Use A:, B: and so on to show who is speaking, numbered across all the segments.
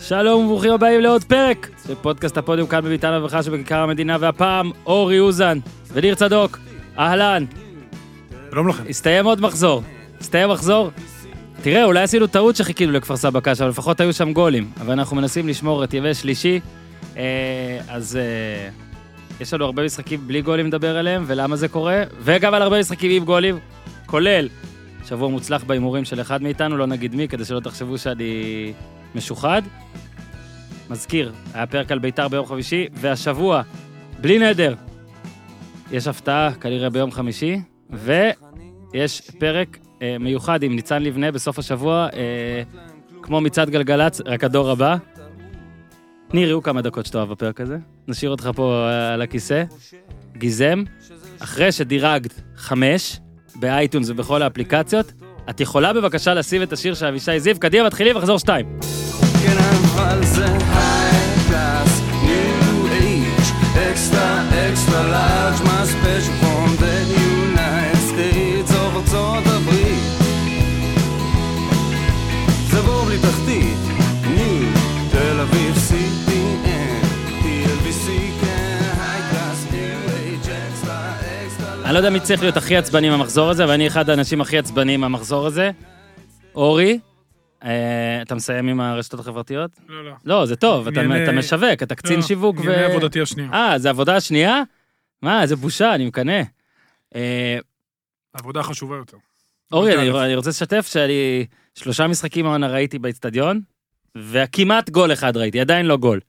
A: שלום וברוכים הבאים לעוד פרק של פודקאסט הפודיום כאן בביתן הרווחה שבכיכר המדינה, והפעם אורי אוזן וניר צדוק, אהלן,
B: שלום לכם.
A: הסתיים עוד מחזור, הסתיים מחזור. תראה, אולי עשינו טעות שחיכינו לכפר סבא קשה, אבל לפחות היו שם גולים, אבל אנחנו מנסים לשמור את ימי שלישי, אה, אז אה, יש לנו הרבה משחקים בלי גולים לדבר עליהם, ולמה זה קורה, וגם על הרבה משחקים עם גולים, כולל שבוע מוצלח בהימורים של אחד מאיתנו, לא נגיד מי, כדי שלא תחשבו שאני משוחד. מזכיר, היה פרק על בית"ר ביום חמישי, והשבוע, בלי נדר, יש הפתעה כנראה ביום חמישי, ויש פרק אה, מיוחד עם ניצן לבנה בסוף השבוע, אה, כמו מצעד גלגלצ, רק הדור הבא. ניר, יהיו כמה דקות שתאהב בפרק הזה. נשאיר אותך פה אה, על הכיסא. גיזם, אחרי שדירגת חמש באייטונס ובכל האפליקציות, את יכולה בבקשה לשים את השיר של אבישי זיו. קדימה, מתחילים, מחזור שתיים.
C: כן אבל זה high class, new age, extra extra large, my special from the United States, או ארצות הברית. זה בור בלי תחתית, ניו, תל אביב, CDN, TLBC, כן, high class, new age, extra extra large.
A: אני לא יודע מי צריך להיות הכי עצבני מהמחזור הזה, ואני אחד האנשים הכי עצבניים מהמחזור הזה. אורי, אה, אתה מסיים עם הרשתות החברתיות?
B: לא, לא.
A: לא, זה טוב, אתה,
B: ענייני-
A: אתה משווק, אתה קצין
B: לא,
A: שיווק ו...
B: ענייני עבודתי השנייה.
A: אה, זה עבודה שנייה? מה, איזה בושה, אני מקנא. אה,
B: עבודה חשובה יותר.
A: אורי,
B: תודה
A: אני,
B: לך.
A: אני רוצה לשתף שאני שלושה משחקים העונה ראיתי באצטדיון, וכמעט גול אחד ראיתי, עדיין לא גול.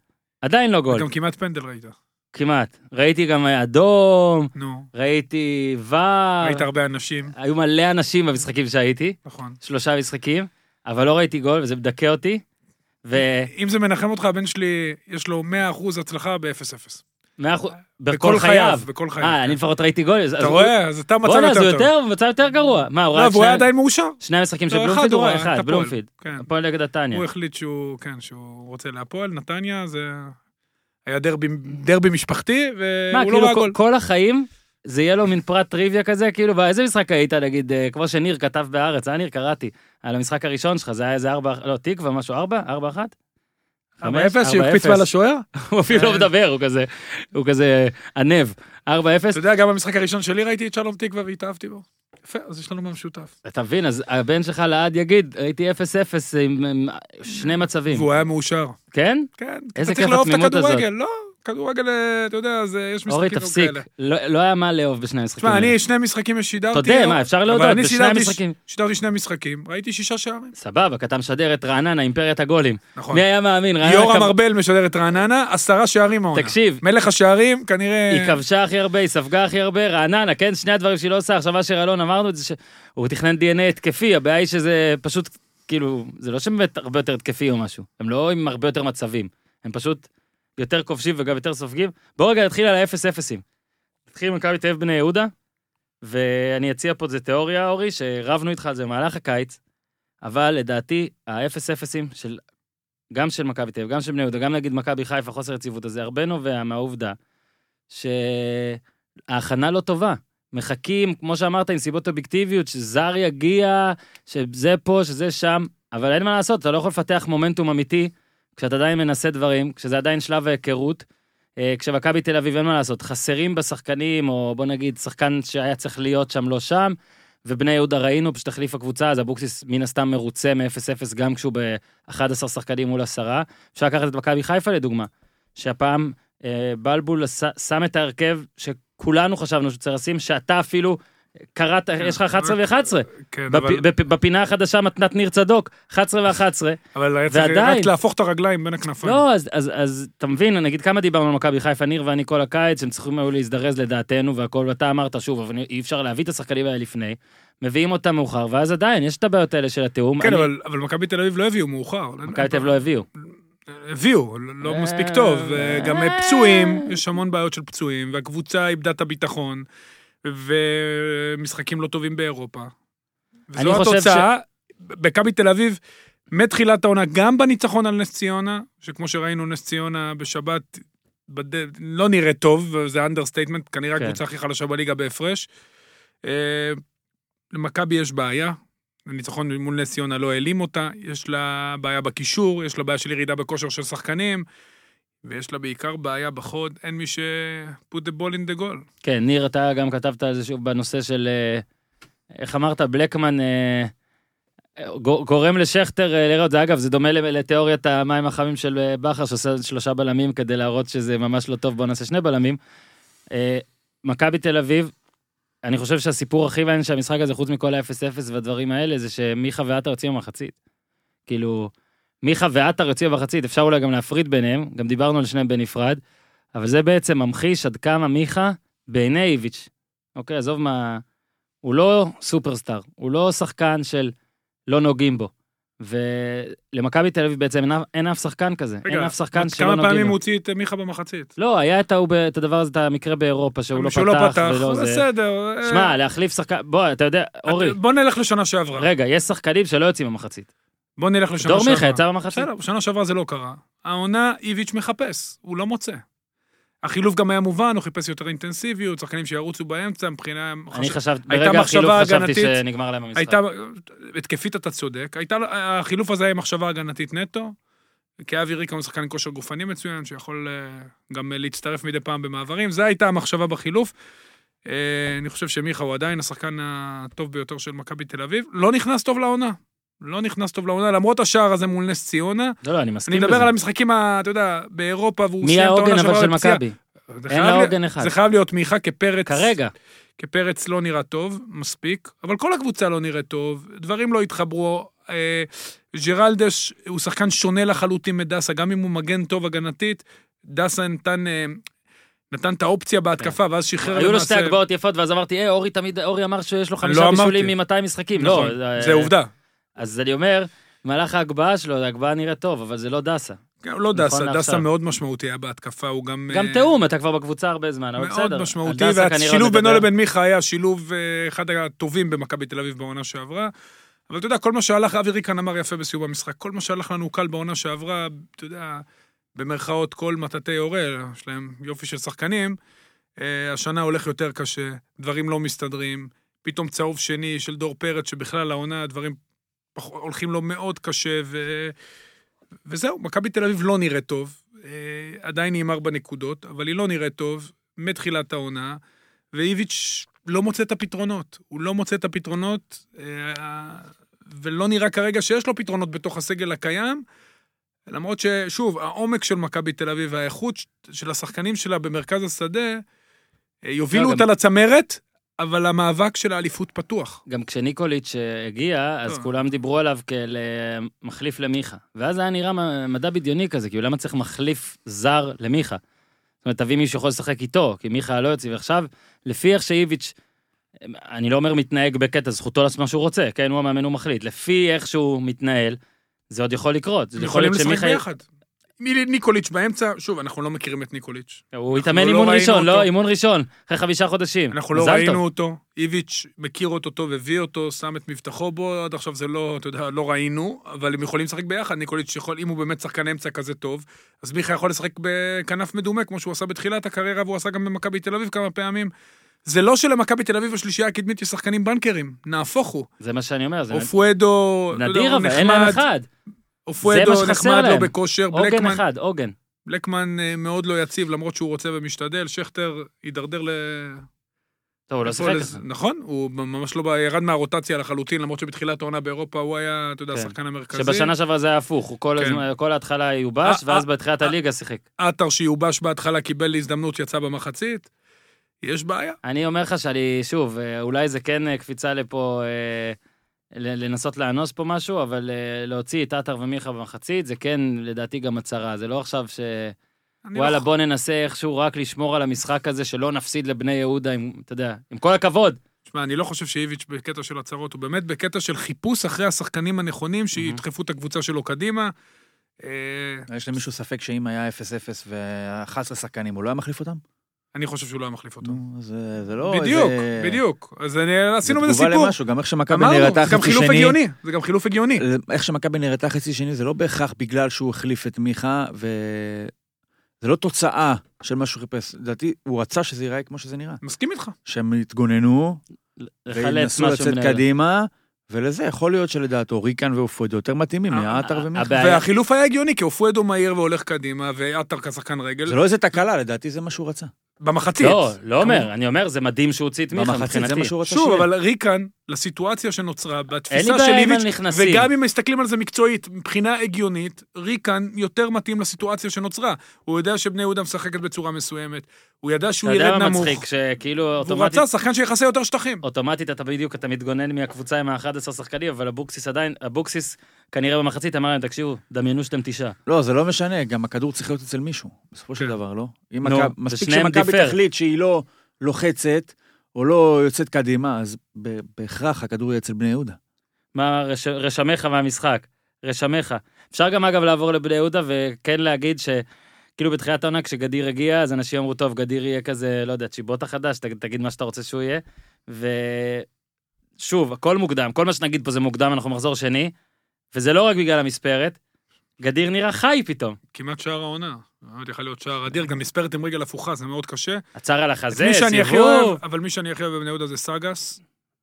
A: עדיין לא גול,
B: גם כמעט פנדל ראית.
A: כמעט. ראיתי גם אדום,
B: נו.
A: ראיתי ור,
B: ראית הרבה אנשים,
A: היו מלא אנשים במשחקים שהייתי,
B: נכון.
A: שלושה משחקים, אבל לא ראיתי גול, וזה מדכא אותי. ומאה
B: אם זה מנחם אותך, הבן שלי, יש לו 100% הצלחה ב-0-0.
A: אחוז, בכל חייו.
B: בכל חייו. כן.
A: אה, אני לפחות ראיתי גול. אז
B: אתה
A: הוא-
B: רואה? אז אתה מצב
A: בואנה, אז
B: יותר
A: הוא
B: טוב.
A: יותר, הוא מצב יותר גרוע. מה, הוא
B: לא,
A: ראה
B: והוא היה
A: את שני-
B: עדיין מאושר.
A: שני המשחקים של
B: לא, אחד
A: בלומפיד? הוא ראה
B: את
A: אחד,
B: הפועל.
A: בלומפיד.
B: כן.
A: הפועל נגד נתניה.
B: הוא החליט שהוא, כן, שהוא רוצה להפועל, נתניה, זה... היה דרבי, דרבי משפחתי,
A: מה,
B: והוא לא
A: כאילו
B: ראה
A: כל-
B: גול.
A: כל החיים זה יהיה לו מין פרט טריוויה כזה, כאילו, באיזה משחק היית, נגיד, אה, כמו שניר כתב בהארץ, אה, ניר, קראתי, על המשחק הראשון שלך, זה היה איזה ארבע, לא, תקווה, משהו, ארבע? ארבע אחת? חמש?
B: 4-0,
A: ארבע
B: שהקפיץ
A: אפס.
B: מעל כן. השוער?
A: הוא אפילו לא מדבר, הוא כזה, הוא כזה אה, ענב. ארבע אפס.
B: אתה יודע, גם במשחק הראשון שלי ראיתי את שלום תקווה והתאהבתי בו. יפה, אז יש לנו מה משותף.
A: אתה מבין, אז הבן שלך לעד יגיד, הייתי אפס אפס עם עם שני מצבים.
B: והוא היה מאושר.
A: כן?
B: כן,
A: איזה
B: אתה צריך
A: כיף
B: לאהוב את
A: התמימות הזאת.
B: הכדורגל, לא, כדורגל, אה, אתה יודע, זה, יש
A: אורי,
B: משחקים גם
A: תפסיק.
B: כאלה.
A: לא לא היה מה לאהוב בשני המשחקים.
B: תשמע,
A: האלה.
B: אני שני משחקים שידרתי.
A: תודה,
B: לא?
A: מה, אפשר
B: אבל
A: להודות,
B: אני
A: בשני
B: שידרתי ש-
A: המשחקים.
B: שידרתי שני משחקים, ראיתי שישה שערים.
A: סבבה, כי אתה משדר את רעננה, אימפריית הגולים.
B: נכון.
A: מי היה מאמין? רעננה
B: יורם
A: כב-
B: ארבל משדר את רעננה, עשרה שערים העונה.
A: תקשיב.
B: מלך השערים, כנראה...
A: היא כבשה הכי הרבה, היא ספגה הכי הרבה, רעננה, כן? שני הדברים שהיא לא עושה. עכשיו אשר אלון אמרנו את זה, שהוא תכנן דנ"א התקפי, הבעיה היא שזה פשוט, כאילו, זה לא שהם באמת הרבה יותר התקפי או משהו. הם לא עם הרבה יותר מצבים. הם פשוט יותר כובשים וגם יותר סופגים. בואו רגע נתחיל על האפס אפסים. נתחיל עם מכבי תל אביב בני יהודה, ואני אציע פה איזה תיאוריה, אורי, שרבנו איתך על זה במהלך הקיץ, אבל לדעתי, האפס אפסים של... גם של מכבי תל אביב, גם של בני יהודה, גם נגיד מכבי חיפה, חוסר יציבות הזה, הרבה נובע מהעובדה שההכנה לא טובה. מחכים, כמו שאמרת, עם סיבות אובייקטיביות, שזר יגיע, שזה פה, שזה שם, אבל אין מה לעשות, אתה לא יכול לפתח מומנטום אמיתי כשאתה עדיין מנסה דברים, כשזה עדיין שלב ההיכרות. אה, כשמכבי תל אביב, אין מה לעשות, חסרים בשחקנים, או בוא נגיד, שחקן שהיה צריך להיות שם, לא שם, ובני יהודה ראינו, פשוט החליף הקבוצה, אז אבוקסיס מן הסתם מרוצה מ-0-0, גם כשהוא ב-11 שחקנים מול עשרה. אפשר לקחת את מכבי חיפה לדוגמה, שהפעם אה, בלבול עשה- שם את ההרכב שכולנו חשבנו שצריך לשים, שאתה אפילו קראת, יש לך 11 ו-11.
B: כן, אבל-
A: בפ- בפ- בפינה החדשה מתנת ניר צדוק, 11 ו-11.
B: אבל היה צריך
A: ועדיין-
B: רק להפוך את הרגליים בין הכנפיים.
A: לא, אז, אז, אז אתה מבין, נגיד כמה דיברנו על מכבי חיפה, ניר ואני כל הקיץ, שהם צריכים היו להזדרז לדעתנו והכל, ואתה אמרת שוב, אבל אי אפשר להביא את השחקנים האלה לפני, מביאים אותם מאוחר, ואז עדיין יש את הבעיות האלה של התיאום.
B: כן,
A: אני-
B: אבל אבל מכבי תל אביב לא הביאו מאוחר.
A: מכבי תל אביב לא הביאו.
B: הביאו, לא
A: אה,
B: מספיק טוב,
A: אה.
B: גם פצועים, יש המון בעיות של פצועים, והקבוצה איבדה את הביטחון, ומשחקים לא טובים באירופה.
A: אני
B: וזו
A: חושב
B: התוצאה, מכבי תל אביב, מתחילת העונה, גם בניצחון על נס ציונה, שכמו שראינו, נס ציונה בשבת בד... לא נראה טוב, וזה אנדרסטייטמנט, כנראה
A: כן.
B: הקבוצה הכי חלשה בליגה בהפרש. אה, למכבי יש בעיה, הניצחון מול נס ציונה לא העלים אותה, יש לה בעיה בקישור, יש לה בעיה של ירידה בכושר של שחקנים, ויש לה בעיקר בעיה בחוד, אין מי ש... put the ball in the goal.
A: כן, ניר, אתה גם כתבת על זה שוב בנושא של, אה, איך אמרת, בלקמן אה, גו- גורם לשכטר אה, לראות, זה אגב, זה דומה ל- לתיאוריית המים החמים של אה, בכר, שעושה שלושה בלמים כדי להראות שזה ממש לא טוב, בוא נעשה שני בלמים. אה, מכבי תל אביב, אני חושב שהסיפור הכי מעניין של המשחק הזה, חוץ מכל ה-0-0 והדברים האלה, זה שמיכה ועטר יוצאים במחצית. כאילו, מיכה ועטר יוצאים במחצית, אפשר אולי גם להפריד ביניהם, גם דיברנו על שניהם בנפרד, אבל זה בעצם ממחיש עד כמה מיכה בעיני איביץ', אוקיי, עזוב מה... הוא לא סופרסטאר, הוא לא שחקן של לא נוגעים בו. ולמכבי תל אביב בעצם אין, אף- אין אף שחקן כזה,
B: רגע,
A: אין אף שחקן שלא
B: כמה
A: נוגעים בו.
B: פעמים הוא הוציא את מיכה במחצית?
A: לא, היה את, ההוא, ב- את הדבר הזה, את המקרה באירופה, שהוא לא פתח,
B: שהוא לא פתח,
A: ולא זה.
B: בסדר. אה,
A: שמע, להחליף שחקן, בוא, אתה יודע, אורי,
B: בוא נלך לשנה שעברה.
A: רגע, יש שחקנים שלא יוצאים במחצית.
B: בוא נלך לשנה שעברה.
A: דור מיכה יצא במחצית.
B: בסדר, בשנה שעברה זה לא קרה. העונה, איביץ' מחפש, הוא לא מוצא. החילוף גם היה מובן, הוא חיפש יותר אינטנסיביות, שחקנים שירוצו באמצע מבחינה...
A: אני
B: חשב-
A: חשבתי,
B: הייתה
A: ברגע
B: מחשבה
A: החילוף חשבתי
B: הגנתית.
A: שנגמר להם המשחק.
B: הייתה... התקפית אתה צודק, הייתה... החילוף הזה היה מחשבה הגנתית נטו, כי אבי ריקה הוא שחקן עם כושר גופני מצוין, שיכול אה, גם אה, להצטרף מדי פעם במעברים, זו הייתה המחשבה בחילוף. אה, אני חושב שמיכה הוא עדיין השחקן הטוב ביותר של מכבי תל אביב. לא נכנס טוב לעונה. לא נכנס טוב לעונה, למרות השער הזה מול נס ציונה.
A: לא, לא, אני
B: אני
A: מסכים בזה.
B: מדבר על המשחקים, ה- אתה יודע, באירופה, והוא
A: מי
B: סיים את העונה
A: העוגן אבל
B: שעברה
A: של
B: בפציעה.
A: מכבי?
B: זה
A: אין
B: חייב
A: לה
B: להיות-
A: עוגן אחד.
B: זה חייב להיות מיכה כפרץ.
A: כרגע.
B: כפרץ לא נראה טוב, מספיק, אבל כל הקבוצה לא נראית טוב, דברים לא התחברו. אה, ג'רלדש הוא שחקן שונה לחלוטין מדסה, גם אם הוא מגן טוב הגנתית, דסה נתן, אה, נתן את האופציה בהתקפה, ואז שחרר
A: היו לו שתי הגבהות יפות, ואז אמרתי, אה, אורי תמיד, אורי אמר שיש לו חמישה
B: לא
A: בישולים
B: אמרתי.
A: מ-200 משחקים.
B: נכון,
A: לא, זה-
B: זה עובדה.
A: אז אני אומר, מהלך ההגבהה שלו, ההגבהה נראית טוב, אבל זה לא דסה.
B: כן, לא דסה, דסה
A: נכון לעכשיו.
B: מאוד משמעותי היה בהתקפה, הוא גם...
A: גם
B: אה,
A: תיאום, אתה כבר בקבוצה הרבה זמן, אבל בסדר.
B: מאוד משמעותי,
A: על דסה כנראה לא עוד
B: והשילוב בינו
A: נדבר.
B: לבין מיכה היה שילוב אה, אחד הטובים במכבי תל אביב בעונה שעברה. אבל אתה יודע, כל מה שהלך, אבי ריקן אמר יפה בסיום המשחק, כל מה שהלך לנו קל בעונה שעברה, אתה יודע, במרכאות כל מטאטי הורל, יש להם יופי של שחקנים, אה, השנה הולך יותר קשה, דברים לא מסתדרים, פתאום צהוב שני של דור פרץ, שבכלל העונה הדברים פח- הולכים לו מאוד קשה, ו... וזהו, מכבי תל אביב לא נראית טוב, אה, עדיין היא עם ארבע נקודות, אבל היא לא נראית טוב מתחילת העונה, ואיביץ' לא מוצא את הפתרונות. הוא לא מוצא את הפתרונות, אה, ולא נראה כרגע שיש לו פתרונות בתוך הסגל הקיים, למרות ששוב, העומק של מכבי תל אביב והאיכות ש- של השחקנים שלה במרכז השדה, אה, יובילו
A: לא,
B: אותה
A: גם-
B: לצמרת, אבל המאבק של האליפות פתוח.
A: גם כשניקוליץ' אה, הגיע, אז
B: אה.
A: כולם דיברו עליו כאל אה, מחליף למיכה. ואז היה נראה מ- מדע בדיוני כזה, כאילו למה צריך מחליף זר למיכה? זאת אומרת, תביא מישהו שיכול לשחק איתו, כי מיכה לא יוצא. ועכשיו, לפי איך שאיביץ', אה, אני לא אומר מתנהג בקטע, זכותו לעשות מה שהוא רוצה, כן, הוא המאמן, הוא מחליט. לפי איך שהוא מתנהל, זה עוד יכול לקרות. זה
B: הם
A: יכול
B: יכולים
A: להיות
B: לשחק
A: שמיכה...
B: ביחד. מי- ניקוליץ' באמצע, שוב, אנחנו לא מכירים את ניקוליץ'.
A: הוא
B: אנחנו
A: התאמן
B: לא
A: אימון
B: ראינו
A: ראשון,
B: אותו.
A: לא, אימון ראשון, אחרי חמישה חודשים.
B: אנחנו לא
A: מזל
B: ראינו
A: טוב.
B: אותו, איביץ' מכיר אותו טוב, הביא אותו, שם את מבטחו בו, עד עכשיו זה לא, אתה יודע, לא ראינו, אבל הם יכולים לשחק ביחד, ניקוליץ' יכול, אם הוא באמת שחקן אמצע כזה טוב, אז מיכה יכול לשחק בכנף מדומה, כמו שהוא עשה בתחילת הקריירה, והוא עשה גם במכבי תל אביב כמה פעמים. זה לא שלמכבי תל אביב השלישייה הקדמית יש שחקנים בנקרים, נהפוך הוא.
A: זה מה שאני אומר, זה
B: אופואדו, אתה יודע,
A: נדיר,
B: לא, הוא
A: אבל אין להם
B: נחמד,
A: אחד.
B: אופואדו
A: זה מה שחסר
B: נחמד, לא
A: להם. אוקיי,
B: בכושר,
A: עוגן
B: בלקמן
A: אחד, עוגן.
B: בלקמן אה, מאוד לא יציב, למרות שהוא רוצה ומשתדל, שכטר הידרדר ל...
A: טוב, הוא לא
B: איפה
A: שיחק.
B: לז- נכון, הוא ממש לא, ב- ירד מהרוטציה לחלוטין, למרות שבתחילת העונה באירופה הוא היה, אתה יודע,
A: כן.
B: השחקן המרכזי.
A: שבשנה שעברה זה היה הפוך, הוא כל
B: כן.
A: הזמן, כל ההתחלה יובש,
B: אה,
A: ואז
B: אה,
A: בתחילת
B: אה.
A: הליגה שיחק.
B: עטר שיובש בהתחלה קיבל הזדמנות, יצא במחצית. יש בעיה.
A: אני אומר לך שאני, שוב, אה, אולי זה כן אה, קפיצה לפה, אה, ל- לנסות לאנוס פה משהו, אבל אה, להוציא את עטר ומיכה במחצית, זה כן, לדעתי, גם הצהרה. זה לא עכשיו ש...
B: אני
A: וואלה,
B: לא-
A: בוא ננסה איכשהו רק לשמור על המשחק הזה, שלא נפסיד לבני יהודה, עם- אתה יודע, עם כל הכבוד.
B: תשמע, אני לא חושב שאיביץ' בקטע של הצהרות, הוא באמת בקטע של חיפוש אחרי השחקנים הנכונים שידחפו את הקבוצה שלו קדימה. אה,
D: יש למישהו ספק שאם היה 0-0 ו-11 שחקנים, הוא לא היה מחליף אותם?
B: אני חושב שהוא לא היה מחליף אותו.
D: נו, זה זה לא...
B: בדיוק,
D: איזה-
B: בדיוק. אז אני-
D: זה
B: עשינו מזה
D: תגובה
B: סיפור.
D: למשהו, גם איך שמכבי
B: אמרנו,
D: נראתה
B: זה גם
D: חצי
B: חילוף
D: שני...
B: הגיוני. זה גם חילוף הגיוני.
D: איך שמכבי נראתה חצי שני, זה לא בהכרח בגלל שהוא החליף את מיכה, וזה לא תוצאה של מה שהוא חיפש. לדעתי, הוא רצה שזה ייראה כמו שזה נראה.
B: מסכים איתך.
D: שהם יתגוננו,
A: לחלץ
D: וינסו
A: משהו
D: לצאת
A: מן ה-
D: קדימה, ולזה יכול להיות שלדעתו ריקן ואופוידו יותר מתאימים מעטר ומיכה.
A: אה, הבעיה-
B: והחילוף היה הגיוני, כי אופואדו מהיר והולך קדימה, ועטר כשחקן רגל.
D: זה לא איזה תקלה, לדעתי זה מה שהוא רצה.
B: במחצית.
A: לא, לא אומר, אני אומר, זה מדהים שהוא הוציא את מיכה
D: במחצית זה
A: מבחינתי.
D: מה שהוא רצה
B: שוב,
D: שיהיה.
B: אבל ריקן, לסיטואציה שנוצרה,
A: אין לי
B: בתפיסה של
A: בעיה עם
B: איביץ',
A: הנכנסים.
B: וגם אם מסתכלים על זה מקצועית, מבחינה הגיונית, ריקן יותר מתאים לסיטואציה שנוצרה. הוא יודע שבני יהודה משחקת בצורה מסוימת, הוא ידע שהוא
A: אתה יודע
B: ירד
A: מה
B: נמוך,
A: מצחיק? שכאילו
B: והוא
A: אוטומטית,
B: רצה שחקן שיכסה יותר שטחים.
A: אוטומטית אתה בדיוק, אתה מתגונן מהקבוצה עם ה-11 שחקנים, אבל אבוקסיס עדיין, אבוקסיס כנראה במחצית אמר להם, תקשיבו, דמיינו שאתם תשעה.
D: לא, זה לא משנה, גם הכדור צריך להיות אצל מישהו, בסופו של
B: כן.
D: דבר, לא? אם
A: נו,
D: מכב-
A: זה
D: מספיק
A: שניהם
D: שמכבי
A: דיפר.
D: תחליט שהיא לא לוחצת, או לא יוצאת קדימה, אז ב- בהכרח הכדור יהיה אצל בני יהודה.
A: מה רש- רשמיך מהמשחק, רשמיך. אפשר גם אגב לעבור לבני יהודה וכן להגיד ש... כאילו בתחילת העונה כשגדיר הגיע, אז אנשים אמרו, טוב, גדיר יהיה כזה, לא יודע, צ'יבוטה חדש, תג- תגיד מה שאתה רוצה שהוא יהיה. ושוב, הכל מוקדם, כל מה שנגיד פה זה מוקדם, אנחנו מחזור שני, וזה לא רק בגלל המספרת, גדיר נראה חי פתאום.
B: כמעט שער העונה. באמת יכול להיות שער אדיר, גם נספרת עם רגל הפוכה, זה מאוד קשה.
A: עצר על החזה,
B: מי שאני הכי
A: סיבוב.
B: אוהב, אבל מי שאני הכי אוהב בבני יהודה זה סגס,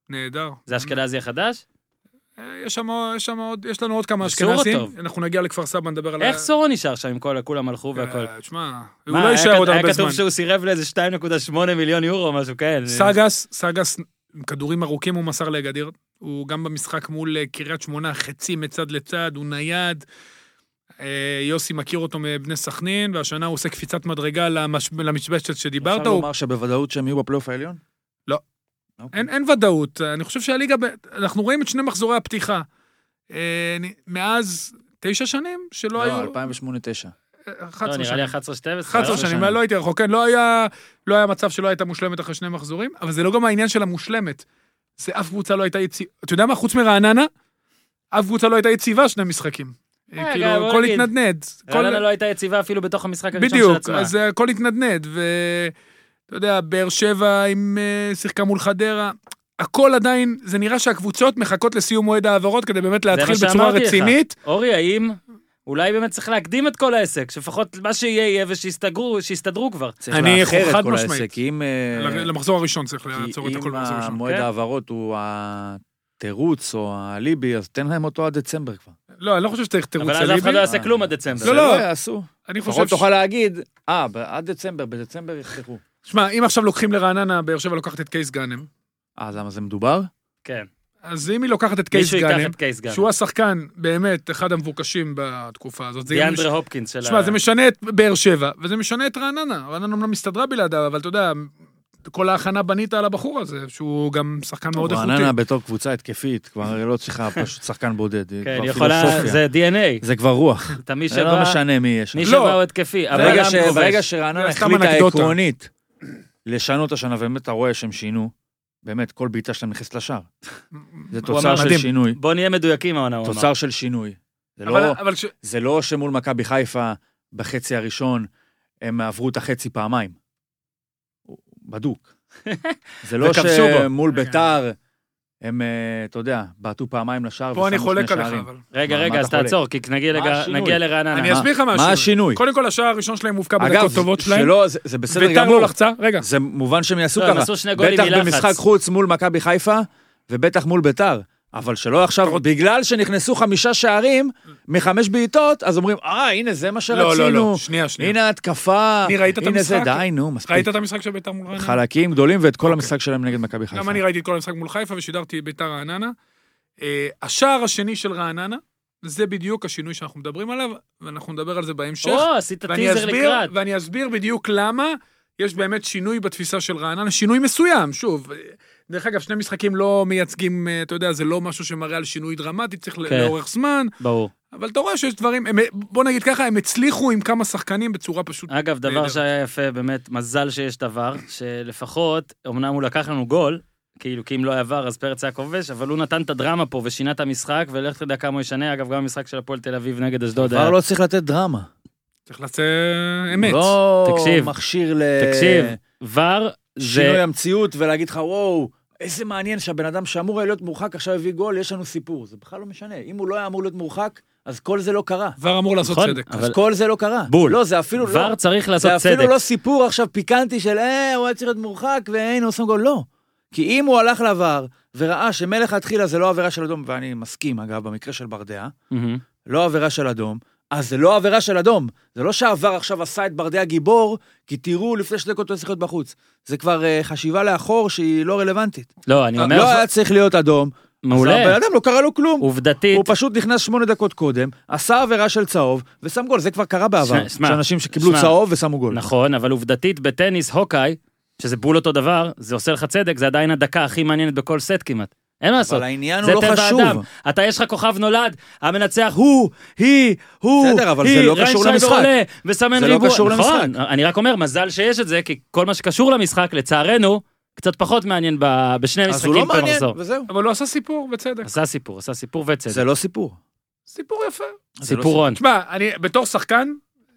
B: נהדר.
A: זה אשכנזי החדש?
B: אה, יש שם, יש שם עוד, יש לנו עוד כמה
A: אישור
B: אשכנזים.
A: אותו.
B: אנחנו נגיע לכפר סבא, נדבר על... ה-
A: איך סורו נשאר שם עם כל, כולם הלכו
B: אה,
A: והכל?
B: תשמע, הוא
A: מה,
B: לא
A: היה
B: יישאר
A: כת-
B: עוד הרבה
A: היה
B: זמן.
A: כתוב שהוא סירב לאיזה 2.8 מיליון יורו או משהו כן. כאלה.
B: סגס, סגס, עם כדורים ארוכים הוא מסר לאגדיר. הוא גם במשחק מול אה, קריית שמונה, חצי מצד לצד, הוא נייד. אה, יוסי מכיר אותו מבני סכנין, והשנה הוא עושה קפיצת מדרגה למש- למשבצת שדיברת.
D: אפשר
B: הוא
D: לומר שבוודאות שהם יהיו בפלייאוף העליון?
B: לא.
D: אוקיי.
B: אין, אין ודאות. אני חושב שהליגה, ב... אנחנו רואים את שני מחזורי הפתיחה. אה, נ- מאז תשע שנים שלא
D: לא,
B: היו...
D: 2008-2009.
B: אה,
A: לא, נראה
B: 11
A: לי
B: שנים.
A: 11, 12. לא?
B: 11 שנים, לא הייתי רחוק, כן, לא היה, לא היה מצב שלא הייתה מושלמת אחרי שני מחזורים, אבל זה לא גם העניין של המושלמת. זה אף קבוצה לא הייתה יציבה, אתה יודע מה, חוץ מרעננה, אף קבוצה לא הייתה יציבה שני משחקים. אה,
A: אה,
B: כאילו,
A: גם, בוא
B: הכל
A: נגיד.
B: התנדנד. כל-
A: רעננה לא הייתה יציבה אפילו בתוך המשחק הראשון של
B: בדיוק,
A: עצמה.
B: אז אה, הכל התנדנד, ואתה יודע, באר שבע עם אה, שיחקה מול חדרה, הכל עדיין, זה נראה שהקבוצות מחכות לסיום מועד ההעברות כדי באמת
A: זה מה
B: להתחיל בצורה
A: שאמרתי לך.
B: רצינית.
A: אורי, האם אולי באמת צריך להקדים את כל העסק, שלפחות מה שיהיה יהיה ושיסתגרו, שיסתדרו כבר.
D: צריך
B: אני
D: לאחר
B: חד
D: את כל
B: משמעית.
D: העסק, כי אם... אה,
B: למחזור הראשון צריך
D: כי
B: לעצור את הכל
D: אם
B: במחזור הראשון.
D: המועד
A: כן.
D: ההעברות הוא התירוץ או האליבי, אז תן להם אותו עד דצמבר כבר.
B: לא, אני לא חושב שצריך תירוץ
A: אבל אז אף אחד
B: אליבי.
A: לא יעשה
D: אה.
A: כלום עד דצמבר.
B: לא,
D: זה לא יעשו.
B: אני חושב
D: לפחות
B: ש...
D: תוכל להגיד, אה, ב- עד דצמבר, בדצמבר יפתחו.
B: שמע, אם עכשיו לוקחים לרעננה, באר שבע לוקחת את קייס גאנם,
D: אה, למה זה מדובר?
A: כן.
B: אז אם היא לוקחת את קייס
A: מישהו ייקח
B: גאנם,
A: את קייס גאנם.
B: שהוא השחקן באמת אחד המבוקשים בתקופה הזאת, זה יהיה... מש-
A: דיאנדרה הופקינס של
B: שמע, זה משנה את באר שבע, וזה משנה את רעננה. רעננה אמנם הסתדרה בלעדיו, אבל אתה יודע, כל ההכנה בנית על הבחור הזה, שהוא גם שחקן מאוד איכותי.
D: רעננה בתור קבוצה התקפית, כבר לא צריכה פשוט שחקן בודד, היא
A: כן,
D: כבר
A: יכולה,
D: פילוסופיה.
A: זה DNA.
D: זה כבר רוח.
A: אתה מי
D: זה לא
A: שבא,
D: משנה מי יש.
A: מי
B: לא.
A: שבא הוא התקפי. אבל
D: ברגע
A: גם
D: ש-
A: כובש.
D: ברגע שרעננה
B: זה סתם
D: החליטה
B: אנקדוטה.
D: עקרונית לשנות השנה, באמת אתה רואה שהם שינו, באמת, כל בעיטה שלהם נכנסת לשער. זה
A: אמר
D: תוצר של
B: מדהים.
D: שינוי.
A: בוא נהיה מדויקים העונה, הוא אמר.
D: תוצר של שינוי. זה
B: אבל-
D: לא-
B: אבל ש-
D: זה לא שמול מכבי חיפה בחצי הראשון הם עברו את החצי פעמיים. הוא בדוק. זה לא
A: וכבשו בו.
B: כן.
D: שמול ביתר הם, אה, אתה יודע, בעטו פעמיים לשער
B: פה אני
D: ושמו
B: חולק
D: שני
B: עליך,
D: שערים.
B: אבל...
A: רגע,
D: מה,
A: רגע,
D: מה
A: אז
D: אתה חולק?
A: תעצור, כי נגיע
D: מה
A: לג-
D: השינוי?
A: נגיע לרעננה. לא,
B: אני אסביר לך
D: מה
B: משהו.
D: השינוי?
B: קודם כל, השער הראשון שלהם הובקע
D: אגב,
B: בדקות טובות שלהם.
D: שלא, זה- זה בסדר
B: ביתר לא
D: גמור,
B: לחצה, רגע.
D: זה מובן שהם יעשו
A: לא, הם
D: ככה.
A: עשו שני גולים
D: בטח
A: מלחץ.
D: במשחק חוץ מול מכבי חיפה, ובטח מול ביתר. אבל שלא עכשיו, בגלל שנכנסו חמישה שערים מחמש בעיטות, אז אומרים, אה, הנה, זה מה שרצינו.
B: לא, לא, לא, שנייה, שנייה.
D: הנה ההתקפה,
B: ניר, ראית את
D: הנה זה,
B: המשחק?
D: די, נו, מספיק.
B: ראית את המשחק של ביתר מול רעננה?
D: חלקים גדולים ואת כל המשחק שלהם נגד מכבי חיפה.
B: גם אני ראיתי את כל המשחק מול חיפה ושידרתי ביתר רעננה. אה, השער השני של רעננה, זה בדיוק השינוי שאנחנו מדברים עליו, ואנחנו נדבר על זה בהמשך.
A: או, עשית
B: ואני
A: טיזר
B: אסביר,
A: לקראת.
B: ואני אסביר בדיוק למה יש באמת שינוי בתפיסה של רעננה, שינוי מסוים, שוב. אה, דרך אגב, שני משחקים לא מייצגים, אה, אתה יודע, זה לא משהו שמראה על שינוי דרמטי, צריך
A: כן.
B: כן. לאורך זמן,
A: ברור.
B: אבל אתה רואה שיש דברים, הם, בוא נגיד ככה, הם הצליחו עם כמה שחקנים בצורה פשוט...
A: אגב, דבר
B: נהדר.
A: שהיה יפה, באמת, מזל שיש דבר, שלפחות, אמנם הוא לקח לנו גול, כאילו, כי אם לא היה עבר, אז פרץ היה כובש, אבל הוא נתן את הדרמה פה ושינה את המשחק, ולך תדע כמה הוא ישנה. אגב, גם המשחק של הפועל תל אביב נגד אשדוד היה...
D: כבר לא צריך לתת דרמה.
B: צריך לצאת אמת.
D: לא
A: תקשיב.
D: מכשיר ל...
A: תקשיב, ור
D: שינוי
A: זה...
D: המציאות ולהגיד לך, וואו, איזה מעניין שהבן אדם שאמור היה להיות מורחק עכשיו הביא גול, יש לנו סיפור. זה בכלל לא משנה. אם הוא לא היה אמור להיות מורחק, אז כל זה לא קרה.
B: כבר אמור לעשות
A: נכון,
B: צדק.
A: אבל
D: אז כל זה לא קרה.
A: בול.
D: לא, זה אפילו לא...
A: ור צריך לעשות
D: זה
A: צדק.
D: אפילו לא סיפור עכשיו פיקנטי של אה, הוא היה צריך להיות מורחק והנה הוא שם גול. לא. כי אם הוא הלך לעבר וראה שמלכתחילה זה לא עבירה של אדום, ואני מסכים, אגב, במקרה של ברדע,
A: מהמם.
D: לא עבירה של אדום, אז זה לא עבירה של אדום. זה לא שעבר עכשיו עשה את ברדע גיבור, כי תראו, לפני שתי דקות הוא היה צריך להיות בחוץ. זה כבר אה, חשיבה לאחור שהיא לא רלוונטית.
A: לא, אני אומר,
D: לא היה צריך להיות אדום.
A: מעולה.
D: אז הבן אדם לא קרה לו כלום.
A: עובדתית,
D: הוא פשוט נכנס שמונה דקות קודם, עשה עבירה של צהוב, ושם גול. זה כבר קרה בעבר.
A: שמע, שמע,
D: יש אנשים שקיבלו
A: שמע.
D: צהוב ושמו גול.
A: נכון, אבל עובדתית בטניס, הוקאי, שזה בול אותו דבר, זה עושה לך צדק, זה עדיין הדקה הכי מעניינת בכל סט כמעט. אין מה לעשות.
D: אבל העניין
A: זה
D: הוא לא
A: טבע
D: חשוב.
A: האדם. אתה, יש לך כוכב נולד, המנצח הוא, היא, הוא,
D: בסדר, אבל זה
A: היא,
D: לא קשור
A: ריינשרייבר
D: למשחק.
A: עולה, וסמן
D: זה לא
A: ריבוע.
D: קשור
A: נכון,
D: למשחק.
A: אני רק אומר, מזל שיש את זה, כי כל מה שקשור למשחק, לצערנו, קצת פחות מעניין ב- בשני
D: אז הוא לא
A: משחקים פר
D: מעניין,
A: מחזור.
D: וזהו.
B: אבל הוא עשה סיפור, בצדק.
A: עשה סיפור, עשה סיפור וצדק.
D: זה לא סיפור.
B: סיפור יפה.
D: זה לא
A: סיפורון.
B: תשמע, אני בתור שחקן,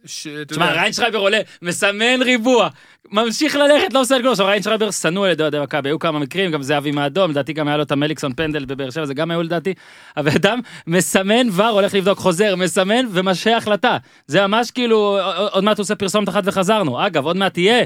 B: ש- אתה
A: תשמע,
B: יודע,
A: ריינשרייבר עולה, מסמן ריבוע, ממשיך ללכת, לא עושה את גול. עכשיו, ריינשרייבר שנוא על ידי אוהדי מכבי, היו כמה מקרים, גם זהבי מהאדום, לדעתי גם היה לו את המליקסון פנדל בבאר שבע, זה גם היו לדעתי. הבן אדם מסמן ור, הולך לבדוק חוזר, מסמן ומשהה החלטה. זה ממש כאילו, עוד מעט הוא עושה פרסומת אחת וחזרנו. אגב, עוד מעט תהיה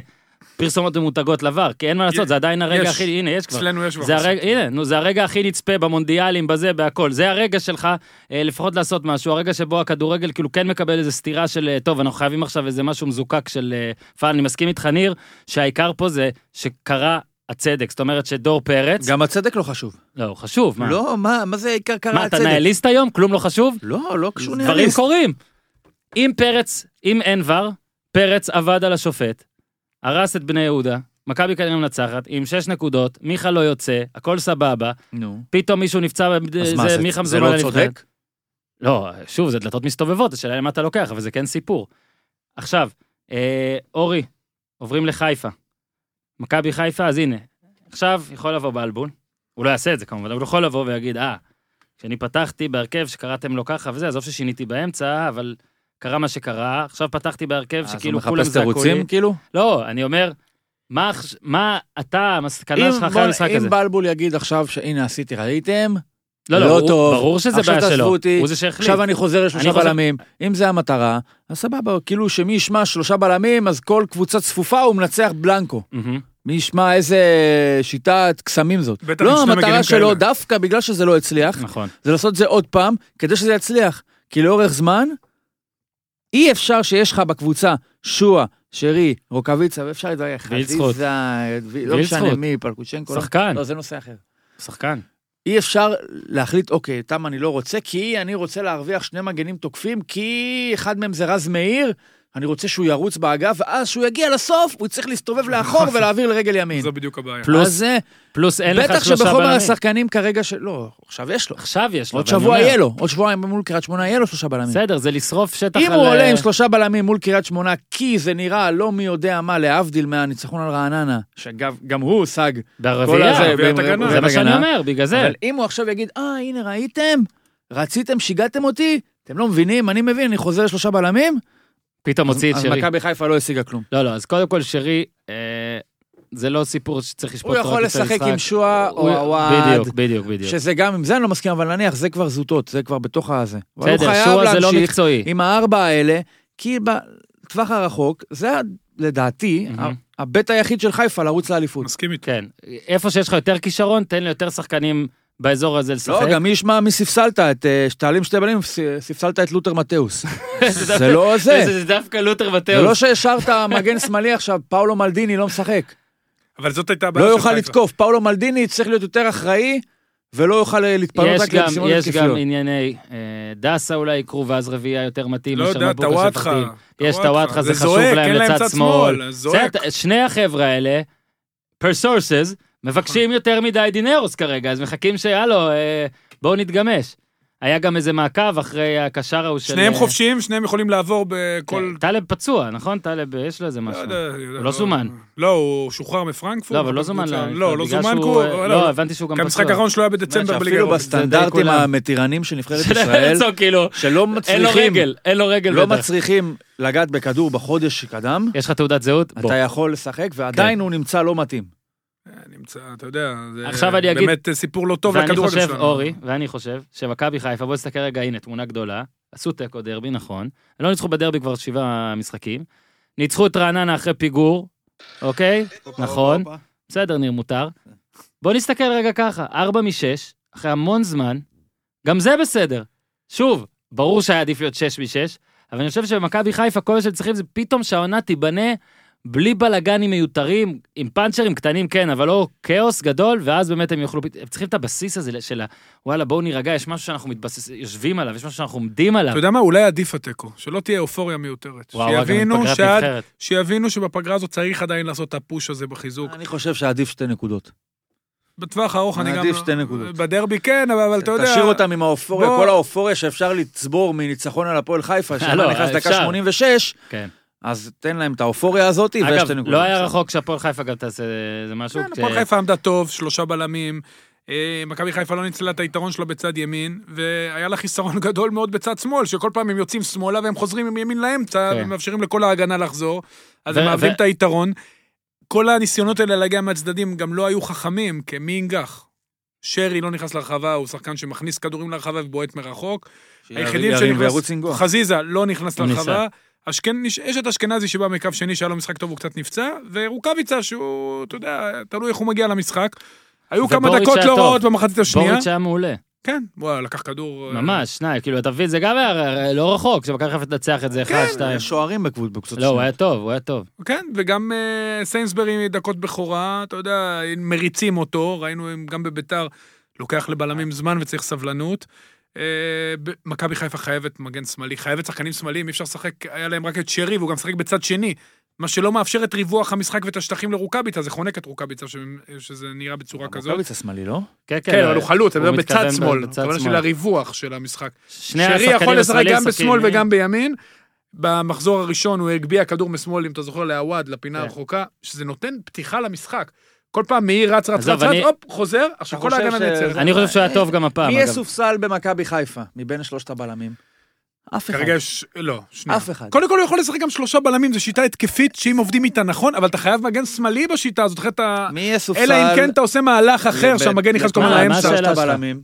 A: פרסומות ממותגות לבר, כי אין מה לעשות, זה עדיין הרגע
B: יש.
A: הכי, הנה, יש כבר.
B: אצלנו יש
A: זה
B: בחוץ.
A: הרגע, הנה, נו, זה הרגע הכי נצפה במונדיאלים, בזה, בהכל. זה הרגע שלך אה, לפחות לעשות משהו, הרגע שבו הכדורגל כאילו כן מקבל איזה סתירה של, אה, טוב, אנחנו חייבים עכשיו איזה משהו מזוקק של אה, פעל. אני מסכים איתך, ניר, שהעיקר פה זה שקרה הצדק. זאת אומרת שדור פרץ,
D: גם הצדק לא חשוב.
A: לא, הוא חשוב, מה?
D: לא, מה מה זה עיקר קרה
A: מה, אתה
D: הצדק?
A: נהליסט היום? כלום לא חשוב?
D: לא, לא קשור
A: דברים
D: ניהליסט.
A: קורים. אם פרץ, אם אין ור, פרץ עבד על השופט, הרס את בני יהודה, מכבי כנראה מנצחת, עם שש נקודות, מיכה לא יוצא, הכל סבבה,
D: נו.
A: פתאום מישהו נפצע,
D: אז מה, זה-
A: מיכה
D: זה
A: מזומן
D: לא
A: לנבחרת.
D: צודק?
A: לא, שוב, זה דלתות מסתובבות, השאלה היא למה אתה לוקח, אבל זה כן סיפור. עכשיו, אה, אורי, עוברים לחיפה. מכבי חיפה, אז הנה. עכשיו יכול לבוא באלבון, הוא לא יעשה את זה כמובן, אבל הוא יכול לבוא ויגיד, אה, כשאני פתחתי בהרכב שקראתם לו ככה וזה, עזוב ששיניתי באמצע, אבל קרה מה שקרה, עכשיו פתחתי בהרכב
D: אה, אז הוא
A: שכאילו כולם
D: מחפש
A: זעקו לי.
D: תירוצים, כאילו?
A: לא, אני אומר, מה, החש- מה אתה, המסקנה
D: אם
A: שלך אחרי
D: בוא-
A: המשחק הזה?
D: אם בלבול יגיד עכשיו שהנה עשיתי, ראיתם?
A: לא,
D: לא
A: הוא-
D: טוב.
A: ברור שזה
D: עכשיו
A: בעיה
D: תעזבו
A: שלו,
D: אותי.
A: הוא זה שהחליט.
D: עכשיו אני חוזר לשלושה
A: אני חוזר-
D: בלמים. אם זה המטרה, אז סבבה, כאילו שמי ישמע שלושה בלמים, אז כל קבוצה צפופה הוא מנצח בלנקו.
A: מהמם.
D: מי ישמע איזה שיטת קסמים זאת.
B: בטח עם
D: לא,
B: שני
D: המטרה
B: מגנים
D: שלו,
B: כאלה.
D: דווקא בגלל שזה לא הצליח,
A: נכון.
D: זה לעשות את זה עוד פעם, כדי שזה יצליח. כי לאורך זמן, אי אפשר שיש לך בקבוצה שועה, שרי, רוקאביצה, ואפשר לדבר,
A: וילצחוט.
D: חזיזה, לא משנה
A: וילצחוט.
D: מי, פלקוצ'נקו. לא-
A: שחקן,
D: לא, זה נושא אחר.
A: שחקן.
D: אי אפשר להחליט, אוקיי, תם אני לא רוצה, כי אני רוצה להרוויח שני מגנים תוקפים, כי אחד מהם זה רז מאיר, אני רוצה שהוא ירוץ באגף, ואז שהוא יגיע לסוף, הוא צריך להסתובב לאחור ולהעביר לרגל ימין.
B: זו בדיוק הבעיה.
A: פלוס-
D: אז אה,
A: פלוס אין לך
D: בטח
A: שלושה
D: שבחומר
A: בלמים.
D: השחקנים כרגע של... לא, עכשיו יש לו.
A: עכשיו יש לו.
D: עוד
A: אבל אני
D: שבוע
A: אומר,
D: יהיה לו, עוד שבועיים מול קריית שמונה יהיה לו שלושה בלמים.
A: בסדר, זה לשרוף שטח
D: אם
A: על...
D: הוא עולה
A: אה,
D: עם שלושה בלמים מול קריית שמונה, כי זה נראה לא מי יודע מה, להבדיל מהניצחון על רעננה, שאגב, גם הוא הושג. כל
A: ברביעייה.
D: הזה,
B: רביעיית
D: ב-
B: הגנה.
A: זה
D: רביעיית
A: מה שאני
D: הגנה.
A: אומר, בגלל זה.
D: אבל אם הוא עכשיו יגיד, אה, הנה ראיתם? רציתם, שיגעתם אותי? אתם לא מבינים? אני מבין, אני חוזר לשלושה בלמים?
A: פתאום הוציא את
D: אז
A: שרי.
D: מכבי חיפה לא השיגה כלום.
A: לא, לא, אז קודם כל שרי, אה, זה לא סיפור שצריך לשפוט
D: הוא
A: רק את
D: יכול
A: המשחק.
D: לשחק עם שואה או
A: הוא-
D: עוואד.
A: בדיוק, בדיוק, בדיוק.
D: שזה גם, עם זה אני לא מסכים, אבל נניח, זה כבר זוטות, זה כבר בתוך הזה. אבל הוא
A: בסדר,
D: חייב
A: שואה זה לא
D: להמשיך
A: מקצועי.
D: עם הארבע האלה, כי בטווח הרחוק, זה ה- לדעתי
A: מהמם.
D: ה- הבט היחיד של חיפה לרוץ לאליפות.
B: מסכים איתו.
A: כן. איפה שיש לך יותר כישרון, תן ליותר שחקנים באזור הזה לשחק.
D: לא, גם מי ישמע מי ספסלת את, אה, שתעלים שתי בנים, ס- ספסלת את לותר מתאוס. זה לא זה.
A: זה דווקא לותר
D: זה לא
A: ותאוס.
D: שהשארת מגן שמאלי עכשיו, פאולו מלדיני לא משחק.
A: כן.
B: אבל זאת הייתה הבעיה
D: לא
B: של
D: יוכל
B: חיפה.
D: לתקוף, פאולו מלדיני צריך להיות יותר אחראי, ולא יוכל אה, להתפנות
A: יש
D: רק
A: גם-
D: למשימות
A: יש גם
D: התקפיות. ענייני...
A: ענייני אה, דסה אולי יקרו ואז רביעייה יותר מתאים.
B: לא
A: מאשר
B: יודע,
A: מבוקה
B: טוואטחה.
A: שמפחדים. יש את
B: טוואטחה.
A: הוואטחה, זה
B: זה
A: חשוב
B: זועק,
A: להם
B: אין להם
A: לצד
B: צד
A: שמאל.
B: שמאל, זועק.
A: זה- שני החבר'ה האלה, per sources,
B: נכון.
A: מבקשים יותר מדי דינרוס כרגע, אז מחכים שהלו, אה, בואו נתגמש. היה גם איזה מעקב אחרי הקשר ההוא של...
B: שניהם
A: אה,
B: חופשיים, שניהם יכולים לעבור בכל...
A: כן, טלב פצוע, נכון? טלב, אה, יש לו איזה
B: לא
A: משהו.
B: יודע, יודע,
A: הוא לא זומן.
B: לא, הוא שוחרר מפרנקפורט.
A: לא, אבל לא זומן.
B: בקבוצה-
A: לה-
B: לא, לא
A: בגלל
B: זומן, כי
A: שהוא,
B: הוא...
A: אה,
B: לא,
A: לא, הבנתי שהוא גם
B: כי
A: פצוע.
B: המשחק האחרון שלו היה בדצמבר בליגה. לא
D: שאפילו
B: אירופית.
A: זה די
D: בסטנדרטים
A: כולם.
D: המתירנים של נבחרת
A: של
D: ישראל,
A: הרצוג, כאילו,
D: שלא
A: אין לו
D: מצליחים,
A: רגל, אין לו רגל.
D: לא
A: בטח.
D: מצליחים לגעת בכדור בחודש שקדם,
A: יש לך תעודת זהות? בוא. כן.
D: אתה יכול לשחק, ועדיין הוא נמצא לא מתאים.
B: נמצא, אתה יודע, זה
A: עכשיו אני אגיד-
B: באמת סיפור לא טוב
A: ואני
B: לכדורגל שלנו.
A: חושב, אורי, ואני חושב, שמכבי חיפה, בוא נסתכל רגע, הנה, תמונה גדולה. עשו תיקו דרבי, נכון. לא ניצחו בדרבי כבר שבעה משחקים. ניצחו את רעננה אחרי פיגור, אוקיי? נכון. בסדר, ניר, מותר. בוא נסתכל רגע ככה, 4 מ-6, אחרי המון זמן, גם זה בסדר. שוב, ברור שהיה עדיף להיות 6 מ-6, אבל אני חושב שבמכבי חיפה כל מה שהם צריכים זה פתאום שהעונה תיבנה בלי בלאגנים מיותרים, עם פאנצ'רים קטנים כן, אבל לא כאוס גדול, ואז באמת הם יוכלו, הם צריכים את הבסיס הזה של ה... וואלה, בואו נירגע, יש משהו שאנחנו מתבסס, יושבים עליו, יש משהו שאנחנו עומדים עליו.
B: אתה יודע מה? אולי עדיף התיקו, שלא תהיה אופוריה מיותרת.
A: וואו, וואו, גם עם
B: שיבינו
A: פגרת
B: שעד-
A: נבחרת.
B: שיבינו שבפגרה הזאת צריך עדיין לעשות את הפוש הזה בחיזוק.
D: אני חושב שעדיף שתי נקודות.
B: בטווח הארוך אני גם...
D: עדיף שתי נקודות.
B: בדרבי כן, אבל אבל אתה יודע...
D: תשאיר אותם עם האופוריה,
B: בוא-
D: כל האופוריה שאפשר לצבור מניצחון על הפועל חיפה,
A: לא,
D: שאתה נכנס דקה
A: אפשר.
D: 86,
A: כן.
D: אז תן להם את האופוריה הזאת
A: אגב,
D: ושתי נקודות.
A: לא היה רחוק שהפועל חיפה גם תעשה איזה משהו.
B: כן,
A: כש-
B: הפועל חיפה עמדה טוב, שלושה בלמים. אה, מכבי חיפה לא ניצלה את היתרון שלה בצד ימין, והיה לה חיסרון גדול מאוד בצד שמאל, שכל פעם הם יוצאים שמאלה והם חוזרים עם ימין לאמצע,
A: כן.
B: ומאפשרים לכל ההגנה לחזור, אז
A: ו-
B: הם מאבדים
A: ו-
B: את היתרון. כל הניסיונות האלה להגיע מהצדדים גם לא היו חכמים, כי מי ינגח? שרי לא נכנס לרחבה, הוא שחקן שמכניס כדורים לרחבה ובועט מרחוק. היחידים
D: ירים
B: שנכנס-
D: וירוץ עם גול.
B: חזיזה לא נכנס
A: הוא
B: לרחבה.
A: ניסה.
B: אשכנ... יש את אשכנזי שבא מקו שני שהיה לו משחק טוב, הוא קצת נפצע, ורוקאביצה שהוא, אתה יודע, תלוי איך הוא מגיע למשחק. היו כמה
A: ובוריץ'
B: דקות
A: היה
B: לא
A: טוב.
B: רעות במחצית השנייה.
A: בוריץ' היה מעולה.
B: כן, הוא היה לקח כדור. אה,
A: ממש, שניים, כאילו, אתה מבין, זה גם היה לא רחוק, שמכבי חיפה תנצח את זה, אחד, שתיים.
D: אה, יש שוערים בקבוצ- בקבוצות
A: לא, הוא
D: שנייה.
A: היה טוב, הוא היה טוב.
B: כן, וגם אה, סיינסברי דקות בכורה, אתה יודע, מריצים אותו, ראינו הם גם בביתר, לוקח לבלמים זמן וצריך סבלנות. אה, ב- מכבי חיפה חייבת מגן שמאלי, חייבת שחקנים שמאליים, אי אפשר לשחק, היה להם רק את שרי, והוא גם משחק בצד שני. מה שלא מאפשר את ריווח המשחק ואת השטחים לרוקאביצה, זה חונק את רוקאביצה, ש- שזה נראה בצורה כזאת.
D: רוקאביצה שמאלי, לא?
A: כן, כן.
B: כן, אבל הוא חלוץ, אני מדבר בצד
A: מתכוון
B: שמאל,
A: בצד
B: הכוונה
A: שמאל.
B: של הריווח של המשחק.
A: שני
B: שרי
A: השחקנים
B: יכול לשחק
A: השמאליים
B: גם בשמאל
A: משחקים,
B: וגם בימין. במחזור הראשון הוא הגביה כדור משמאל, אם אתה זוכר, לעווד, לפינה
A: כן.
B: הרחוקה, שזה נותן פתיחה למשחק. כל פעם מאיר רץ, רץ,
A: עזוב,
B: רץ, רץ,
A: אני-
B: הופ, חוזר, עכשיו
D: אתה
B: כל
D: חושב
B: ההגנה
D: שזה-
B: נעצרת.
A: אני חושב שהוא היה טוב אה, גם הפעם,
D: מי
A: אגב.
D: יהיה סופסל במכבי חיפה, מבין שלושת הבלמים? אף אחד.
B: כרגע יש... לא, שנייה.
D: אף אחד.
B: קודם כל הוא יכול לשחק גם שלושה בלמים, זו שיטה התקפית, שאם עובדים איתה נכון, אבל אתה חייב מגן שמאלי בשיטה הזאת, אחרת אתה...
D: מי יהיה סופסל?
B: אלא אם כן אתה עושה מהלך אחר,
D: לב-
B: שהמגן נכנס כל
A: מה-
B: הזמן
A: מה
B: לאמצע.
A: השאלה
D: שלושת
A: שלך?
D: הבלמים.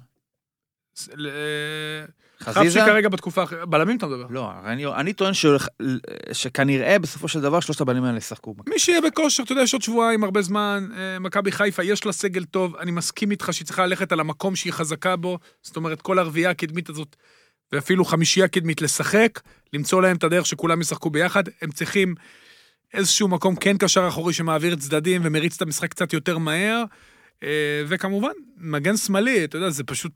B: אה, חפשי
D: חזיזה?
B: כרגע בתקופה אחרת. בלמים אתה מדבר.
D: לא, אני, אני טוען ש, שכנראה בסופו של דבר שלושת הבנים האלה ישחקו.
B: מי שיהיה בכושר, אתה יודע, יש עוד שבועיים, הרבה זמן, אה, מכבי חיפה, יש לה סגל טוב, אני מסכים איתך שהיא צריכה ללכת על המקום שהיא חזקה בו, זאת אומרת, כל הרביעייה הקדמית הזאת, ואפילו חמישייה קדמית, לשחק, למצוא להם את הדרך שכולם ישחקו ביחד, הם צריכים איזשהו מקום כן קשר אחורי שמעביר צדדים ומריץ את המשחק קצת יותר מהר, אה, וכמובן, מגן שמאלי, אתה יודע, זה פשוט...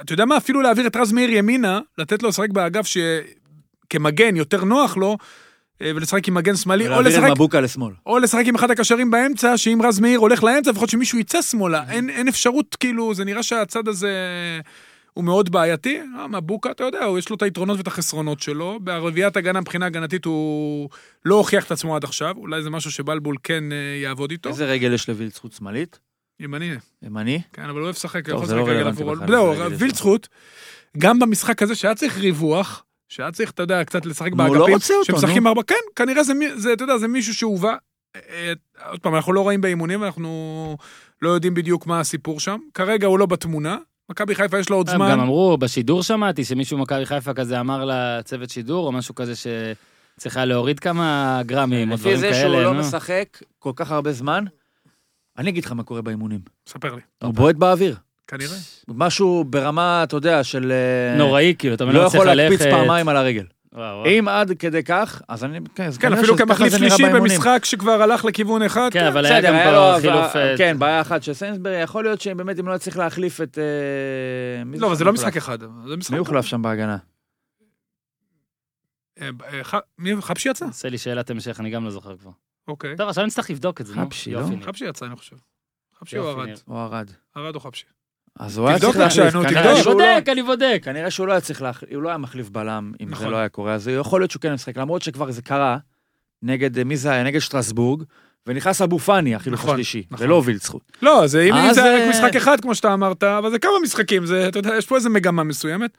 B: אתה יודע מה, אפילו להעביר את רז מאיר ימינה, לתת לו לשחק באגף שכמגן יותר נוח לו, אה, ולשחק עם מגן שמאלי, או
D: ולהעביר
B: לשחק
D: את מבוקה לשמאל.
B: או לשחק עם אחד הקשרים באמצע, שאם רז מאיר הולך לאמצע, לפחות שמישהו יצא
D: Mm-hmm.
B: שמאלה. אין, אין אפשרות, כאילו, זה נראה שהצד הזה אה, הוא מאוד בעייתי. אה, מבוקה, אתה יודע, הוא- יש לו את היתרונות ואת החסרונות שלו. ברביעיית הגנה, מבחינה הגנתית, הוא לא הוכיח את עצמו עד עכשיו. אולי זה משהו שבלבול כן אה, יעבוד איתו.
D: איזה רגל יש לווילץ חוץ שמאלית?
B: ימני,
D: ימני?
B: כן, אבל הוא אוהב לשחק,
D: טוב,
B: הוא יכול
D: זה לא
B: לשחק רגל
D: רלוונטי
B: עבורו.
D: בכלל,
B: לא,
D: זה רגל
B: וילץ חוט, גם במשחק הזה שהיה צריך ריווח, שהיה צריך, אתה יודע, קצת לשחק
D: נו, הוא
B: באגפים.
D: לא רוצה אותו,
B: שמשחקים
D: נו.
B: ארבע, כן, כנראה זה, מי- זה, אתה יודע, זה מישהו שהובא. אה, אה, עוד פעם, אנחנו לא רואים באימונים, אנחנו לא יודעים בדיוק מה הסיפור שם. כרגע הוא לא בתמונה. מכבי חיפה יש לו
D: אה,
B: עוד
A: הם גם
B: זמן.
A: אמרו, בשידור שמעתי שמישהו ממכבי חיפה כזה אמר לצוות שידור, או משהו כזה שצריכה להוריד כמה גרמים, או
D: לפי
A: דברים
D: זה
A: כאלה.
D: שהוא לא
A: נו.
D: משחק כל כך הרבה זמן, אני אגיד לך מה קורה באימונים.
B: ספר לי,
A: אוקיי.
D: הוא בועט באוויר.
B: כנראה.
D: משהו ברמה, אתה יודע, של... אה,
A: נוראי, כאילו, אתה
D: לא
A: לא
D: יכול
A: צריך ללכת.
D: להקפיץ פעמיים על הרגל.
A: וואו, וואו.
D: אם עד כדי כך, אז אני... כן, אז
B: כן,
D: כנראה
B: אפילו
D: שככה
B: כמחליף
D: זה נראה
B: שלישי
D: באימונים.
B: במשחק שכבר הלך לכיוון אחד.
A: כן, אבל היה
D: בסדר,
A: גם
D: היה לו-
A: פה חילוף... אה,
D: כן, בעיה אחת של סיינסברי, יכול להיות שאם באמת אם לא יצליח להחליף את... אה, מי
B: לא, אבל זה לא
D: שם
B: משחק
D: הוחלף?
B: אחד. זה משחק...
D: מי הוחלף שם בהגנה?
B: אה, אה, ח- מי? חבשי
D: אה,
B: יצא?
A: עושה לי שאלת המשך, אני גם לא זוכר כבר.
B: אוקיי.
A: טוב, עכשיו נצטרך לבדוק את זה, נו.
D: חבשי, לא?
A: יופי, ניר.
B: חבשי יצא, אני חושב. חבשי או
A: יופי,
B: ארד?
A: ניר.
D: או ארד.
B: ארד או חבשי.
D: אז הוא היה
B: תבדוק
D: צריך
B: בבקשה,
D: להחליף.
B: נו,
D: כנראה
B: תבדוק.
A: אני
D: שהוא לא-
A: בודק, אני בודק.
D: כנראה שהוא לא היה צריך להחליף, הוא לא היה מחליף בלם אם
B: נכון.
D: זה לא היה קורה, אז יכול להיות שהוא כן משחק, למרות שכבר זה קרה, נגד, אה, מי זה היה? נגד שטרסבורג, ונכנס אבו פאני, החילוף
B: נכון,
D: השלישי,
B: נכון.
D: ולא הוביל זכות.
B: לא, זה אם אם
D: אז,
B: זה היה רק
D: אה,
B: משחק אחד, כמו שאתה אמרת, אבל זה כמה משחקים, זה, אתה יודע, יש פה איזה מגמה מסוימת.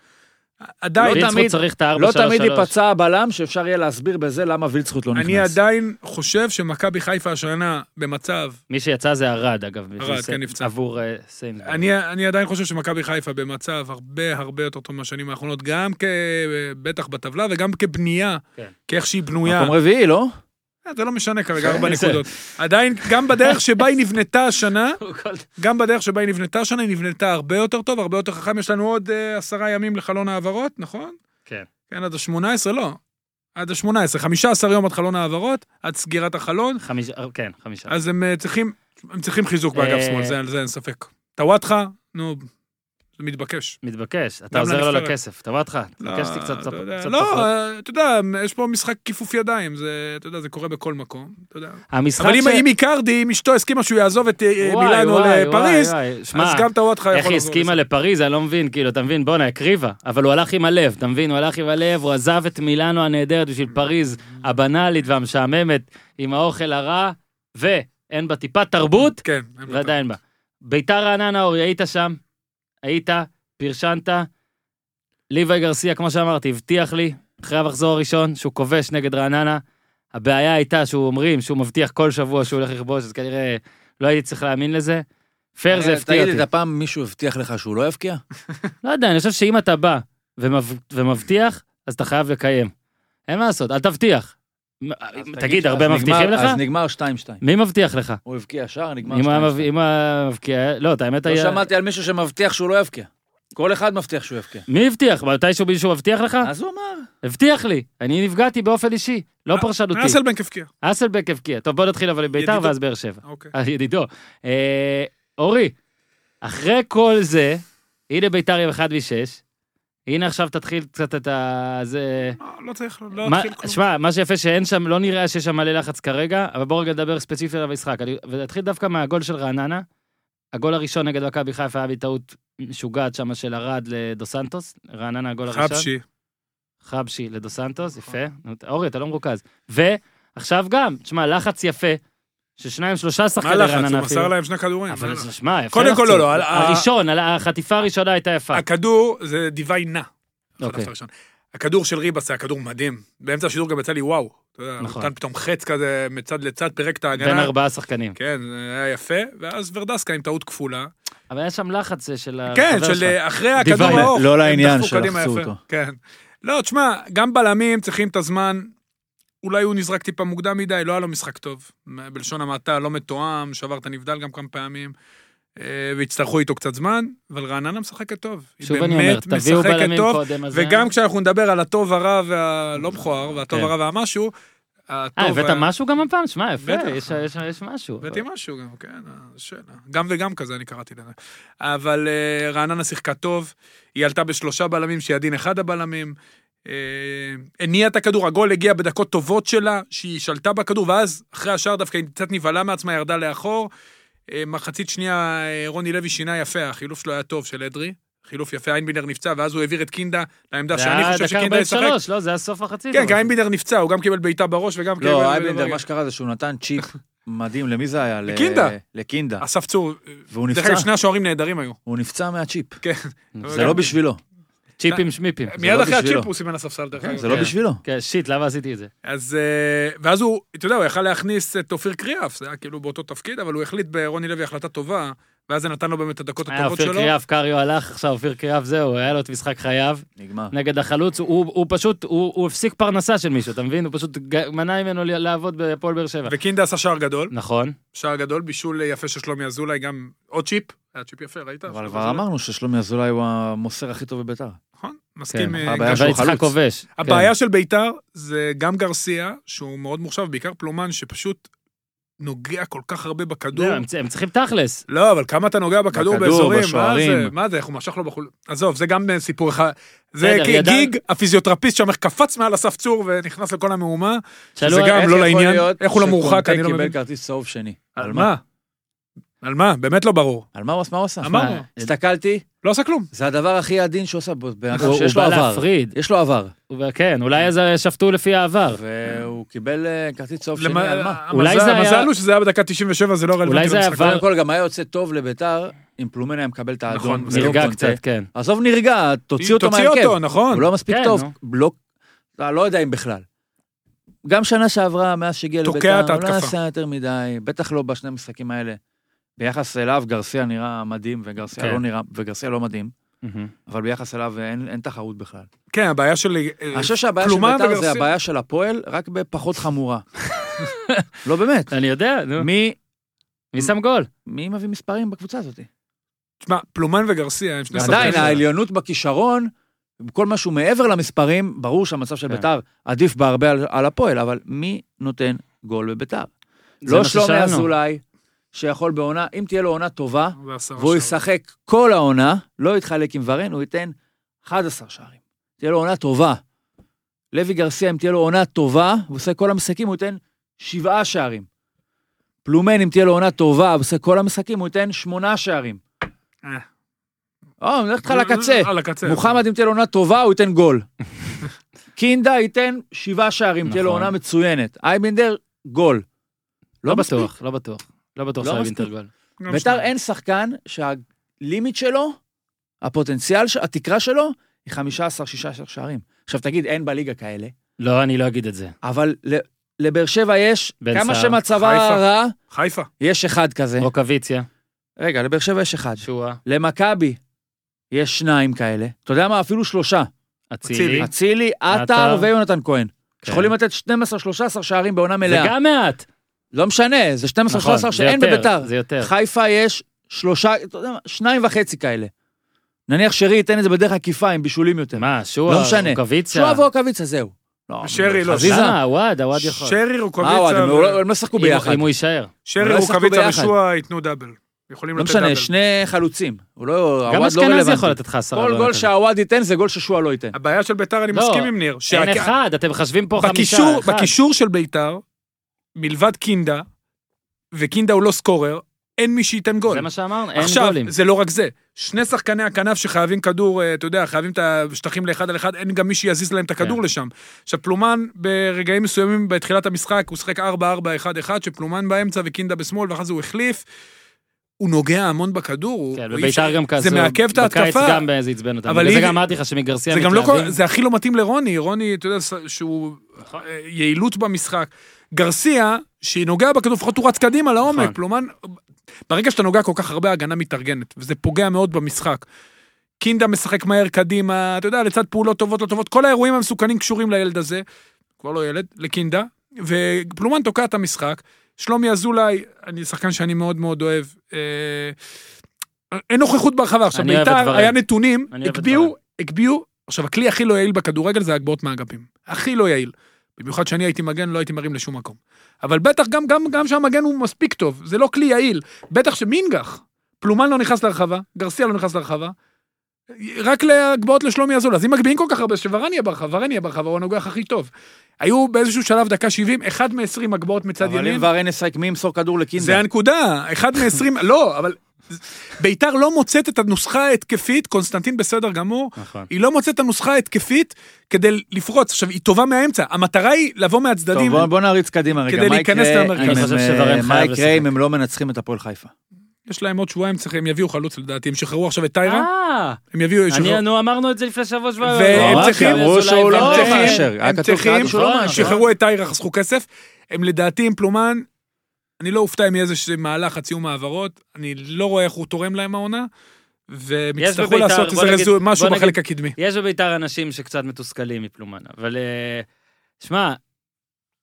B: עדיין,
D: לא
A: וילצחוט
D: תמיד-
A: צריך את ה-4-3-3.
D: לא תמיד ייפצע הבלם, שאפשר יהיה להסביר בזה למה וילצחוט לא
B: אני
D: נכנס.
B: עדיין חושב שמכבי חיפה השנה במצב,
A: מי שיצא זה ארד, אגב. בשביל
B: ארד,
A: ס-
B: כן, נפצע.
A: עבור אה, סיינסבורג.
B: אני, אני עדיין חושב שמכבי חיפה במצב הרבה הרבה יותר טוב מהשנים האחרונות, גם כ... בטח בטבלה וגם כבנייה,
A: כן.
B: כאיך שהיא בנויה.
D: מקום רביעי, לא?
B: זה לא משנה כרגע, ארבע נקודות. עדיין, גם בדרך שבה היא נבנתה השנה, גם בדרך שבה היא נבנתה השנה, היא נבנתה הרבה יותר טוב, הרבה יותר חכם. יש לנו עוד אה, עשרה ימים לחלון העברות, נכון?
A: כן.
B: כן, עד ה-18, לא. עד ה-18, 15 יום עד חלון העברות, עד סגירת החלון,
A: חמישה, כן, חמישה.
B: אז הם אה, צריכים, הם צריכים חיזוק באגף
A: אה,
B: שמאל, זה- על זה אין ספק. טוואטחה, נו, זה מתבקש.
A: מתבקש, אתה
B: גם
A: עוזר לו
B: לנבחרת.
A: לכסף, אתה בא אותך, תבקש אותי קצת
B: אתה
A: קצת
B: יודע,
A: קצת
B: לא,
A: פחות.
B: אה, אתה יודע, יש פה משחק כיפוף ידיים, זה, אתה יודע, זה קורה בכל מקום, אתה יודע.
A: המשחק
B: אבל אם-
A: ש-
B: אם איקרדי, אם אשתו הסכימה שהוא יעזוב את אה,
A: וואי,
B: מילאנו
A: וואי,
B: לפריז,
A: וואי, וואי. שמע,
B: אז גם טוואטחה יכול
A: איך היא הסכימה לפריז, אני לא מבין, כאילו, אתה מבין, בואנה, הקריבה. אבל הוא הלך עם הלב, אתה מבין? הוא הלך עם הלב, הוא עזב את מילאנו הנהדרת בשביל פריז הבנאלית והמשעממת, עם האוכל הרע, ואין בה טיפת תרבות,
B: כן, אין בעיה.
A: ועדיין בה. ביתר רעננה, אורי, היית שם, היית, פרשנת. ליוואי גרסיה, כמו שאמרתי, הבטיח לי, אחרי המחזור הראשון, שהוא כובש נגד רעננה. הבעיה הייתה שהוא אומרים שהוא מבטיח כל שבוע שהוא הולך לכבוש, אז כנראה לא הייתי צריך להאמין לזה. פייר כן, זה הפתיע
D: אה, תגיד
A: אותי.
D: לי, אתה פעם מישהו הבטיח לך שהוא לא יבקיע?
A: לא יודע, אני חושב שאם אתה בא ומב- ומבטיח, אז אתה חייב לקיים. אין מה לעשות, אל תבטיח. מ- אה, תגיד, הרבה
D: אז
A: מבטיחים
D: נגמר-
A: לך?
D: אז נגמר 2-2.
A: מי מבטיח לך?
D: הוא הבקיע שער, נגמר
A: אם
D: 2-2.
A: ה- אם המבקיע... לא, את האמת
D: לא
A: היה...
D: שמעתי על מישהו שמבטיח שהוא לא יבקיע. כל אחד מבטיח שהוא יבקיע.
A: מי הבטיח? מתישהו מישהו הבטיח לך?
D: אז הוא אמר.
A: הבטיח לי. אני נפגעתי באופן אישי, לא
B: אה,
A: פרשנותי.
B: אסלבנק הבקיע.
A: אסלבק הבקיע. טוב, בוא נתחיל אבל עם ביתר
B: ידידו.
A: ואז באר שבע.
B: אוקיי.
A: אה, ידידו. אה, אורי, אחרי כל זה, הנה ביתר עם 1 ו-6, הנה עכשיו תתחיל קצת את ה... זה...
B: אה, לא צריך, לא
A: מה-
B: נתחיל כלום.
A: שמע, מה שיפה שאין שם, לא נראה שיש שם מלא לחץ כרגע, אבל בואו רגע נדבר ספציפית על המשחק. אני- ונתחיל דווקא מהגול של רעננה. הגול הראשון נגד מכבי חיפה היה בטעות משוגעת שם של ארד לדו סנטוס. רעננה הגול הראשון.
B: חבשי.
A: חבשי לדו סנטוס,
B: נכון.
A: יפה. נו, ת- אורי, אתה לא מרוכז. ועכשיו גם, תשמע, לחץ יפה, ששניים, שלושה
B: מה
A: שחקני
B: לחץ?
A: רעננה
B: הוא מסר
A: אפילו.
B: להם שני כדורים. מה
A: אבל
B: לחץ?
A: שמע, יפה.
B: קודם כל,
A: לחצו.
B: לא, לא, על-
A: הראשון, על- החטיפה הראשונה הייתה יפה.
B: הכדור זה דיווי נע.
A: אוקיי.
B: החלף הראשון. הכדור של ריבס היה כדור מדהים. באמצע השידור גם יצא לי וואו. אתה יודע,
A: נכון.
B: נתן פתאום חץ כזה מצד לצד, פירק את
A: בין
B: ההגנה.
A: ארבעה שחקנים.
B: כן, זה היה יפה. ואז ורדסקה עם טעות כפולה.
A: אבל היה שם לחץ אה, של החבר
B: כן,
A: שלך.
B: של אה, אחרי
A: דיווי
B: הכדור
A: נע.
B: האור.
D: לא
B: הם
D: לעניין
B: דחפו קדימה
D: שלחצו
B: יפה.
D: אותו.
B: כן. לא, תשמע, גם בלמים צריכים את הזמן. אולי הוא נזרק טיפה מוקדם מדי, לא היה לו משחק טוב. בלשון המעטה, לא מתואם, שבר את הנבדל גם כמה פעמים. אה, והצטרכו איתו קצת זמן, אבל רעננה משחקת טוב. היא
A: שוב אני אומר,
B: באמת
A: תביאו
B: משחקת
A: בלמים
B: טוב.
A: קודם, אז...
B: וגם כשאנחנו נדבר על הטוב הרע והלא מכוער, והטוב
A: כן.
B: הרע והמשהו,
A: אה,
B: הטוב...
A: הבאת
B: היה-
A: משהו גם הפעם? שמע, יפה,
B: בטח.
A: יש- יש- יש משהו.
B: הבאתי משהו גם, כן, השאלה. גם וגם כזה, אני קראתי לזה. אבל אה, רעננה שיחקה טוב, היא עלתה בשלושה בלמים, שידין אחד הבלמים. אה, הניעה את הכדור, הגול הגיע בדקות טובות שלה, שהיא שלטה בכדור, ואז אחרי השער דווקא היא קצת נבהלה מעצמה, ירדה לאחור. אה, מחצית שנייה, אה, רוני לוי שינה יפה, החילוף שלו היה טוב, של אדרי. חילוף יפה, איינבינר נפצע, ואז הוא העביר את קינדה לעמדה
A: זה
B: שאני
A: היה
B: חושב
A: דקה
B: שקינדה ישחק.
A: 43, לא, זה היה סוף מחצית.
B: כן,
A: אבל-
B: כי איינבינדר נפצע, הוא גם קיבל בעיטה בראש וגם קיבל... אה,
D: לא, אייבנדר, מה שקרה זה שהוא נתן צ'יפ מדהים, למי זה היה? ל-
B: לקינדה.
D: לקינדה.
B: אסף צור, אה,
D: והוא
B: דרך
D: נפצע,
B: אגב, שני השוערים נהדרים היו.
D: הוא נפצע מהצ'יפ.
B: כן.
D: זה לא בשבילו.
A: צ'יפים שמיפים.
D: זה
B: מיד
D: לא
B: אחרי
D: בשבילו.
B: הצ'יפ הוא סימן לספסל, דרך אגב.
D: זה לא
A: כן.
D: בשבילו.
A: כן, שיט, למה עשיתי את זה?
B: אז... אה, ואז הוא, אתה יודע, הוא יכל להכניס את אופיר קריאף, זה היה כאילו באותו תפקיד, אבל הוא החליט ברוני לוי החלטה טובה, ואז זה נתן לו באמת את הדקות
A: היה
B: הטובות
A: אופיר
B: שלו.
A: קריאף, קריו הלך, עכשיו אופיר קריאף, זהו, היה לו את משחק חייו
D: נגמר.
A: נגד החלוץ, הוא הוא פשוט, הוא הוא הפסיק פרנסה של מישהו, אתה מבין? הוא פשוט ג- מנע ממנו ל- לעבוד בהפועל באר שבע.
B: וקינדה עשה שער גדול,
A: נכון,
B: שער גדול, בישול יפה של שלומי אזולאי, גם עוד צ'יפ, היה צ'יפ יפה, ראית?
D: אבל כבר אמרנו ששלומי אזולאי הוא המוסר הכי טוב בביתר.
B: נכון, מסכים.
A: כן,
B: אה,
D: הבעיה
B: גם-
D: שהוא
A: אבל יצחק
D: חלוץ.
A: כובש. כן.
B: הבעיה של ביתר זה גם גרסיה, שהוא מאוד מורשב, בעיקר פלומן, שפשוט נוגע כל כך הרבה בכדור.
A: לא, הם צ- הם צריכים תכלס.
B: לא, אבל כמה אתה נוגע בכדור,
D: בכדור,
B: באזורים, מה זה,
D: בשוערים.
B: מה זה, איך הוא משך לו בחול... עזוב, זה גם אה, סיפור אחד. זה
A: בסדר,
B: כי
A: ידע-
B: גיג, הפיזיותרפיסט שם איך קפץ מעל הסף צור ונכנס לכל המהומה, שזה
A: שאלו- אה,
B: גם
D: איך
B: לא
D: יכול
B: לעניין,
D: להיות
B: איך הוא לא מורחק,
D: שקונטה
B: אני לא מבין.
D: קיבל כרטיס צהוב שני.
B: על מה? על מה? באמת לא ברור.
D: על מה הוא עשה? מה הוא עשה?
B: אמר- אמרנו.
A: מה,
D: הסתכלתי,
B: לא עשה כלום.
D: זה הדבר הכי עדין שהוא עשה, בו- בן אדם
A: אה, הוא
D: שיש
A: הוא
D: לו
A: בא
D: עבר.
A: להפריד.
D: יש לו עבר.
A: הוא- כן, אולי אז שפטו לפי העבר.
D: והוא קיבל אה, כרטיס צהוב שני,
B: למה-
D: על מה?
A: אולי
B: המזל-
A: זה היה-
B: המזל הוא שזה היה בדקה 97, זה לא רלוונטי
A: אולי זה היה
B: למשחק.
A: אבל-
D: קודם כל גם היה יוצא טוב לביתר, אם פלומן היה מקבל את האדום.
B: נכון, זה
D: ולא
A: נרגע
D: קונטה.
A: קצת, כן.
D: עזוב נרגע, תוציא אותו
B: תוציא
D: מהרכב.
B: אותו, נכון.
D: הוא לא מספיק
A: כן,
D: טוב,
A: נו.
D: לא, לא לא יודע אם בכלל. גם שנה שעברה, מאז שהגיע
B: תוקע
D: לביתר,
B: את
D: הוא לא
B: ההתקפה.
D: עשה יותר מדי, בטח לא בשני המשחקים האלה. ביחס אליו, גרסיה נראה מדהים, וגרסיה
A: כן.
D: לא נראה, וגרסיה לא מדהים,
A: מהמם.
D: אבל ביחס אליו אה, אין, אין תחרות בכלל.
B: כן, הבעיה שלי...
D: אני חושב שהבעיה של
B: כלומר,
D: ביתר זה
B: וגרסיה-
D: הבעיה של הפועל, רק בפחות חמורה. לא באמת.
A: אני יודע, נו.
D: מי
A: מי שם גול?
D: מי מביא מספרים בקבוצה הזאת?
B: תשמע, פלומן וגרסיה הם שני
D: עדיין,
B: שחקנים.
D: העליונות בכישרון, כל משהו מעבר למספרים, ברור שהמצב של
A: כן.
D: ביתר עדיף בהרבה על- על הפועל, אבל מי נותן גול בביתר?
A: זה
D: לא
A: מה
D: שלומי
A: ששאלנו.
D: אזולאי, שיכול בעונה, אם תהיה לו עונה טובה,
B: והשרה
D: והוא
B: שם.
D: ישחק כל העונה, לא יתחלק עם ורן, הוא ייתן 11 שערים. תהיה לו עונה טובה. לוי גרסיה, אם תהיה לו עונה טובה, הוא עושה כל המשחקים, הוא ייתן שבעה שערים. פלומן, אם תהיה לו עונה טובה, הוא עושה כל המשחקים, הוא ייתן שמונה שערים.
B: אה.
D: או, אני הולך איתך לקצה.
B: על הקצה.
D: מוחמד, אם תהיה לו עונה טובה, הוא ייתן גול. קינדה ייתן שבעה שערים, אם תהיה לו
A: נכון.
D: עונה מצוינת. אייבנדר, גול.
A: לא
D: מספיק.
A: בטוח, לא בטוח. לא בטוח
D: לא
A: שהיה
D: מספיק.
A: וינטר גול.
B: אוקיי. גם
D: ביתר
B: שנייה.
D: אין שחקן שהלימיט שלו, הפוטנציאל, ש- התקרה שלו, היא 15-16 שערים. עכשיו תגיד, אין בליגה כאלה,
A: לא, אני לא אגיד את זה.
D: אבל ל- לבאר שבע יש,
A: בן סער,
D: כמה
A: אוקיי.
D: שמצבה
B: חיפה.
D: רע,
B: חיפה.
D: יש אחד כזה.
A: רוקוויציה,
D: רגע, לבאר שבע יש אחד.
A: שואה,
D: למכבי יש שניים כאלה. אתה יודע מה? אפילו שלושה.
A: אצילי.
D: אצילי,
A: אוקיי. עטר.
D: עטר ויונתן כהן.
A: כן.
D: שיכולים לתת 12-13 שערים בעונה
A: זה
D: מלאה.
A: גם מעט.
D: לא משנה, זה 12-13
A: נכון, זה
D: שאין
A: יותר,
D: בביתר.
A: זה יותר.
D: חיפה יש שלושה, אתה יודע מה, שניים וחצי כאלה. נניח שרי ייתן את זה בדרך עקיפה עם בישולים יותר.
A: מה, שואה,
D: לא משנה.
A: רוקוויציה.
D: שועה ורוקאביצה, זהו. לא,
B: שרי, לא,
D: חזיזה.
A: למה? הוואד, הוואד יכול.
B: שרי
D: אה, אוהד,
B: רוקוויצה.
D: הם
B: ו-
D: לא- הם לא שחקו
A: אם-
D: ביחד.
A: אם הוא יישאר.
B: שרי
D: לא ישחקו
B: רוקוויצה
D: ביחד.
B: ושועה ייתנו דאבל. יכולים
D: לא
B: לתת דאבל.
D: משנה, שני חלוצים. הוא לא,
A: גם
D: הוואד לא
A: אשכנזי יכול
D: רלוונטי.
A: לתת לך עשרה.
D: כל
A: לא
D: גול
A: לתת.
D: שהוואד ייתן זה גול ששועה לא ייתן.
B: הבעיה של ביתר, אני
A: לא,
B: מסכים עם ניר.
A: אין
B: שהק-
A: אחד, אתם מחשבים פה חמישה.
B: בקישור,
A: אחד.
B: בקישור של ביתר, מלבד קינדה, וקינדה הוא לא סקורר, אין מי שייתן גול.
A: זה מה שאמרנו, אין
B: עכשיו,
A: גולים.
B: זה לא רק זה. שני שחקני הכנף שחייבים כדור, אה, אתה יודע, חייבים את השטחים לאחד על אחד, אין גם מי שיזיז להם את הכדור
A: כן.
B: לשם. עכשיו, פלומן ברגעים מסוימים בתחילת המשחק, הוא שיחק 4-4-1-1, שפלומן באמצע וקינדה בשמאל, ואחרי זה הוא החליף. הוא נוגע המון בכדור. הוא-
A: כן,
B: הוא אי אפשר-
A: וביתר גם כעסו.
B: זה מעכב את
A: בקיץ
B: ההתקפה.
A: גם אה, זה עצבן אותם.
B: אבל
A: בגלל זה
B: היא-
A: גם אמרתי לך שמגרסיה
B: זה גם לא
A: מתלהבים.
B: כל... זה הכי לא מתאים לרוני, רוני, אתה יודע, ס- שהוא... אה, יעילות במשחק. גרסיה, שהיא נוגעה בכדור, לפחות הוא רץ קדימה לעומק.
A: נכון.
B: פלומן, ברגע שאתה נוגע כל כך הרבה, ההגנה מתארגנת, וזה פוגע מאוד במשחק. קינדה משחק מהר קדימה, אתה יודע, לצד פעולות טובות, לא טובות, כל האירועים המסוכנים קשורים לילד הזה, כבר לא ילד, לקינדה, ופלומן תוקע את המשחק. שלומי אזולאי, אני שחקן שאני מאוד מאוד אוהב. אה, אין נוכחות ברחבה. עכשיו,
A: אני אוהב את
B: ביתר
A: דבריי.
B: היה נתונים,
A: אני אוהב את
B: הגביהו,
A: דבריי.
B: הגביהו, עכשיו, הכלי הכי לא יעיל בכדורגל זה הגבהות מהאגפים. הכי לא יעיל. במיוחד שאני הייתי מגן, לא הייתי מרים לשום מקום. אבל בטח, גם, גם, גם שהמגן הוא מספיק טוב, זה לא כלי יעיל. בטח שמינגח, פלומן לא נכנס לרחבה, גרסיה לא נכנס לרחבה. רק להגבהות לשלומי אזולאי. אז אם מגביהים כל כך הרבה, שוורן יהיה ברחבה, ורן יהיה ברחבה, הוא הנוגח הכי טוב. היו באיזשהו שלב, דקה 70, אחד מ-20 הגבהות מצד
D: אבל אם
B: ימין.
D: ורן ישחק, מי ימסור כדור
B: זה
D: לקינדה?
B: הנקודה, אחד מ-20, לא, אבל ביתר לא מוצאת את הנוסחה ההתקפית, קונסטנטין בסדר גמור,
A: נכון.
B: היא לא מוצאת את הנוסחה ההתקפית כדי לפרוץ. עכשיו, היא טובה מהאמצע, המטרה היא לבוא
D: טוב,
B: מהצדדים.
D: בוא- בוא נריץ קדימה רגע.
B: כדי
D: מה
B: להיכנס
D: יקרה
B: למרכז.
D: אם
B: אני
D: הם,
A: חושב
D: אה,
A: שוורן
D: מה
A: חייב
D: יקרה
A: לשחק.
D: אם הם לא מנצחים את הפועל חיפה?
B: יש להם עוד שבועיים, צריך- הם יביאו חלוץ לדעתי, הם שחררו עכשיו את טיירה,
A: אה,
B: הם יביאו...
A: אני,
B: שחררו-
A: נו, אמרנו את זה לפני שבוע שבוע.
B: והם
A: אמרתי,
B: צריכים-
A: אזולאי
D: אמרו שהוא לא
A: ורן.
B: הם
D: מאשר.
B: צריכים-
D: היה
B: הם
D: כתוב
B: צריכים,
D: קראנו שהוא לא
A: נכון,
D: מאשר.
B: שחררו את טיירה, חסכו כסף. הם לדעתי עם פלומן, אני לא אופתע אם יהיה איזה ש- מהלך עד סיום העברות, אני לא רואה איך הוא תורם להם העונה, והם
A: יש
B: יצטרכו
A: בביתר,
B: לעשות
A: בוא
B: איזה
A: נגיד-
B: רזו- משהו
A: בוא נגיד-
B: בחלק הקדמי.
A: יש בביתר אנשים שקצת מתוסכלים מפלומן, אבל... אה, שמע,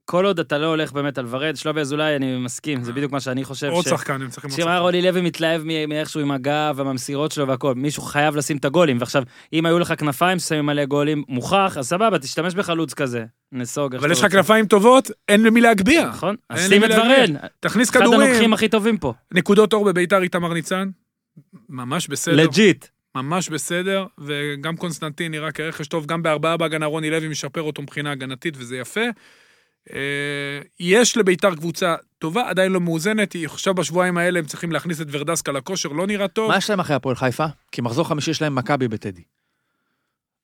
A: כל עוד אתה לא הולך באמת על ורד, שלומי אזולאי, אני מסכים, זה בדיוק מה שאני חושב.
B: עוד
A: ש-
B: שחקן, הם צריכים עוד
A: תשמע,
B: שחקן.
A: רוני לוי מתלהב מ- מאיכשהו עם הגב ומהמסירות שלו והכל, מישהו חייב לשים את הגולים. ועכשיו, אם היו לך כנפיים ששמים מלא גולים, מוכח, אז סבבה, תשתמש בחלוץ כזה. נסוג. איך
B: אבל
A: שאתה
B: יש לך
A: רוצה.
B: כנפיים טובות, אין למי להגביה.
A: נכון? אז
B: אין
A: שים
B: למי
A: את
B: להגיע.
A: ורן.
B: תכניס
A: אחד
B: כדורים,
A: הנוקחים הכי טובים פה.
B: נקודות אור בביתר איתמר ניצן, ממש בסדר.
A: לג'יט.
B: ממש בסדר, וגם קונסטנטין נראה כרכש טוב, גם בארבעה בהגנה רוני לוי משפר אותו מבחינה הגנתית, וזה יפה. אה, יש לביתר קבוצה טובה, עדיין לא מאוזנת, היא עכשיו בשבועיים האלה הם צריכים להכניס את ורדסקה לכושר, לא נראה טוב.
D: מה יש להם אחרי הפועל חיפה? כי מחזור חמישי יש להם מכבי בטדי.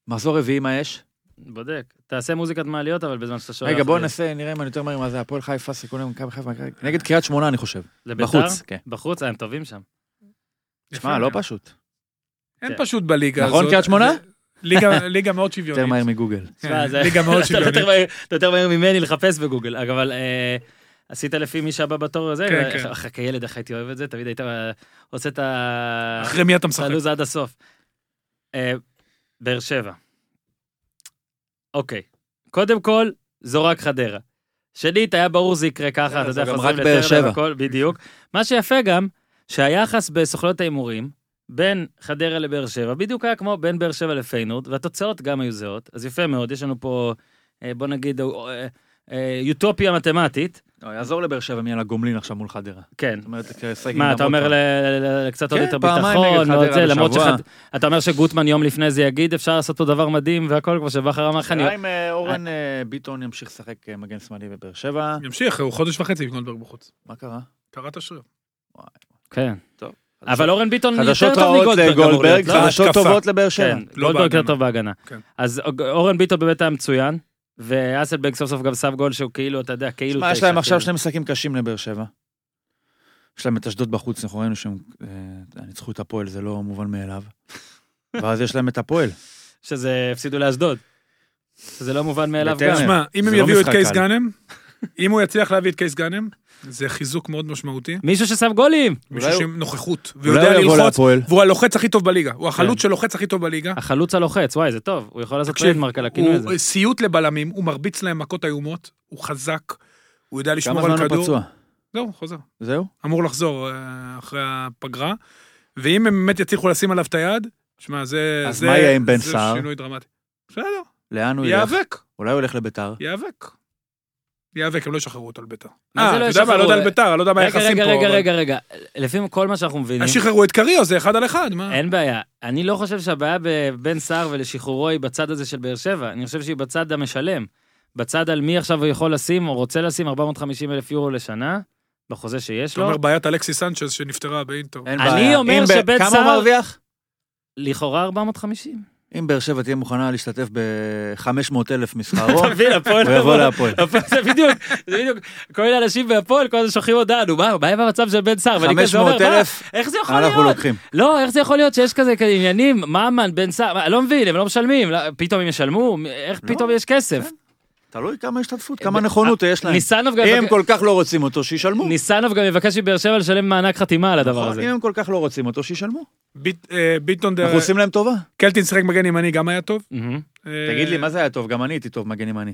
D: מחזור רביעי מה יש?
A: בודק. תעשה מוזיקת מעליות, אבל בזמן שאתה אה, שולח...
D: רגע, בואו
A: לי.
D: ננסה, נראה אם אני יותר מהר מה זה הפועל חיפה, סיכונים מכבי חיפה, מכבי- נגד קריית שמונה אני חושב.
A: לביתר?
D: בחוץ, כן.
A: בחוץ, אה, הם טובים שם.
B: יפה
D: שמע, לא
B: מאוד.
D: פשוט.
B: אין פשוט בליגה הזאת.
D: נכון, קריית שמונה?
B: זה- ליגה- ליגה מאוד
D: יותר מהר
B: שוויונית. כן,
D: מגוגל.
A: תשמע, זה-
B: ליגה מאוד
A: אתה לא
B: שוויונית.
A: יותר מהר- אתה יותר מהר ממני לחפש בגוגל, אגב, אבל... אה, עשית לפי מי שהבא בתור הזה,
B: כן, כן.
A: אך- כילד איך הייתי אוהב את זה, תמיד היית אה, עושה את ה...
B: אחרי מי אתה משחק?
A: הלו"ז עד הסוף. אה, באר שבע. אוקיי. קודם כל, זו רק חדרה. שנית, היה ברור זה יקרה ככה, אתה
D: זה
A: יודע,
D: גם
A: חוזרים
D: רק באר
A: לטרנר
D: שבע.
A: והכל, בדיוק. מה שיפה גם, שהיחס בסוכנויות ההימורים, בין חדרה לבאר שבע, בדיוק היה כמו בין באר שבע לפיינורד, והתוצאות גם היו זהות, אז יפה מאוד, יש לנו פה, אה, בוא נגיד, אה, אה, אוטופיה מתמטית,
D: לא, יעזור לבאר שבע מי על הגומלין עכשיו מול חדרה.
A: כן.
D: זאת אומרת, סגל
A: מה, אתה
D: למרות
A: אומר
D: ה-
A: ל- ל- ל- ל- קצת עוד
D: כן,
A: יותר
D: פעמיים
A: ביטחון,
D: נגד
A: ועוד
D: חדרה
A: זה, למרות
D: בשבוע.
A: שחד- אתה אומר שגוטמן יום לפני זה יגיד, אפשר לעשות פה דבר מדהים והכל, כמו שבכר אמר לך, אני...
D: השאלה אם אה, אורן אה, ביטון ימשיך לשחק אה, מגן שמאלי בבאר שבע,
B: ימשיך, הוא חודש וחצי עם גולדברג בחוץ.
D: מה קרה?
B: קראת שריר.
A: כן.
D: טוב.
A: אבל אורן ביטון
D: חדשות
A: יותר טוב
D: רעות
A: מגולדברג. אמור
D: לגולדברג,
A: להיות, לא?
D: חדשות
B: ההתקפה.
D: טובות לבאר שבע.
A: כן, גולדברג יותר
B: בהגנה.
A: טוב בהגנה.
B: כן.
A: אז אוג- אורן ביטון באמת היה מצוין, ואסלבנג סוף סוף גם שם גול שהוא כאילו, אתה יודע, כאילו...
D: מה, יש
A: תשע,
D: להם עכשיו
A: כאילו.
D: שני משחקים קשים לבאר שבע. יש להם את אשדוד בחוץ, אנחנו ראינו שהם אה, ניצחו את הפועל, זה לא מובן מאליו. ואז יש להם את הפועל.
A: שזה הפסידו לאשדוד. שזה לא מובן מאליו
D: בטרנר.
A: גם.
B: תשמע, אם
D: זה
B: הם
D: לא
B: יביאו את
D: משחק
B: קייס
D: קל.
B: גאנם, אם הוא יצליח להביא את קייס גאנם, זה חיזוק מאוד משמעותי.
A: מישהו ששם גולים!
B: מישהו
D: הוא-
B: שעם נוכחות, והוא
D: אולי
B: יודע
D: הוא יבוא
B: ללחוץ,
D: להפועל.
B: והוא הלוחץ הכי טוב בליגה. הוא
A: כן.
B: החלוץ שלוחץ הכי טוב בליגה.
A: החלוץ הלוחץ, וואי, זה טוב, הוא יכול לעשות
B: תקשיב,
A: טריידמרק על הכינוי הזה.
B: הוא סיוט לבלמים, הוא מרביץ להם מכות איומות, הוא חזק, הוא יודע
D: כמה
B: לשמור
D: זמן
B: על
D: הוא
B: כדור.
D: פצוע?
B: זהו, חוזר.
D: זהו?
B: אמור לחזור אה, אחרי הפגרה. ואם הם באמת יצליחו לשים עליו את היד, שמע, זה...
D: אז
B: זה-
D: מה יהיה עם בן
B: זה
D: סער?
B: שינוי דרמטי. בסדר,
D: לאן הוא ילך?
B: ייאבק,
D: אולי הוא ילך לביתר?
B: ייאבק. ייאבק, הם לא ישחררו אותו על ביתר.
A: מה זה
B: אה,
A: לא
B: אתה יודע מה,
A: ישחררו?
B: לא יודע על ביתר, אני לא יודע מה
A: רגע,
B: היחסים פה.
A: רגע, רגע,
B: אבל-
A: רגע, רגע, לפי כל מה שאנחנו מבינים,
B: אז שחררו את קריו, זה אחד על אחד, מה?
A: אין בעיה. אני לא חושב שהבעיה בבן סער ולשחרורו היא בצד הזה של באר שבע, אני חושב שהיא בצד המשלם. בצד על מי עכשיו הוא יכול לשים, או רוצה לשים 450 אלף יורו לשנה, בחוזה שיש
B: אתה
A: לו.
B: אומר בעיית אלכסיס סנצ'ז שנפטרה באינטר.
D: אין
A: אני
D: בעיה.
A: אומר
D: אם ב-
A: שבן
D: כמה הוא
A: סער-
D: מרוויח?
A: לכאורה 450.
D: אם באר שבע תהיה מוכנה להשתתף ב-500 אלף משכרו,
A: אתה מבין, הפועל...
D: הוא יבוא להפועל.
A: הפועל זה בדיוק, זה בדיוק, כל מיני אנשים בהפועל כל הזמן שולחים הודעה, נו מה, מה יהיה במצב של בן סער? ואני כזה אומר,
D: 500
A: מה,
D: אלף,
A: איך זה יכול
D: אנחנו
A: להיות?
D: לוקחים.
A: לא, איך זה יכול להיות שיש כזה כזה עניינים, ממן, בן סער, מה, לא מבין, הם לא משלמים, לא, פתאום הם ישלמו, מ- איך
D: לא,
A: פתאום יש כסף?
D: תלוי כמה השתתפות, כמה נכונות
A: כן.
D: יש להם.
A: ניסנוב גם
D: אם הם
A: יבק-
D: כל כך לא רוצים אותו, שישלמו.
A: ניסנוב גם יבקש מבאר שבע לשלם מענק חתימה על הדבר
D: נכון?
A: הזה.
D: אם הם כל כך לא רוצים אותו, שישלמו.
B: ביט- אה, ביטון, דה-
D: אנחנו עושים להם טובה.
A: אה-
B: קלטין שיחק מגן ימני, גם היה טוב.
A: מהמם.
B: אה,
D: תגיד לי, מה זה היה טוב? גם אני הייתי טוב מגן ימני.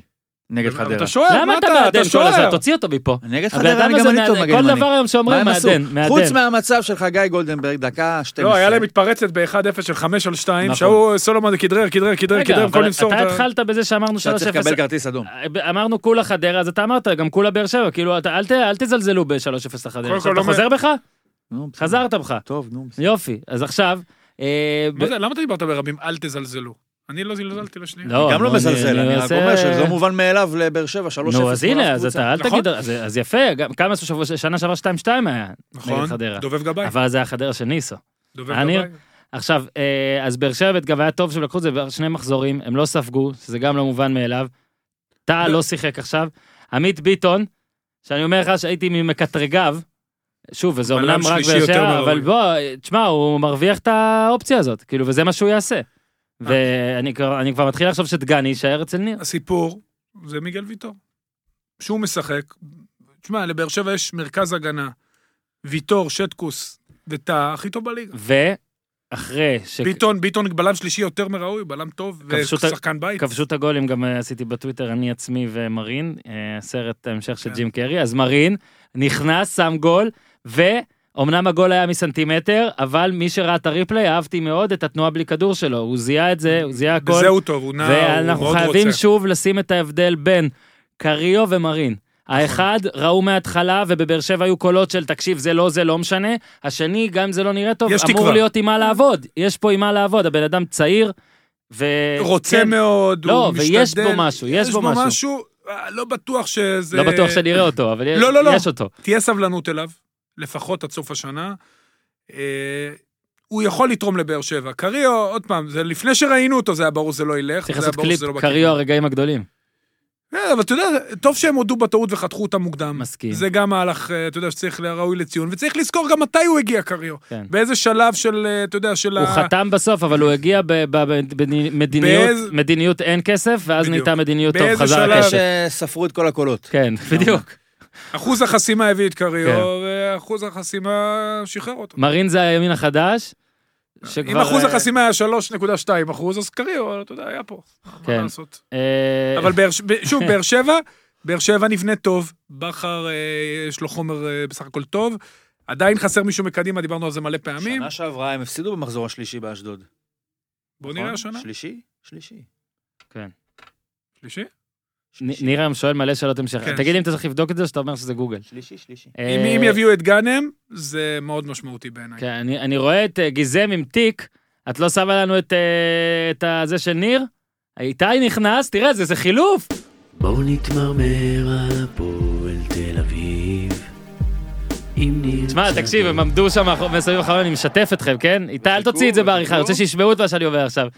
D: נגד
B: אבל
D: חדרה.
B: אתה שוער,
A: למה
B: מה
A: אתה
B: אתה?
A: מעדן
B: אתה
A: כל הזמן?
B: שוער.
A: תוציא אותו מפה.
D: נגד
A: הבן
D: חדרה
A: אדם
D: אני גם
A: הזה,
D: אני טוב
A: מעדן-
D: מגן
A: כל
D: ימני.
A: דבר היום
D: מה
A: שאומרים,
D: הם עשו?
A: מעדן, מעדן.
D: חוץ מהמצב של חגי גולדנברג, דקה 12.
B: לא, היה להם מתפרצת ב-1-0 של 5 על 2,
A: נכון.
B: שההוא אה, סולומון כדרר, כדרר, כדרר,
A: רגע,
B: כדרר, במקום
A: אבל
B: למסור
A: אתה
B: את ה...
A: התחלת בזה שאמרנו 3-0.
D: אתה צריך לקבל כרטיס אדום.
A: אמרנו כולה חדרה, אז אתה אמרת גם כולה באר שבע, כאילו אתה- אל ת- אל תזלזלו ב-3-0 לחדרה.
B: קודם
A: עכשיו,
B: כל,
A: אתה
B: לא
A: חוזר בך?
D: נו, בסדר.
A: חזרת בך.
D: טוב, נו. בסדר.
A: יופי, אז עכשיו... אה,
D: לא
A: ב-
B: מה זה, למה אתה דיברת ברבים? אל תזלזלו. אני לא זלזלתי לשנייה.
A: לא,
D: גם לא
A: נו,
D: מזלזל, אני רק
A: עושה-
D: אומר שזה לא מובן מאליו לבאר שבע, 3-0.
A: נו, אז
D: לא
A: הנה, אז אתה, אל
B: נכון?
A: תגיד, אז- אז יפה, גם- כמה עשו שבוע- שנה שעברה 2-2 היה נגד
B: נכון,
A: חדרה.
B: דובב גבאי,
A: אבל זה היה חדרה של ניסו.
B: דובב
A: אני-
B: גבאי.
A: עכשיו, אה, אז באר שבע גם היה טוב שהם לקחו את זה בשני מחזורים, הם לא ספגו, שזה גם לא מובן מאליו. טאה לא שיחק עכשיו. עמית ביטון, שאני אומר לך שהייתי ממקטרגיו, שוב, וזה
B: בלם
A: אומנם רק
B: שלישי
A: באר
B: יותר
A: שבע, אבל
B: מראוי.
A: בוא, תשמע, הוא מרוויח את האופציה הזאת, כאילו, וזה מה שהוא
B: אה.
A: יעשה. ואני כבר- אני כבר מתחיל לחשוב שדגני יישאר אצל ניר.
B: הסיפור זה מיגל ויטור. שהוא משחק, תשמע, לבאר שבע יש מרכז הגנה, ויטור, שטקוס וטאה, הכי טוב בליגה.
A: ואחרי
B: ביטון, ביטון בלם שלישי יותר מראוי, בלם טוב,
A: כבשו את ה-
B: ושחקן בית.
A: שכבשו את הגולים, גם אה, עשיתי בטוויטר, אני עצמי ומרין, אה, סרט ההמשך
B: כן.
A: של ג'ים קרי, אז מרין נכנס, שם גול, ואומנם הגול היה מסנטימטר, אבל מי שראה את הריפליי, אהבתי מאוד את התנועה בלי כדור שלו, הוא זיהה את זה, הוא זיהה הכל,
B: בזה הוא טוב, הוא נע, הוא
A: ואנחנו
B: מאוד
A: חייבים
B: רוצה.
A: שוב לשים את ההבדל בין קריו ומרין.
B: נכון.
A: האחד ראו מההתחלה ובבאר שבע היו קולות של תקשיב זה לא זה לא משנה, השני גם אם זה לא נראה טוב,
B: יש
A: אמור
B: תקווה.
A: להיות עם מה לעבוד, יש פה עם מה לעבוד, הבן אדם צעיר, ו...
B: רוצה
A: כן,
B: מאוד,
A: לא,
B: הוא משתדל.
A: ויש בו משהו, יש בו משהו.
B: אה, לא בטוח שזה...
A: לא בטוח שנראה אותו, אבל יש-
B: לא, לא, לא.
A: יש אותו.
B: תהיה סבלנות אליו, לפחות עד סוף השנה. אה, הוא יכול לתרום לבאר שבע. קריו, עוד פעם, זה לפני שראינו אותו, זה היה ברור שזה לא ילך.
A: צריך
B: זה היה
A: לעשות
B: ברור
A: קליפ,
B: שזה לא בכיוון.
A: קריו הרגעים הגדולים.
B: כן, אבל אתה יודע, טוב שהם הודו בטעות וחתכו אותה מוקדם.
A: מסכים.
B: זה גם מהלך, אה, אתה יודע, שצריך ראוי לציון, וצריך לזכור גם מתי הוא הגיע קריו.
A: כן.
B: באיזה שלב של, אה, אתה יודע, של
A: הוא חתם בסוף, אבל הוא הגיע
B: באיז-
A: במדיניות אין כסף, ואז
B: בדיוק.
A: נהייתה מדיניות טוב,
B: באיזה
A: חזר
B: שלב-
A: הכסף.
D: שספרו את כל הקולות.
A: כן, בדיוק.
B: אחוז החסימה הביא את
A: כן.
B: קריו, ואחוז החסימה שחרר אותו.
A: מרין זה הימין החדש, שכבר...
B: אם אחוז
A: אה,
B: החסימה היה 3.2 אחוז, אז קריו, אתה יודע, היה פה. מה
A: כן.
B: לעשות?
A: אה,
B: אבל באר ש- שוב, באר שבע, באר שבע נבנה טוב, בכר אה, יש לו חומר אה, בסך הכל טוב, עדיין חסר מישהו מקדימה, דיברנו על זה מלא פעמים.
D: שנה שעברה הם הפסידו במחזור השלישי באשדוד.
B: בואו
D: נכון?
B: נראה השנה.
D: שלישי? שלישי.
A: כן.
B: שלישי?
D: שלישי.
A: ניר היום שואל מלא שאלות המשך.
B: כן.
A: תגיד לי אם אתה צריך לבדוק את זה או שאתה אומר שזה גוגל.
D: שלישי, שלישי.
B: אם אם יביאו את גאנם, זה מאוד משמעותי בעיניי.
A: אה, כן, אני, אני רואה את אה, גיזם עם תיק, את לא שמה לנו את, אה, את הזה של ניר? איתי נכנס, תראה, זה, זה חילוף.
E: בואו נתמרמר על הפועל תל אביב. אם נרצה...
A: תשמע, תקשיב, הם עמדו שם מאחור- מסביב לחלון, אני משתף אתכם, כן? איתי, אל תוציא את זה בעריכה, אני רוצה שישמעו את מה שאני אומר עכשיו.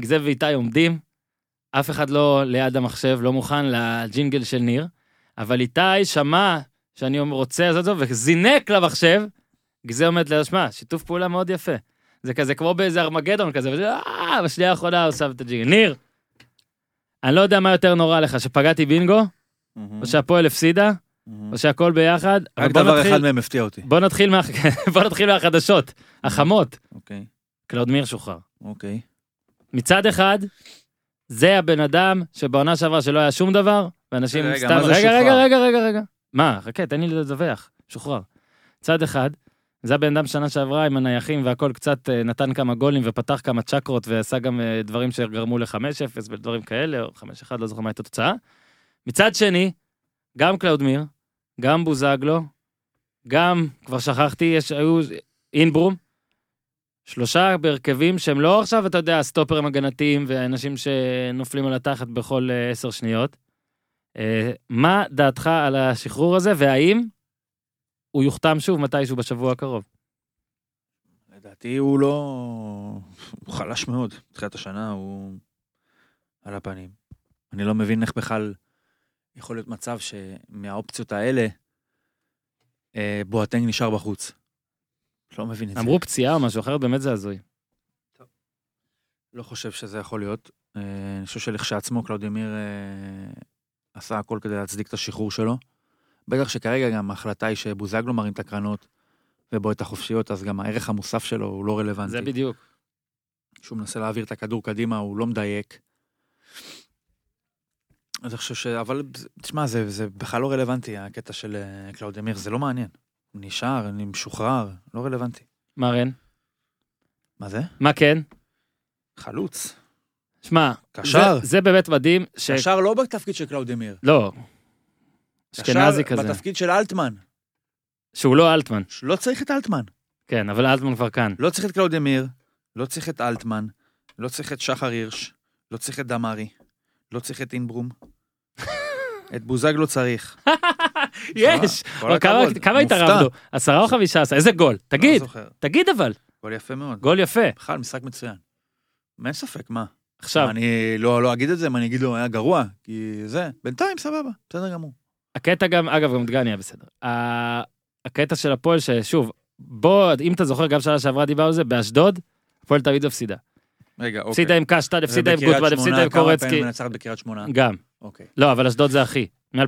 A: גיזם ואיתי עומדים, אף אחד לא ליד המחשב, לא מוכן לג'ינגל של ניר, אבל איתי שמע שאני רוצה לעשות זאת, וזינק למחשב. גיזם אומרת לו, שמע, שיתוף פעולה מאוד יפה. זה כזה כמו באיזה ארמגדון כזה, וזה, "אה", בשנייה האחרונה הוא שם את הג'ינגל. ניר, אני לא יודע מה יותר נורא לך, שפגעתי בינגו, או שהפועל הפסידה, או שהכל ביחד. אבל
D: רק
A: בוא
D: דבר
A: נתחיל-
D: אחד מהם הפתיע אותי.
A: בוא נתחיל, מה... בוא נתחיל מהחדשות, החמות.
D: אוקיי,
A: קלאודמיר שוחרר.
D: אוקיי.
A: מצד אחד, זה הבן אדם שבעונה שעברה שלא היה שום דבר, ואנשים
D: רגע,
A: סתם...
D: מה זה
A: רגע,
D: שוחרר?
A: רגע, רגע, רגע, רגע. מה, חכה, תן לי לדווח, שוחרר. מצד אחד, זה הבן אדם שנה שעברה עם הנייחים והכל קצת אה, נתן כמה גולים ופתח כמה צ'קרות ועשה גם אה, דברים שגרמו ל-5-0 ודברים כאלה, או 5-1, לא זוכר מה הייתה התוצאה. מצד שני, גם קלאודמיר, גם בוזגלו, גם, כבר שכחתי, יש, היו אינברום, שלושה בהרכבים שהם לא עכשיו, אתה יודע, סטופרים הגנתיים ואנשים שנופלים על התחת בכל אה, עשר שניות. אה, מה דעתך על השחרור הזה, והאם הוא יוחתם שוב מתישהו בשבוע הקרוב?
D: לדעתי הוא לא... הוא חלש מאוד. תחילת השנה הוא על הפנים. אני לא מבין איך בכלל יכול להיות מצב שמהאופציות האלה אה, בואטנג נשאר בחוץ. לא מבין את זה.
A: אמרו פציעה או משהו אחרת, באמת זה הזוי.
D: לא חושב שזה יכול להיות. אה, אני חושב שלכשעצמו קלאודימיר אה, עשה הכל כדי להצדיק את השחרור שלו. בטח שכרגע גם ההחלטה היא שבוזגלו מרים את הקרנות ובועט החופשיות, אז גם הערך המוסף שלו הוא לא רלוונטי.
A: זה בדיוק.
D: כשהוא מנסה להעביר את הכדור קדימה, הוא לא מדייק. אז אני חושב ש... אבל, תשמע, זה, זה בכלל לא רלוונטי, הקטע של אה, קלאודמיר, זה לא מעניין. הוא נשאר, אני משוחרר, לא רלוונטי.
A: מה רן?
D: מה זה?
A: מה כן?
D: חלוץ.
A: שמע,
D: קשר.
A: זה- זה באמת מדהים ש...
D: קשר לא בתפקיד של קלאודמיר.
A: לא. אשכנזי
D: קשר
A: כזה.
D: בתפקיד של אלטמן.
A: שהוא לא אלטמן.
D: לא צריך את אלטמן.
A: כן, אבל אלטמן כבר כאן.
D: לא צריך את קלאודמיר, לא צריך את אלטמן, לא צריך את שחר הירש, לא צריך את דמארי, לא צריך את אינברום. את בוזגלו צריך.
A: יש!
D: כל הכבוד.
A: כמה- כמה
D: מופתע.
A: התערבנו? עשרה או חמישה עשר? איזה גול?
D: לא
A: תגיד,
D: זוכר.
A: תגיד אבל.
D: גול יפה מאוד.
A: גול יפה.
D: בכלל, משחק מצוין. אין ספק, מה?
A: עכשיו,
D: מה, אני לא לא אגיד את זה, מה אני אגיד לו, היה גרוע, כי זה, בינתיים סבבה, בסדר גמור.
A: הקטע גם, אגב, גם דגני היה בסדר. ה- הקטע של הפועל, ששוב, בוא, אם אתה זוכר, גם שנה שעברה דיברנו על זה, באשדוד, הפועל תמיד הפסידה.
D: רגע, אוקיי.
A: הפסידה עם קשטן, הפסידה עם
D: ובקריית
A: גוטמן, הפסידה
D: שמונה,
A: עם
D: כמה פעמים
A: קורצקי. Mm.
D: מנצחת בקריית שמונה?
A: גם.
D: אוקיי.
A: לא, אבל אשדוד זה הכי, מ-2014.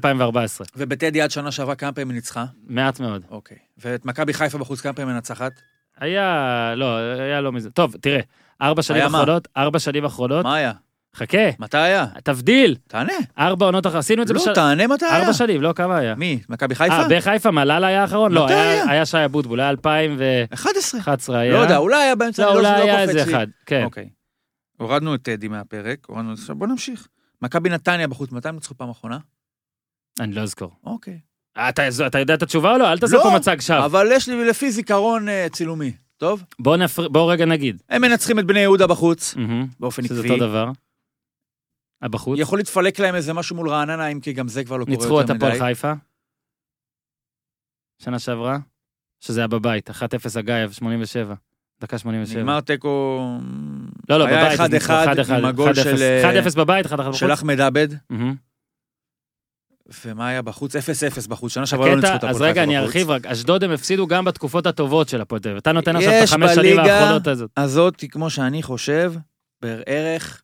D: ובטדי עד שנה שעברה כמה פעמים היא ניצחה?
A: מעט מאוד.
D: אוקיי. ואת מכבי חיפה בחוץ כמה פעמים מנצחת?
A: היה, לא, היה לא מזה. טוב, תראה, ארבע שנים
D: היה מה?
A: אחרונות, ארבע שנים אחרונות,
D: מה היה?
A: חכה,
D: מתי היה?
A: תבדיל,
D: תענה.
A: ארבע עונות אחרונות, עשינו את זה
D: לא,
A: בשנה,
D: תענה מתי היה.
A: ארבע שנים, לא, כמה היה?
D: מי? מכבי
A: אה,
D: חיפה?
A: בחיפה, מלאלה היה האחרון? לא,
D: מתי
A: היה-
D: היה?
A: היה שי אבוטבול, היה 2011
D: 11.
A: היה.
D: לא יודע, אולי היה באמצע,
A: לא,
D: אני
A: אולי
D: לא
A: היה
D: קופץ
A: איזה
D: לי.
A: אחד, כן.
D: אוקיי. הורדנו את טדי מהפרק, הורדנו את זה, בוא נמשיך. מכבי נתניה בחוץ, מתי הם ניצחו פעם אחרונה?
A: אני לא אזכור.
D: אוקיי.
A: אתה, אתה יודע את התשובה או לא? אל תעשה
D: לא,
A: פה מצג שווא.
D: אבל יש לי לפי זיכרון אה, צילומי, טוב?
A: בוא, נפר... בוא רגע נגיד.
D: הם מנצחים את בני יהודה בחוץ,
A: מהמם.
D: באופן
A: שזה
D: עקבי.
A: אותו דבר. הבחוץ.
D: יכול להתפלק להם איזה משהו מול רעננה, אם כי גם זה כבר לא קורה יותר מדי.
A: ניצחו את הפועל חיפה. שנה שעברה. שזה היה בבית, 1-0 אגייב, 87. דקה 87.
D: נגמר תיקו...
A: לא, לא,
D: היה
A: בבית. אז ניצחו
D: 1-1
A: 1-1,
D: עם הגול
A: 1-0.
D: של, אה,
A: 1-0 בבית, 1-1 בחוץ.
D: של אחמד עבד,
A: מהמם.
D: ומה היה בחוץ? 0-0 בחוץ, שנה שעברה לא ניצחו את
A: הקטע,
D: הפועל
A: אז
D: חיפה בחוץ.
A: רגע, אני ארחיב רק. אשדוד הם הפסידו גם בתקופות הטובות של הפועל תל אביב. אתה נותן עכשיו את
D: יש
A: החמש שנים
D: בליגה-
A: האחרונות הזאת.
D: הזאת, היא, כמו שאני חושב, בערך...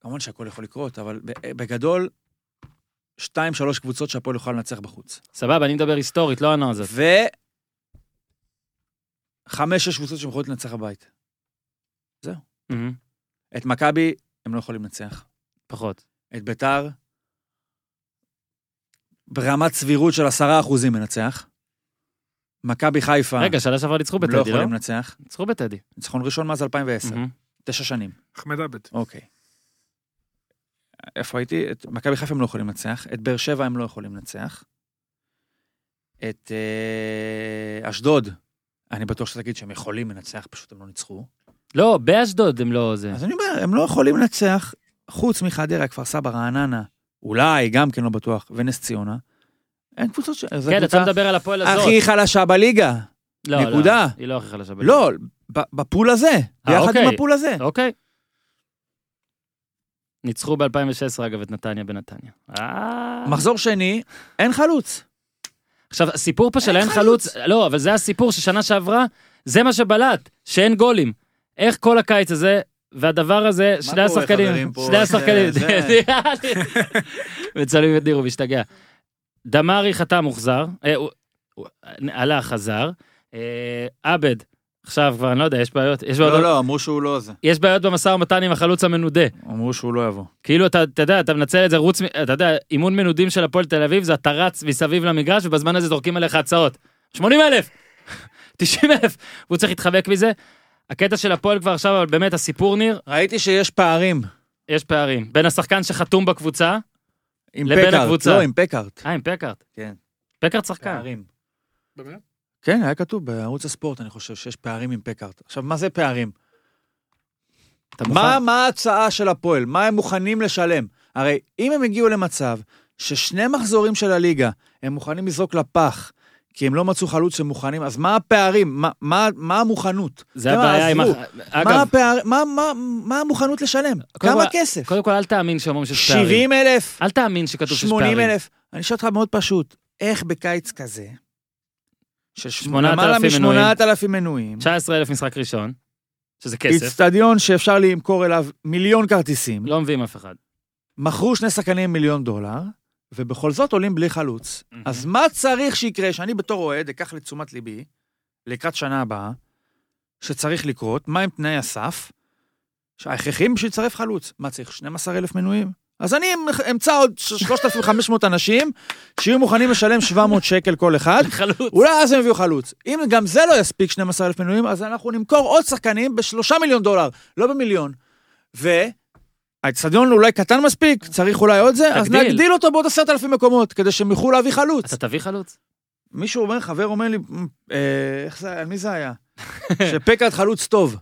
D: כמובן שהכל יכול לקרות, אבל ב- בגדול, שתיים, שלוש קבוצות שהפועל יוכל לנצח בחוץ.
A: סבבה, אני מדבר היסטורית, לא העונה הזאת.
D: ו... חמש, שש קבוצות שיכולות לנצח בבית.
A: מהמם.
D: את מכבי, הם לא יכולים לנצח.
A: פחות.
D: את ביתר ברמת סבירות של עשרה אחוזים מנצח. מכבי חיפה,
A: רגע, שנה שעברה ניצחו
D: הם לא
A: בטדי, לא?
D: יכולים לנצח.
A: ניצחו בטדי.
D: ניצחון ראשון מאז 2010,
A: מהמם.
D: תשע שנים.
B: אחמד עבד.
D: אוקיי. איפה הייתי? את מכבי חיפה הם לא יכולים לנצח, את באר שבע הם לא יכולים לנצח. את אה, אשדוד, אני בטוח שתגיד שהם יכולים לנצח, פשוט הם לא ניצחו.
A: לא, באשדוד הם לא זה.
D: אז אני אומר, הם לא יכולים לנצח, חוץ מחדרה, כפר סבא, רעננה, אולי, גם כן לא בטוח, ונס ציונה. אין קבוצות ש... זו
A: כן, אתה
D: הקבוצה
A: מדבר על הפועל הזאת.
D: הכי חלשה בליגה.
A: לא, לא,
D: נקודה.
A: היא לא הכי חלשה. בליגה.
D: לא, ב- בפול הזה, ביחד עם
A: אוקיי.
D: הפול הזה.
A: אוקיי. ניצחו ב-2016, אגב, את נתניה בנתניה. אה.
D: מחזור שני, אין חלוץ.
A: עכשיו, הסיפור פה של אין חלוץ, לא, אבל זה הסיפור ששנה שעברה, זה מה שבלט, שאין גולים. איך כל הקיץ הזה, והדבר הזה, שני
D: קורה,
A: השחקנים,
D: חברים, פה?
A: שני השחקנים,
D: זה-
A: מצלמים את ניר, הוא משתגע. דמארי חתם, הוחזר, אה, הוא- הוא- עלה, חזר, אה, עבד, עכשיו כבר, אני לא יודע, יש בעיות, יש בעיות-
D: לא, אמרו שהוא לא זה.
A: יש בעיות במשא ומתן עם החלוץ המנודה.
D: אמרו שהוא לא יבוא.
A: כאילו אתה, אתה יודע, אתה מנצל את זה, רוץ, מ- אתה יודע, אימון מנודים של הפועל תל אביב זה אתה רץ מסביב למגרש ובזמן הזה זורקים עליך הצעות. 80 אלף! 90 אלף! והוא צריך להתחבק מזה. הקטע של הפועל כבר עכשיו, אבל באמת הסיפור ניר,
D: ראיתי שיש פערים
A: יש פערים. בין השחקן שחתום בקבוצה,
D: עם
A: לבין
D: פקארט.
A: הקבוצה.
D: לא, עם פקארט.
A: אה, עם פקארט.
D: כן.
A: פקארט שחקן.
D: פערים.
B: באמת?
D: כן, היה כתוב בערוץ הספורט, אני חושב שיש פערים עם פקארט. עכשיו, מה זה פערים?
A: אתה מוכן?
D: מה, מה ההצעה של הפועל? מה הם מוכנים לשלם? הרי אם הם הגיעו למצב ששני מחזורים של הליגה הם מוכנים לזרוק לפח, כי הם לא מצאו חלוץ שמוכנים, אז מה הפערים? מה, מה, מה המוכנות?
A: זה
D: כמה
A: הבעיה עם...
D: עזבו?
A: הח-
D: מה,
A: אגב,
D: הפער, מה, מה, מה המוכנות לשלם?
A: קודם
D: כמה
A: כל-
D: כסף?
A: קודם כל אל תאמין שאומרים שיש פערים.
D: 70 אלף?
A: אל תאמין שכתוב שיש
D: 80
A: פערים.
D: אלף? אני שואל אותך מאוד פשוט, איך בקיץ כזה, של שמ-
A: 8,000
D: למעלה
A: מנויים.
D: מ-8,000 מנויים,
A: 19 אלף משחק ראשון, שזה כסף.
D: איצטדיון שאפשר למכור אליו מיליון כרטיסים,
A: לא מביאים אף אחד.
D: מכרו שני שחקנים מיליון דולר, ובכל זאת עולים בלי חלוץ.
A: Mhm.
D: אז מה צריך שיקרה, שאני בתור אוהד אקח לתשומת ליבי, לקראת שנה הבאה, שצריך לקרות, מהם תנאי הסף, שההכרחים בשביל לצרף חלוץ. מה צריך, 12,000 מנויים? אז אני אמ- אמצא עוד 3,500 אנשים שיהיו מוכנים לשלם 700 שקל כל אחד,
A: חלוץ.
D: אולי אז הם יביאו חלוץ. אם גם זה לא יספיק 12,000 מנויים, אז אנחנו נמכור עוד שחקנים בשלושה מיליון דולר, לא במיליון. והאצטדיון אולי קטן מספיק, צריך אולי עוד זה, אז
A: תגדיל.
D: נגדיל אותו בעוד 10,000 מקומות, כדי שהם יוכלו להביא חלוץ.
A: אתה תביא חלוץ?
D: מישהו אומר, חבר אומר לי, "מ, אה, איך זה, על מי זה היה? שפקארט חלוץ טוב,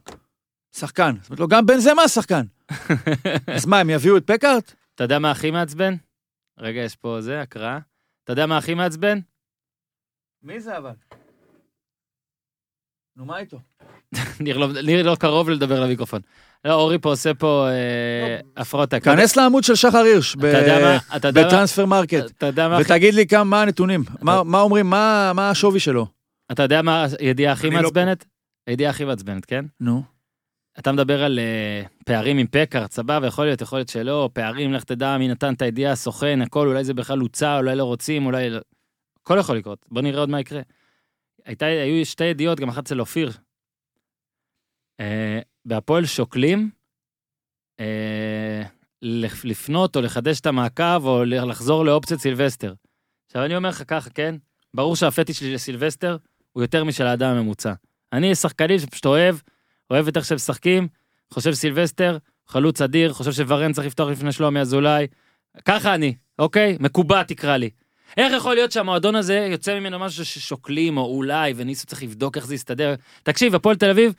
D: שחקן. זאת אומרת לו, גם בן זמה שחקן. אז מה, הם יביאו את פקארט?
A: אתה יודע מה הכי מעצבן? רגע, יש פה זה, הקראה. אתה יודע מה הכי מעצבן?
D: מי זה אבל? נו, מה איתו?
A: ניר לא, ניר לא קרוב לדבר למיקרופון. לא, אורי פה עושה פה אה, הפרעות טקט.
D: כנס לעמוד של שחר הירש
A: אתה יודע
D: ב-
A: מה? אתה יודע מה?
D: בטרנספר מרקט.
A: אתה יודע מה הכי-
D: ותגיד לי כמה, מה הנתונים, מה, מה אומרים, מה, מה השווי שלו.
A: אתה יודע מה הידיעה הכי
B: אני לא
A: מעצבנת? הידיעה הכי מעצבנת, כן?
D: נו.
A: אתה מדבר על אה, פערים עם פקארט, סבבה, יכול להיות, יכול להיות שלא, פערים, לך תדע מי נתן את הידיעה, הסוכן, הכל, אולי זה בכלל הוצא, אולי לא רוצים, אולי לא... הכל יכול לקרות, בוא נראה עוד מה יקרה. הייתה, היו שתי ידיעות, גם אחת אצל אופיר. אה, בהפועל שוקלים אה, לפ- לפנות או לחדש את המעקב או ל- לחזור לאופציית סילבסטר. עכשיו אני אומר לך ככה, כן? ברור שהפטיש שלי לסילבסטר הוא יותר משל האדם הממוצע. אני שחקנים שפשוט אוהב, אוהב את איך שהם משחקים, חושב סילבסטר, חלוץ אדיר, חושב שוורן צריך לפתוח לפני שלומי אזולאי. ככה אני, אוקיי? מקובע תקרא לי. איך יכול להיות שהמועדון הזה יוצא ממנו משהו ששוקלים, או אולי, וניסו צריך לבדוק איך זה יסתדר? תקשיב, הפועל תל אביב,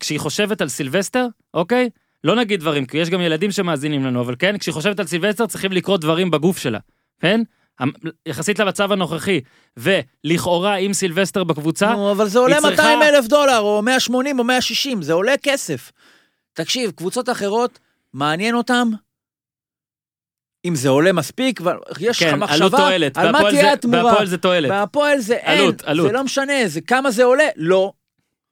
A: כשהיא חושבת על סילבסטר, אוקיי? לא נגיד דברים, כי יש גם ילדים שמאזינים לנו, אבל כן, כשהיא חושבת על סילבסטר צריכים לקרוא דברים בגוף שלה, כן? המ- יחסית למצב הנוכחי, ולכאורה עם סילבסטר בקבוצה,
D: נו, אבל זה
A: היא
D: עולה
A: צריכה-
D: 200 אלף דולר, או 180 או 160, זה עולה כסף. תקשיב, קבוצות אחרות, מעניין אותם? אם זה עולה מספיק, אבל יש לך
A: כן,
D: מחשבה
A: עלות תועלת.
D: על מה
A: בהפועל
D: תהיה
A: זה-
D: התמורה.
A: בהפועל זה תועלת.
D: בהפועל זה אין,
A: עלות, עלות.
D: זה לא משנה, זה כמה זה עולה, לא.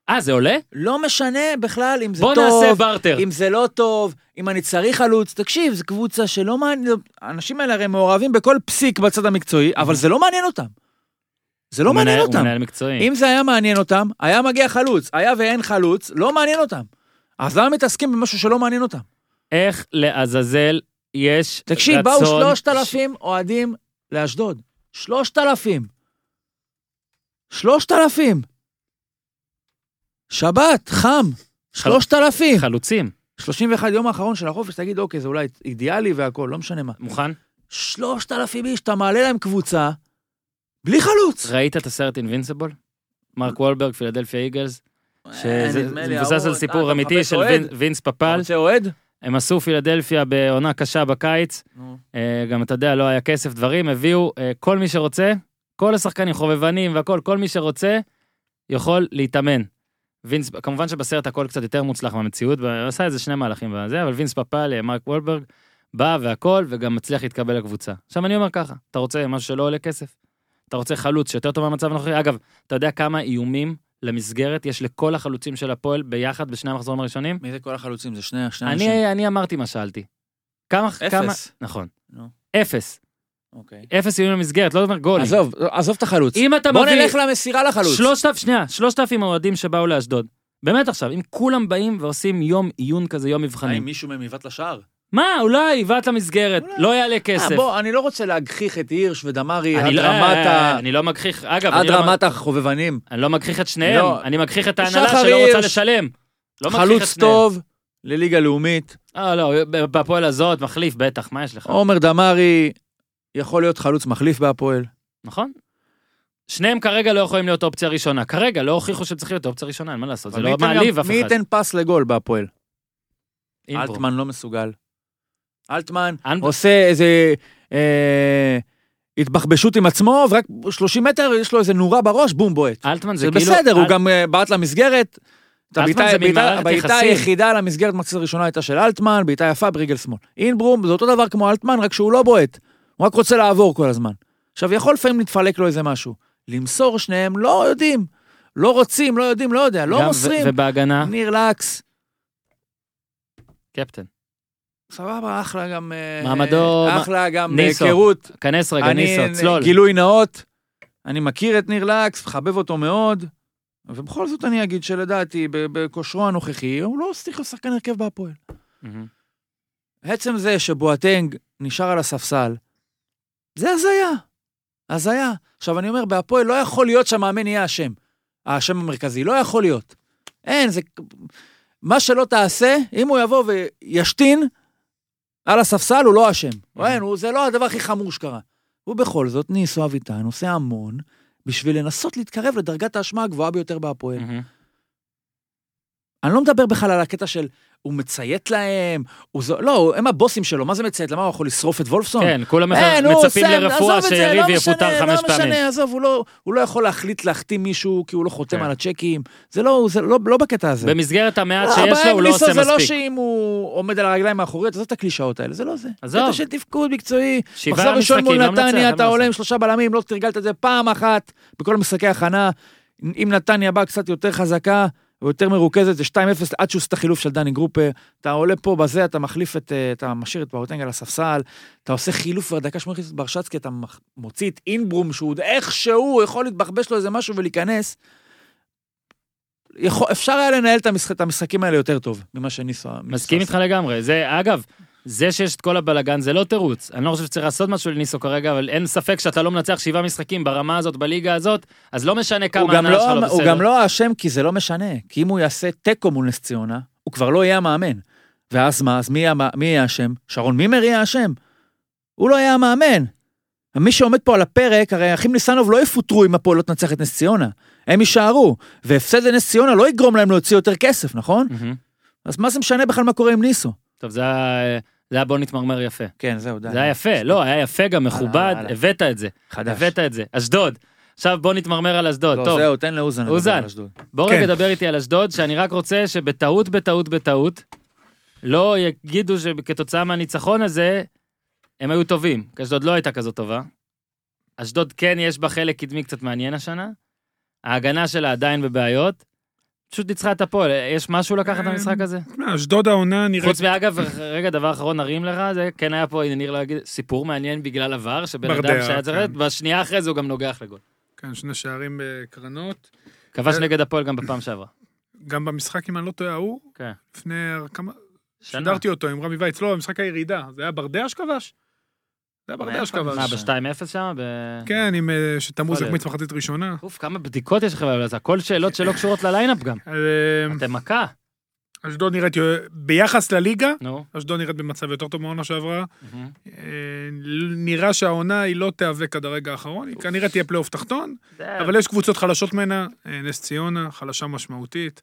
A: אה, זה עולה?
D: לא משנה בכלל אם זה
A: בוא
D: טוב,
A: נעשה בארטר.
D: אם זה לא טוב, אם אני צריך חלוץ, תקשיב, זו קבוצה שלא מעניין, האנשים האלה הרי מעורבים בכל פסיק בצד המקצועי, אבל זה לא מעניין אותם. זה לא
A: הוא
D: מעניין
A: Mm-hmm. מנהל- הוא
D: אותם.
A: מנהל מקצועי.
D: אם זה היה מעניין אותם, היה מגיע חלוץ, היה ואין חלוץ, לא מעניין אותם. אז למה מתעסקים במשהו שלא מעניין אותם?
A: איך לעזאזל יש
D: תקשיב, באו
A: רצון...
D: 3,000 אוהדים לאשדוד. 3,000. 3,000. שבת, חם. 3,000.
A: חלוצים,
D: 31 יום האחרון של החופש, תגיד, אוקיי, זה אולי אידיאלי והכול, לא משנה מה.
A: מוכן?
D: 3,000 איש, אתה מעלה להם קבוצה, בלי חלוץ.
A: ראית את הסרט אינבינסיבול? מרק וולברג, פילדלפיה איגלס, שזה
D: אה, נדמה
A: זה
D: לי,
A: מבוסס על
D: ההוא- אה,
A: סיפור
D: אתה
A: אמיתי
D: מחפש
A: של
D: אוהד?
A: וינ- וינס
D: אתה
A: פפל.
D: רוצה אוהד?
A: הם עשו פילדלפיה בעונה קשה בקיץ,
D: נו.
A: אה, גם אתה יודע, לא היה כסף, דברים, הביאו אה, כל מי שרוצה, כל השחקנים, חובבנים והכל, כל מי שרוצה, יכול להתאמן. וינס, כמובן שבסרט הכל קצת יותר מוצלח מהמציאות, הוא עשה איזה שני מהלכים וזה, אבל וינס פפל, אה, מרק וולברג, בא והכל, וגם מצליח להתקבל לקבוצה. עכשיו אני אומר ככה, אתה רוצה משהו שלא עולה כסף? אתה רוצה חלוץ שיותר טוב מהמצב הנוכחי? אגב, אתה יודע כמה איומים למסגרת יש לכל החלוצים של הפועל ביחד בשני המחזורים הראשונים?
F: מי זה כל החלוצים? זה שני, שני אנשים.
A: אני, אני אמרתי מה שאלתי. כמה, כמה,
F: אפס.
A: נכון.
F: נו.
A: אפס.
F: אוקיי.
A: אפס איומים למסגרת, לא אומר גולים.
D: עזוב, עזוב את החלוץ.
A: אם אתה
D: בוא
A: מביא
D: נלך למסירה לחלוץ.
A: שלושת אלפים, שנייה, שלושת אלפים אוהדים שבאו לאשדוד. באמת עכשיו, אם כולם באים ועושים יום עיון כזה, יום
F: האם
A: מבחנים.
F: מישהו מהם יבעט לשער?
A: מה, אולי עיוות למסגרת, לא יעלה
D: אה,
A: כסף.
D: בוא, אני לא רוצה להגחיך את הירש ודמרי עד
A: אני לא-
D: רמת ה...
A: אני לא מגחיך, אגב,
D: עד
A: אני לא מג-
D: רמת החובבנים.
A: אני לא מגחיך את שניהם,
D: לא.
A: אני מגחיך את ההנהלה
D: שחר
A: שלא רוצה
D: הירש,
A: לשלם. לא מגחיך את
D: חלוץ
A: שניהם.
D: טוב לליגה לאומית.
A: אה, לא, בפועל הזאת, מחליף, בטח, מה יש לך?
D: עומר דמרי יכול להיות חלוץ מחליף בהפועל.
A: נכון? שניהם כרגע לא יכולים להיות אופציה ראשונה. כרגע לא הוכיחו שצריך להיות אופציה ראשונה, אין מה לעשות, זה
D: אבל מי
A: לא
D: ייתן
A: מעליב
D: גם-
A: אף
D: מי
A: אחד.
D: ייתן פס לגול בהפועל?
A: אינברו.
D: אלטמן לא מסוגל. אלטמן
A: אנ-
D: עושה איזה אה, התבחבשות עם עצמו, ורק 30 מטר יש לו איזה נורה בראש, בום בועט.
A: אלטמן זה
D: זה
A: כאילו...
D: בסדר, הוא
A: אל-
D: גם אה, בעט למסגרת. את
A: אלטמן
D: הבעיטה-
A: זה
D: הבעיטה-
A: ממערכת
D: הבעיטה
A: יחסים.
D: היחידה למסגרת במחצית הראשונה הייתה של אלטמן, בעיטה יפה ברגל שמאל. אינברום זה אותו דבר כמו אלטמן, רק שהוא לא בועט. הוא רק רוצה לעבור כל הזמן. עכשיו, יכול לפעמים להתפלק לו איזה משהו. למסור שניהם לא יודעים. לא רוצים, לא יודעים, לא יודע,
A: גם
D: לא
A: ו-
D: מוסרים.
A: ובהגנה,
D: ניר לקס,
A: קפטן.
D: סבבה, אחלה גם... אה,
A: מעמדו-
D: אחלה גם אה,
A: ניסו.
D: היכרות.
A: כנס רגע,
D: אני-
A: ניסו, צלול.
D: גילוי נאות, אני מכיר את ניר לקס, מחבב אותו מאוד, ובכל זאת אני אגיד שלדעתי, ב- בכושרו הנוכחי, הוא לא צריך להיות שחקן הרכב בהפועל.
A: מהמם.
D: עצם זה שבואטנג נשאר על הספסל, זה הזיה. הזיה. עכשיו, אני אומר, בהפועל לא יכול להיות שהמאמן יהיה אשם. האשם המרכזי, לא יכול להיות. אין, זה... מה שלא תעשה, אם הוא יבוא וישתין על הספסל, הוא לא אשם. אין, הוא, זה לא הדבר הכי חמור שקרה. ובכל זאת, ניסו אביטן עושה המון בשביל לנסות להתקרב לדרגת האשמה הגבוהה ביותר בהפועל.
A: מהמם.
D: אני לא מדבר בכלל על הקטע של הוא מציית להם, הוא זו... לא, הם הבוסים שלו, מה זה מציית? למה הוא יכול לשרוף את וולפסון?
A: כן, כולם
D: אין, הוא
A: מצפים
D: עושה,
A: לרפואה
D: אה, עזוב את זה,
A: שיריב
D: לא משנה,
A: יפוטר חמש
D: לא
A: פעמים.
D: משנה, עזוב, הוא לא, הוא לא יכול להחליט להחתים מישהו כי הוא לא חותם
A: כן.
D: על הצ'קים. זה לא, זה לא, לא בקטע הזה.
A: במסגרת המעט
D: לא,
A: שיש
D: הבעיה
A: לו,
D: עם
A: הוא לא
D: ניסו
A: עושה
D: זה לא
A: מספיק.
D: שאם הוא עומד על הרגליים האחוריות, עזוב את הקלישאות האלה, זה לא זה.
A: עזוב.
D: קטע של תפקוד מקצועי.
A: שבעה
D: מחזור ראשון
A: משחקים,
D: מול
A: לא מנצח, אין מה
D: נתניה, אתה
A: לעשות.
D: עולה עם שלושה בלמים, לא תרגלת את זה פעם אחת בכל משחקי הכנה. אם נתניה באה קצת יותר חזקה ויותר מרוכזת, זה 2-0 עד שהוא עושה את החילוף של דני גרופר. אתה עולה פה בזה, אתה מחליף את, אה, אתה משאיר את באוטנג על הספסל, אתה עושה חילוף בדקה שמונה את ברשצקי, אתה מח- מוציא את אינברום, שהוא עוד איכשהו יכול להתבחבש לו איזה משהו ולהיכנס. יכול, אפשר היה לנהל את, המשחק, את המשחקים האלה יותר טוב ממה שניסו.
A: מסכים איתך לגמרי. זה, אגב, זה שיש את כל הבלגן זה לא תירוץ. אני לא חושב שצריך לעשות משהו לניסו כרגע, אבל אין ספק שאתה לא מנצח שבעה משחקים ברמה הזאת, בליגה הזאת, אז לא משנה
D: הוא
A: כמה
D: גם,
A: ההנאה שלך
D: לא,
A: לא
D: הוא
A: בסדר.
D: גם לא אשם כי זה לא משנה, כי אם הוא יעשה תיקו מול נס ציונה, הוא כבר לא יהיה המאמן. ואז מה, אז מי יהיה המ- מי יהיה אשם? שרון מימר יהיה אשם? הוא לא יהיה המאמן. מי שעומד פה על הפרק, הרי האחים ניסנוב לא יפוטרו אם הפועל לא תנצח את נס ציונה. הם יישארו, והפסד לנס ציונה לא יגרום להם להוציא יותר כסף, נכון?
A: מהמם.
D: אז מה זה משנה בכלל מה קורה עם ניסו?
A: טוב, זה היה- זה היה בוא נתמרמר יפה.
D: כן, זהו, די.
A: זה היה יפה, לא, היה יפה גם, מכובד,
D: הלאה.
A: הבאת את זה.
D: חדש.
A: הבאת את זה. אשדוד. עכשיו בוא נתמרמר על אשדוד.
D: לא,
A: טוב,
D: זהו, תן לאוזן. לדבר
A: אוזן.
D: על אשדוד.
A: בוא
B: כן.
A: רגע דבר איתי על אשדוד, שאני רק רוצה שבטעות, בטעות, בטעות, לא יגידו שכתוצאה מהניצחון הזה, הם היו טובים, כי אשדוד לא הייתה כזאת טובה. אשדוד כן יש בה חלק קדמי קצת מעניין השנה. ההגנה שלה עדיין בבעיות. פשוט ניצחה את הפועל, יש משהו לקחת
B: אמ,
A: במשחק הזה?
B: תשמע, אשדוד העונה נראית...
A: חוץ מאגב, רגע, דבר אחרון נרים לך, זה כן היה פה, הנה ניר להגיד, סיפור מעניין בגלל עבר, שבן אדם
B: ברדע,
A: שהיה צריך
B: כן.
A: ללכת, בשנייה אחרי זה הוא גם נוגח לגול.
B: כן, שני שערים בקרנות.
A: כבש
B: אה.
A: נגד הפועל גם בפעם שעברה.
B: גם במשחק, אם אני לא טועה, ההוא,
A: כן.
B: לפני כמה...
A: שנה.
B: שידרתי אותו עם רמי וייץ, לא, משחק הירידה. זה היה ברדע שכבש? זה היה ברדע
A: מה,
B: שכבש.
A: ב-2-0 שם? ב-
B: כן, עם אה, שתמרו
A: יכול להיות.
B: זקמיץ מחצית ראשונה.
A: אוף, כמה בדיקות יש לכם, אבל זה הכל שאלות שלא קשורות לליינאפ גם.
B: אז, אה,
A: אתם מכה.
B: אשדוד נראית, ביחס לליגה,
A: נו.
B: אשדוד נראית במצב יותר טוב מהעונה שעברה. אה, נראה שהעונה היא לא תיאבק עד הרגע האחרון, היא כנראה תהיה פלייאוף תחתון,
A: זה-
B: אבל יש קבוצות חלשות ממנה, אה, נס ציונה, חלשה משמעותית,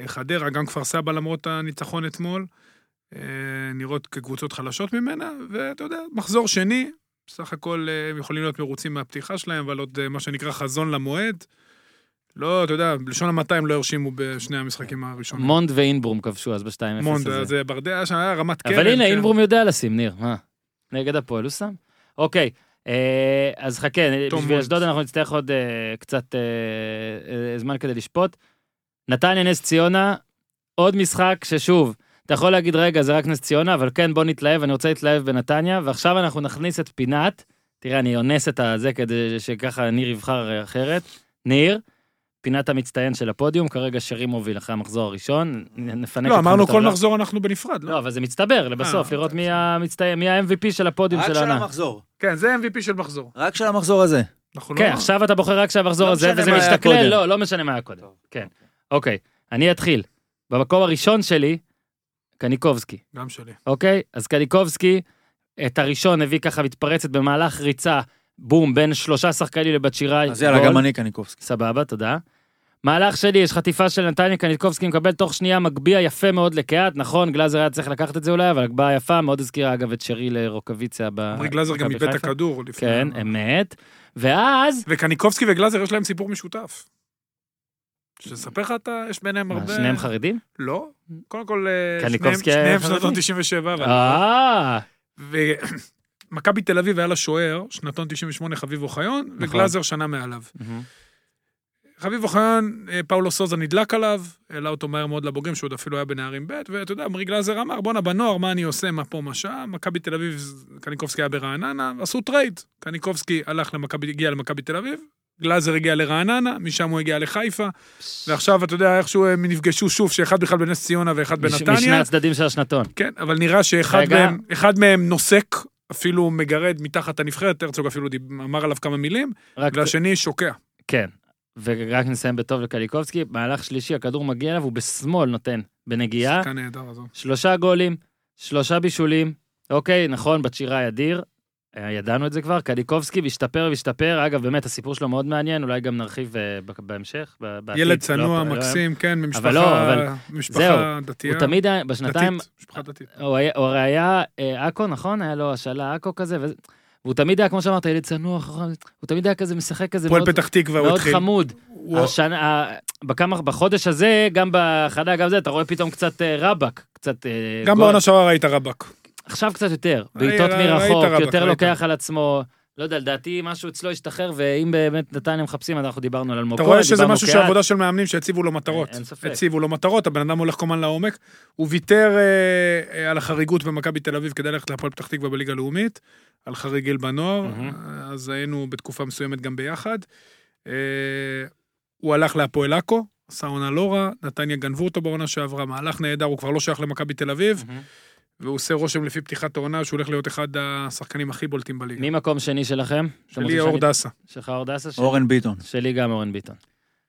B: אה, חדרה, גם כפר סבא למרות הניצחון אתמול, אה, נראות כקבוצות חלשות ממנה, ואתה יודע, מחזור שני, בסך הכל אה, הם יכולים להיות מרוצים מהפתיחה שלהם, אבל עוד אה, מה שנקרא חזון למועד. לא, אתה יודע, בלשון המעטה הם לא הרשימו בשני המשחקים הראשונים.
A: מונד ואינברום כבשו אז ב-2-0
B: מונד,
A: הזה.
B: זה ברדע, שהיה רמת קרן.
A: אבל הנה,
B: כן.
A: אינברום יודע לשים, ניר, מה? נגד הפועל הוא שם. אוקיי, אה, אז חכה,
B: תום
A: בשביל
B: מונד.
A: אשדוד אנחנו נצטרך עוד אה, קצת אה, אה, זמן כדי לשפוט. נתניה נס ציונה, עוד משחק ששוב, אתה יכול להגיד, רגע, זה רק נס ציונה, אבל כן, בוא נתלהב, אני רוצה להתלהב בנתניה, ועכשיו אנחנו נכניס את פינת, תראה, אני אונס את הזה כדי שככה ניר יבחר אחרת. ניר, פינת המצטיין של הפודיום, כרגע שרי מוביל אחרי המחזור הראשון, נ- נפנק
B: לא,
A: אתכם
B: אמרנו כל
A: בטבלה.
B: מחזור אנחנו בנפרד, לא?
A: לא, אבל זה מצטבר לבסוף,
B: אה,
A: לראות מי המצטיין, מי ה-MVP של הפודיום
F: לא, רק
A: של
F: של
A: העונה.
F: המחזור.
B: כן, זה MVP של מחזור.
F: רק של המחזור הזה.
B: אנחנו לא...
A: כן, עכשיו אתה בוחר רק שהמחזור
F: לא
A: הזה,
F: משנה
A: וזה
F: מה היה
A: משתכלל,
F: קודם.
A: לא, לא משנה מה היה קודם. כן. אוקיי, אני אתחיל. במקום הראשון שלי, קניקובסקי.
B: גם שלי.
A: אוקיי? אז קניקובסקי, את הראשון הביא ככה מתפרצת במהלך ריצה, בום, בין שלושה שחקנים לבת שיראי.
F: אז יאללה,
A: גול.
F: גם אני קניקובסקי.
A: סבבה, תודה. מהלך שלי, יש חטיפה של נתניה קניקובסקי, מקבל תוך שנייה מגביה יפה מאוד לקהת, נכון, גלאזר היה צריך לקחת את זה אולי, אבל הגבהה יפה, מאוד הזכירה אגב את שרי לרוקוויציה ב...
B: עמרי גלאזר גם
A: אה, מכבי
B: איבד את אה,
A: חיפה.
B: הכדור לפני...
A: כן, אמת. ואז,
B: וקניקובסקי וגלאזר יש להם סיפור משותף. שתספר לך אתה, יש ביניהם
A: מה,
B: הרבה...
A: אה, שניהם חרדים?
B: לא. קודם כל, אה,
A: קניקובסקי היה
B: שניהם- שניהם שנתון
A: חרדי.
B: 97, אבל...
A: אה,
B: ומכבי תל אביב היה לה שוער, שנתון 98 חביב אוחיון,
A: נכון.
B: וגלאזר שנה מעליו. חביב אוחיון, אה, פאולו סוזה נדלק עליו, העלה אותו מהר מאוד לבוגרים, שהוא עוד אפילו היה בנערים ב', ואתה יודע, עמרי גלאזר אמר, בואנה, בנוער, מה אני עושה, מה פה, מה שם, מכבי תל אביב, קניקובסקי היה ברעננה, עשו טרייד. קניקובסקי הלך למכבי, הגיע למכבי תל אביב, גלאזר הגיע לרעננה, משם הוא הגיע לחיפה, ועכשיו, אתה יודע, איכשהו אה, הם נפגשו שוב, שאחד בכלל בנס ציונה ואחד
A: מש- משני
B: בנתניה.
A: הצדדים של השנתון.
B: כן, אבל נראה שאחד
A: רגע.
B: מהם, אחד מהם נוסק, אפילו מגרד מתחת הנבחרת, הרצוג אפילו דיב- אמר עליו כמה מילים,
A: רק-
B: והשני שוקע.
A: כן. ורק נסיים בטוב לקליקובסקי, מהלך שלישי, הכדור מגיע אליו, הוא בשמאל נותן, בנגיעה.
B: שחקן נהדר, עזוב.
A: שלושה גולים, שלושה בישולים. אוקיי, נכון, בת שירה אדיר. אה, ידענו את זה כבר, קניקובסקי והשתפר והשתפר, אגב באמת הסיפור שלו מאוד מעניין, אולי גם נרחיב אה, ב- בהמשך, ב- בעתיד.
B: ילד
A: לא,
B: צנוע,
A: לא,
B: מקסים, כן,
A: אבל לא, אבל-
B: ממשפחה
A: זהו,
B: ממשפחה דתייה.
A: הוא תמיד היה, בשנתיים,
B: דתית, משפחה דתית.
A: הוא היה- הוא הרי היה אה, עכו, נכון? היה לו השאלה עכו כזה, וזה- והוא תמיד היה, כמו שאמרת, ילד צנוע, נכון? הוא תמיד היה כזה משחק כזה
B: פועל
A: מאוד-
B: פתח תקווה, הוא
A: מאוד
B: התחיל.
A: חמוד.
B: הוא-
A: השנה, ה- בכמה, בחודש הזה, גם בחדה, גם זה, אתה רואה פתאום קצת אה, רבאק, קצת... אה,
B: גם
A: גול.
B: בעונה שעברה ראית רבאק.
A: עכשיו קצת יותר,
B: ראי-
A: בעיטות
B: ראית כן.
A: מרחוק,
B: רבאק,
A: יותר
B: ראית.
A: לוקח על עצמו, לא יודע, לדעתי משהו אצלו השתחרר, ואם באמת נתניה מחפשים, אז אנחנו דיברנו על אלמוג
B: אתה
A: כהן,
B: רואה שזה
A: אוקיי, דיברנו
B: משהו
A: קהת.
B: שעבודה של מאמנים שהציבו לו מטרות.
A: אין ספק.
B: הציבו לו מטרות, הבן אדם הולך כל הזמן לעומק. הוא ויתר אה, אה, על החריגות במכבי תל אביב כדי ללכת להפועל פתח תקווה בליגה הלאומית, על חריגל בנוער, אז היינו בתקופה מסוימת גם ביחד. אה, הוא הלך להפועל עכו, עשה עונה לא רע, נתניה גנבו אותו בעונה שעברה, מהלך נהדר, הוא כבר לא שייך למכבי תל אביב,
A: מהמם.
B: והוא עושה רושם לפי פתיחת העונה שהוא הולך להיות אחד השחקנים הכי בולטים בליגה.
A: מי מקום שני שלכם? אתם רוצים
B: שלי אור
A: שאני-
B: דסה,
A: שלך אור דסה? שלי-
F: אורן ביטון.
A: שלי גם אורן ביטון.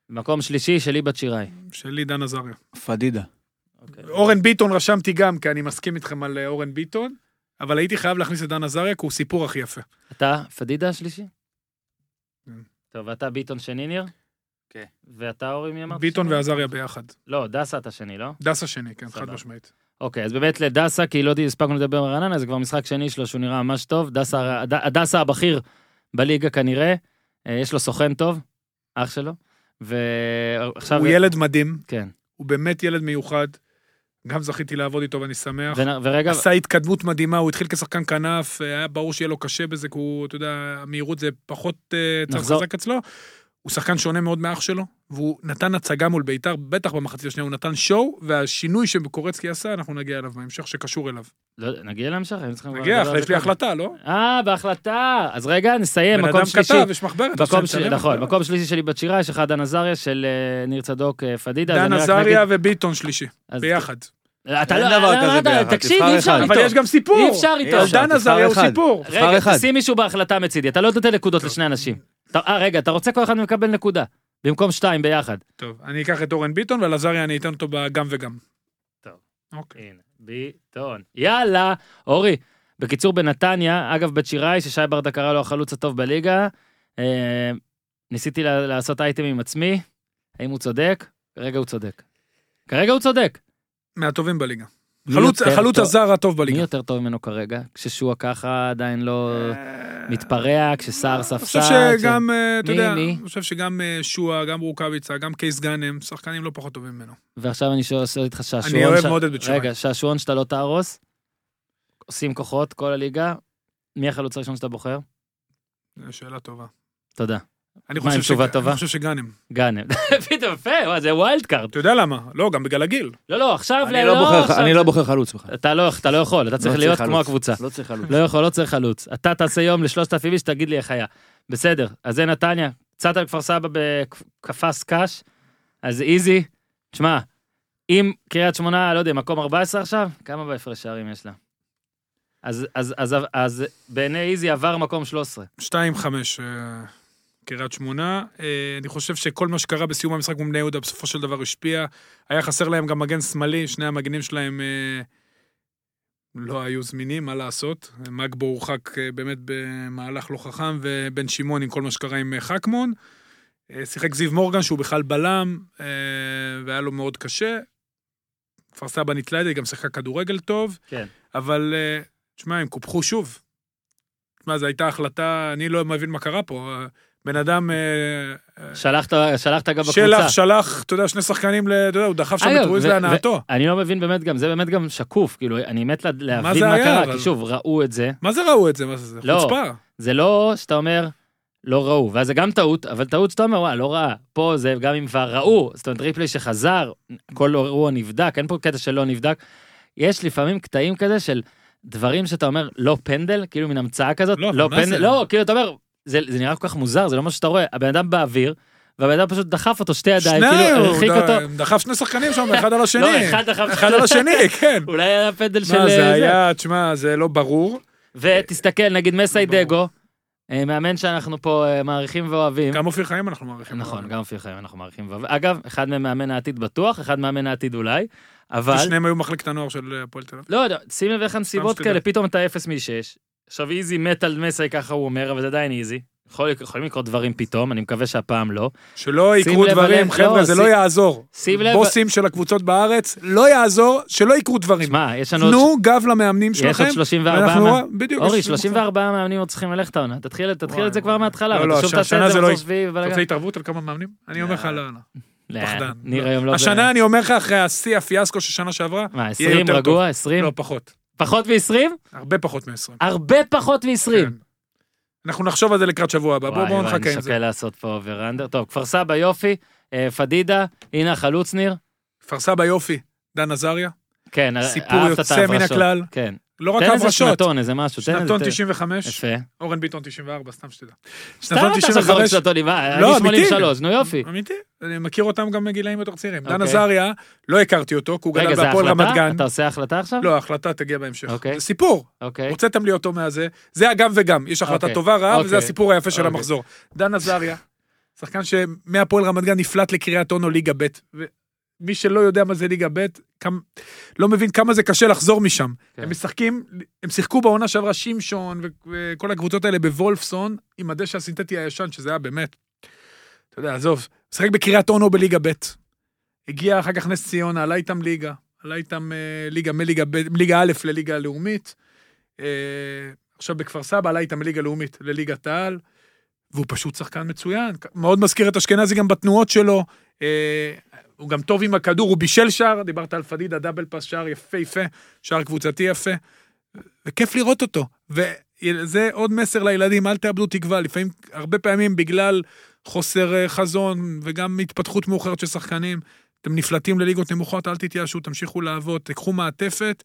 A: מקום שלישי, שלי בת שיראי. אוקיי.
B: שלי דן עזריה.
F: פדידה.
B: אורן ביטון רשמתי גם, כי אני מסכים איתכם על אה, אורן ביטון, אבל הייתי חייב להכניס את דן עזריה, כי הוא סיפור הכי יפה.
A: אתה פדידה השלישי?
B: כן.
A: טוב, ואתה ביטון שני, ניר?
F: כן.
A: ואתה אורי, מי אמרת?
B: ביטון
A: שני?
B: ועזריה ביחד.
A: לא, דסה אתה שני, לא?
B: דסה שני, כן, חד
A: סבבה.
B: משמעית.
A: אוקיי, אז באמת לדסה, כי לא הספקנו לדבר על רעננה, זה כבר משחק שני שלו שהוא נראה ממש טוב. דסה, הד- הדסה הבכיר בליגה כנראה, אה, יש לו סוכן טוב, אח שלו, ועכשיו...
B: הוא ילד מדהים,
A: כן.
B: הוא באמת ילד מיוחד. גם זכיתי לעבוד איתו ואני שמח.
A: ונ- ורגע,
B: עשה התקדמות מדהימה, הוא התחיל כשחקן כנף, אה, היה ברור שיהיה לו קשה בזה, כי הוא, אתה יודע, המהירות זה פחות אה, צד
A: נחזור.
B: חזק אצלו. הוא שחקן שונה מאוד מאח שלו, והוא נתן הצגה מול בית"ר, בטח במחצית השנייה, הוא נתן שואו, והשינוי שקורצקי עשה, אנחנו נגיע אליו בהמשך, שקשור אליו.
A: לא, נגיע להמשך? היינו צריכים כבר
B: נגיע,
A: לדבר על
B: יש
A: זה
B: לי
A: קודם.
B: החלטה, לא?
A: אה, בהחלטה. אז רגע, נסיים,
B: בן
A: כן, מקום
B: אדם
A: שלישי.
B: כתב, יש מחברת. אתה
A: מקום
B: רוצה
A: שלי,
B: לצלם
A: נכון,
B: אותה?
A: מקום שלישי שלי בת שירה, יש לך דן עזריה של אה, ניר צדוק אה, פדידה. אז
B: דן
A: אני רק
B: עזריה
A: נגיד-
B: וביטון שלישי,
A: אז-
B: ביחד.
A: אתה
F: אין
A: לא,
F: דבר
A: לא,
F: כזה
A: לא,
F: ביחד,
A: תקשיב,
F: תבחר
A: אי אפשר
F: אחד.
A: איתו.
B: אבל יש גם סיפור.
A: אי אפשר איתו.
B: יש דן
F: תבחר
B: עזריה הוא
F: אחד.
B: סיפור.
F: תבחר
A: רגע,
F: אחד.
A: תשים מישהו בהחלטה מצידי, אתה לא נותן נקודות לשני אנשים. אתה- אה, רגע, אתה רוצה כל אחד מקבל נקודה. במקום שתיים ביחד.
B: טוב, אני אקח את אורן ביטון, ועל עזריה אני אתן אותו בגם וגם.
A: טוב.
B: אוקיי.
A: הנה, ביטון. יאללה, אורי. בקיצור, בנתניה, אגב, בית שיראי, ששי ברדה קרא לו החלוץ הטוב בליגה, אה, ניסיתי לה- לעשות אייטם עם עצמי, האם הוא צודק? כרגע הוא צודק. כרגע הוא צודק.
B: מהטובים בליגה.
A: מי
B: חלוץ-
A: יותר
B: החלוץ
A: טוב-
B: הזר הטוב
A: מי
B: בליגה.
A: יותר טוב ממנו כרגע? כששועה ככה עדיין לא מתפרע, כשסער
B: אה, אני
A: ספסל.
B: חושב שגם, אה, אתה
A: מי,
B: יודע,
A: מי?
B: אני חושב שגם אה, שועה, גם רוקאביצה, גם קייס גאנם, שחקנים לא פחות טובים ממנו.
A: ועכשיו אני שואל שואל אותך שעשועון...
B: אני אוהב
A: ש-
B: מאוד את בית שמאי.
A: רגע, שעשועון שאתה לא תהרוס, עושים כוחות, כל הליגה. מי החלוץ הראשון שאתה בוחר?
B: זו שאלה טובה.
A: תודה.
B: אני
A: מה, עם
B: חושב
A: תשובה
B: ש-
A: טובה?
B: אני חושב שגאנם.
A: גאנם. פתאום, יפה, וואי, זה ווילד קארד.
B: אתה יודע למה? לא, גם בגלל הגיל.
A: לא, לא, עכשיו...
F: אני לא בוחר-
A: עכשיו-
F: אני לא בוחר חלוץ בכלל.
A: אתה לא אתה לא יכול, אתה צריך
F: לא
A: להיות
F: צריך
A: כמו
F: חלוץ.
A: הקבוצה.
F: לא צריך חלוץ.
A: לא יכול, לא צריך חלוץ. אתה תעשה יום לשלושת אלפים איש, תגיד לי איך היה. בסדר, אז זה נתניה. קצת על כפר סבא בקפס קש, אז איזי. תשמע, אם קריית שמונה, לא יודע, מקום 14 עכשיו, כמה בהפרש שערים יש לה? אז, אז, אז, אז, אז בעיני איזי עבר מקום 13.
B: 2-5 אה, קריית שמונה. אה, אני חושב שכל מה שקרה בסיום המשחק מול בני יהודה בסופו של דבר השפיע. היה חסר להם גם מגן שמאלי, שני המגנים שלהם אה, לא היו זמינים, מה לעשות. מגבו הורחק אה, באמת במהלך לא חכם, ובן שמעון עם כל מה שקרה עם אה, חכמון. אה, שיחק זיו מורגן שהוא בכלל בלם, אה, והיה לו מאוד קשה. כפר סבא ניצלה את זה, היא גם שיחקה כדורגל טוב.
A: כן.
B: אבל, אה, תשמע, הם קופחו שוב. תשמע, זו הייתה החלטה, אני לא מבין מה קרה פה. אה, בן אדם, אה, אה,
A: שלחת, שלחת גם בקבוצה.
B: שלח, שלח, אתה יודע, שני שחקנים, ל- אתה יודע, הוא דחף שם
A: אגב,
B: את רואיז
A: ו-
B: להנאתו.
A: אני לא מבין באמת גם, זה באמת גם שקוף, כאילו, אני מת לה-
B: זה
A: להבין מה
B: היה,
A: קרה,
B: אבל?
A: כי שוב, ראו את זה.
B: מה זה ראו את זה? מה זה? זה
A: לא.
B: חוצפה.
A: זה לא שאתה אומר, לא ראו, ואז זה גם טעות, אבל טעות שאתה אומר, וואלה, לא ראה. פה זה גם עם כבר ראו, זאת אומרת, ריפלי שחזר, כל אירוע נבדק, אין פה קטע שלא נבדק. יש לפעמים קטעים כזה של דברים שאתה אומר, לא פנדל, כאילו מין המצאה כזאת,
B: לא,
A: לא,
B: אבל מה
A: פנדל,
B: זה?
A: לא, כאילו אתה אומר, זה, זה נראה כל כך מוזר, זה לא משהו שאתה רואה, הבן אדם באוויר, והבן אדם פשוט דחף אותו שתי ידיים, כאילו,
B: הוא
A: הרחיק
B: ד-
A: אותו,
B: דחף שני שחקנים שם, אחד על השני.
A: לא, אחד דחף-
B: על השני, כן.
A: אולי היה פנדל של...
B: מה,
A: אה,
B: זה היה, תשמע, זה לא ברור.
A: ותסתכל, נגיד מסי
B: ברור.
A: דגו, אה, מאמן שאנחנו פה אה, מעריכים ואוהבים.
B: גם אופיר חיים אנחנו מעריכים.
A: נכון, גם אופיר חיים אנחנו מעריכים. ואוהבים. אגב, אחד מהם מאמן העתיד בטוח, אחד מאמן העתיד אולי, אבל...
B: שניהם היו מחלקת הנוער של אה, הפועל תל אביב.
A: לא יודע, שים לב איך הנסיבות
B: שתדע.
A: כאלה, פתאום אתה אפס משש. עכשיו איזי מת על מסי, ככה הוא אומר, אבל זה עדיין איזי. יכול- יכולים לקרות דברים פתאום, אני מקווה שהפעם לא.
B: שלא
A: שים
B: יקרו
A: לב
B: דברים,
A: עליהם,
B: חבר'ה,
A: לא,
B: זה
A: שים-
B: לא יעזור.
A: שים לב-
B: בוסים של הקבוצות בארץ, לא יעזור, שלא יקרו דברים.
A: שמע, יש לנו עוד...
B: תנו גב למאמנים
A: יש
B: שלכם.
A: עוד 34
B: ואנחנו-
A: מה...
B: בדיוק.
A: אורי,
B: יש לנו
A: 34 מאמנים עוד צריכים ללכת העונה. תתחיל תתחיל
B: וואי,
A: את זה כבר
B: וואי.
A: מההתחלה,
B: לא,
A: אבל
B: לא,
A: שוב תעשה
B: השנה
A: את
B: זה
A: זה
B: לא
A: מחזור שביעי
B: אתה
A: ובלאגן.
B: רוצה התערבות על כמה מאמנים? אני אומר לך, לא, לא.
A: לא,
B: פחדן.
A: ניר
B: לא.
A: היום לא... ב-
B: השנה אני אומר לך, אחרי השיא, הפיאסקו של שנה שעברה,
A: מה,
B: יהיה
A: 20
B: יותר טוב.
A: רגוע? 20?
B: לא, פחות.
A: פחות מ-20?
B: הרבה פחות מ-20.
A: הרבה פחות
B: כן.
A: מ-20.
B: אנחנו נחשוב על זה לקראת שבוע הבא, בואו
A: וואי,
B: בואו
A: וואי,
B: נחכה עם
A: אני
B: זה.
A: שוקל לעשות פה וראנדר. טוב, כפר סבא יופי, אה, פדידה, הנה החלוץ ניר.
B: כפר סבא יופי, דן עזריה,
A: כן,
B: סיפור
A: אהבת את
B: יוצא מן
A: ההברשות.
B: הכלל.
A: כן.
B: לא רק
A: תן איזה
B: הברשות.
A: שנתון, איזה משהו. תן איזה-
B: שנתון
A: תן-
B: 95,
A: יפה.
B: אורן ביטון 94, סתם שתדע.
A: סתם
B: שנתון
A: אתה זוכר
B: 95,
A: שנתון, מה,
B: לא,
A: אני
B: אמיתי.
A: 83, נו יופי.
B: אמיתי, אני מכיר אותם גם מגילאים יותר צעירים. דן
A: אוקיי.
B: עזריה, לא הכרתי אותו, כי הוא
A: רגע,
B: גדל
A: זה
B: בהפועל רמת
A: החלטה?
B: גן.
A: אתה עושה החלטה עכשיו?
B: לא, ההחלטה תגיע בהמשך.
A: אוקיי.
B: זה סיפור,
A: אוקיי.
B: הוצאתם לי אותו מהזה, זה הגם וגם, יש החלטה
A: אוקיי.
B: טובה רעה, וזה
A: אוקיי.
B: הסיפור היפה של
A: אוקיי.
B: המחזור. דן עזריה, שחקן שמהפועל רמת גן נפלט לקריית אונו ליגה ב', ומי שלא יודע מה זה ליגה ב', כמ- לא מבין כמה זה קשה לחזור משם.
A: כן.
B: הם משחקים, הם שיחקו בעונה שעברה שמשון ו- וכל הקבוצות האלה בוולפסון, עם הדשא הסינתטי הישן, שזה היה באמת, אתה יודע, עזוב, משחק בקריית אונו בליגה ב', הגיע אחר כך נס ציונה, עלה איתם ליגה, עלה איתם אה, ליגה מליגה ב'- מליגה א' לליגה הלאומית. אה, עכשיו בכפר סבא, עלה איתם מליגה לאומית לליגת העל, והוא פשוט שחקן מצוין. מאוד מזכיר את אשכנזי גם בתנועות שלו. אה, הוא גם טוב עם הכדור, הוא בישל שער, דיברת על פדידה, דאבל פס, שער יפהפה, שער קבוצתי יפה. וכיף לראות אותו. וזה עוד מסר לילדים, אל תאבדו תקווה. לפעמים, הרבה פעמים בגלל חוסר אה, חזון וגם התפתחות מאוחרת של שחקנים, אתם נפלטים לליגות נמוכות, אל תתייאשו, תמשיכו לעבוד, תיקחו מעטפת.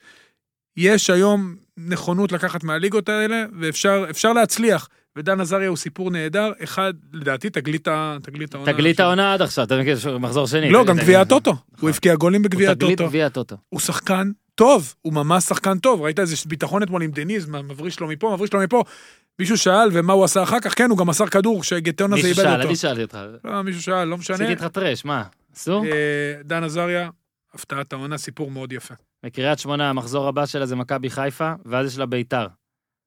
B: יש היום נכונות לקחת מהליגות האלה, ואפשר אפשר להצליח. ודן עזריה הוא סיפור נהדר, אחד, לדעתי, תגלית ה- תגלית העונה.
A: תגלית
B: של-
A: העונה עד עכשיו, אתה מכיר, ש- מחזור שני.
B: לא,
A: תגלית
B: גם גביע
A: העונה.
B: הטוטו. הוא הבקיע גולים
A: נכון. הוא
B: בגביע
A: תגלית
B: הטוטו.
A: גביע הטוטו.
B: הוא שחקן טוב, הוא ממש שחקן טוב. ראית איזה ביטחון אתמול עם דניז, מה, מבריש לו מפה, מבריש לו מפה. מישהו שאל, ומה הוא עשה אחר כך? כן, הוא גם מסר כדור כשגטון הזה
A: מישהו
B: איבד
A: שאל,
B: אותו.
A: אני שאלתי אותך.
B: לא, מישהו שאל, לא משנה.
A: עשיתי איתך טרש, מה? אסור?
B: אה, דן עזריה, הפתעת העונה, סיפור מאוד יפה.
A: בקריית שמונה, המחזור הבא שלה זה מכבי חיפה, ואז יש לה ביתר.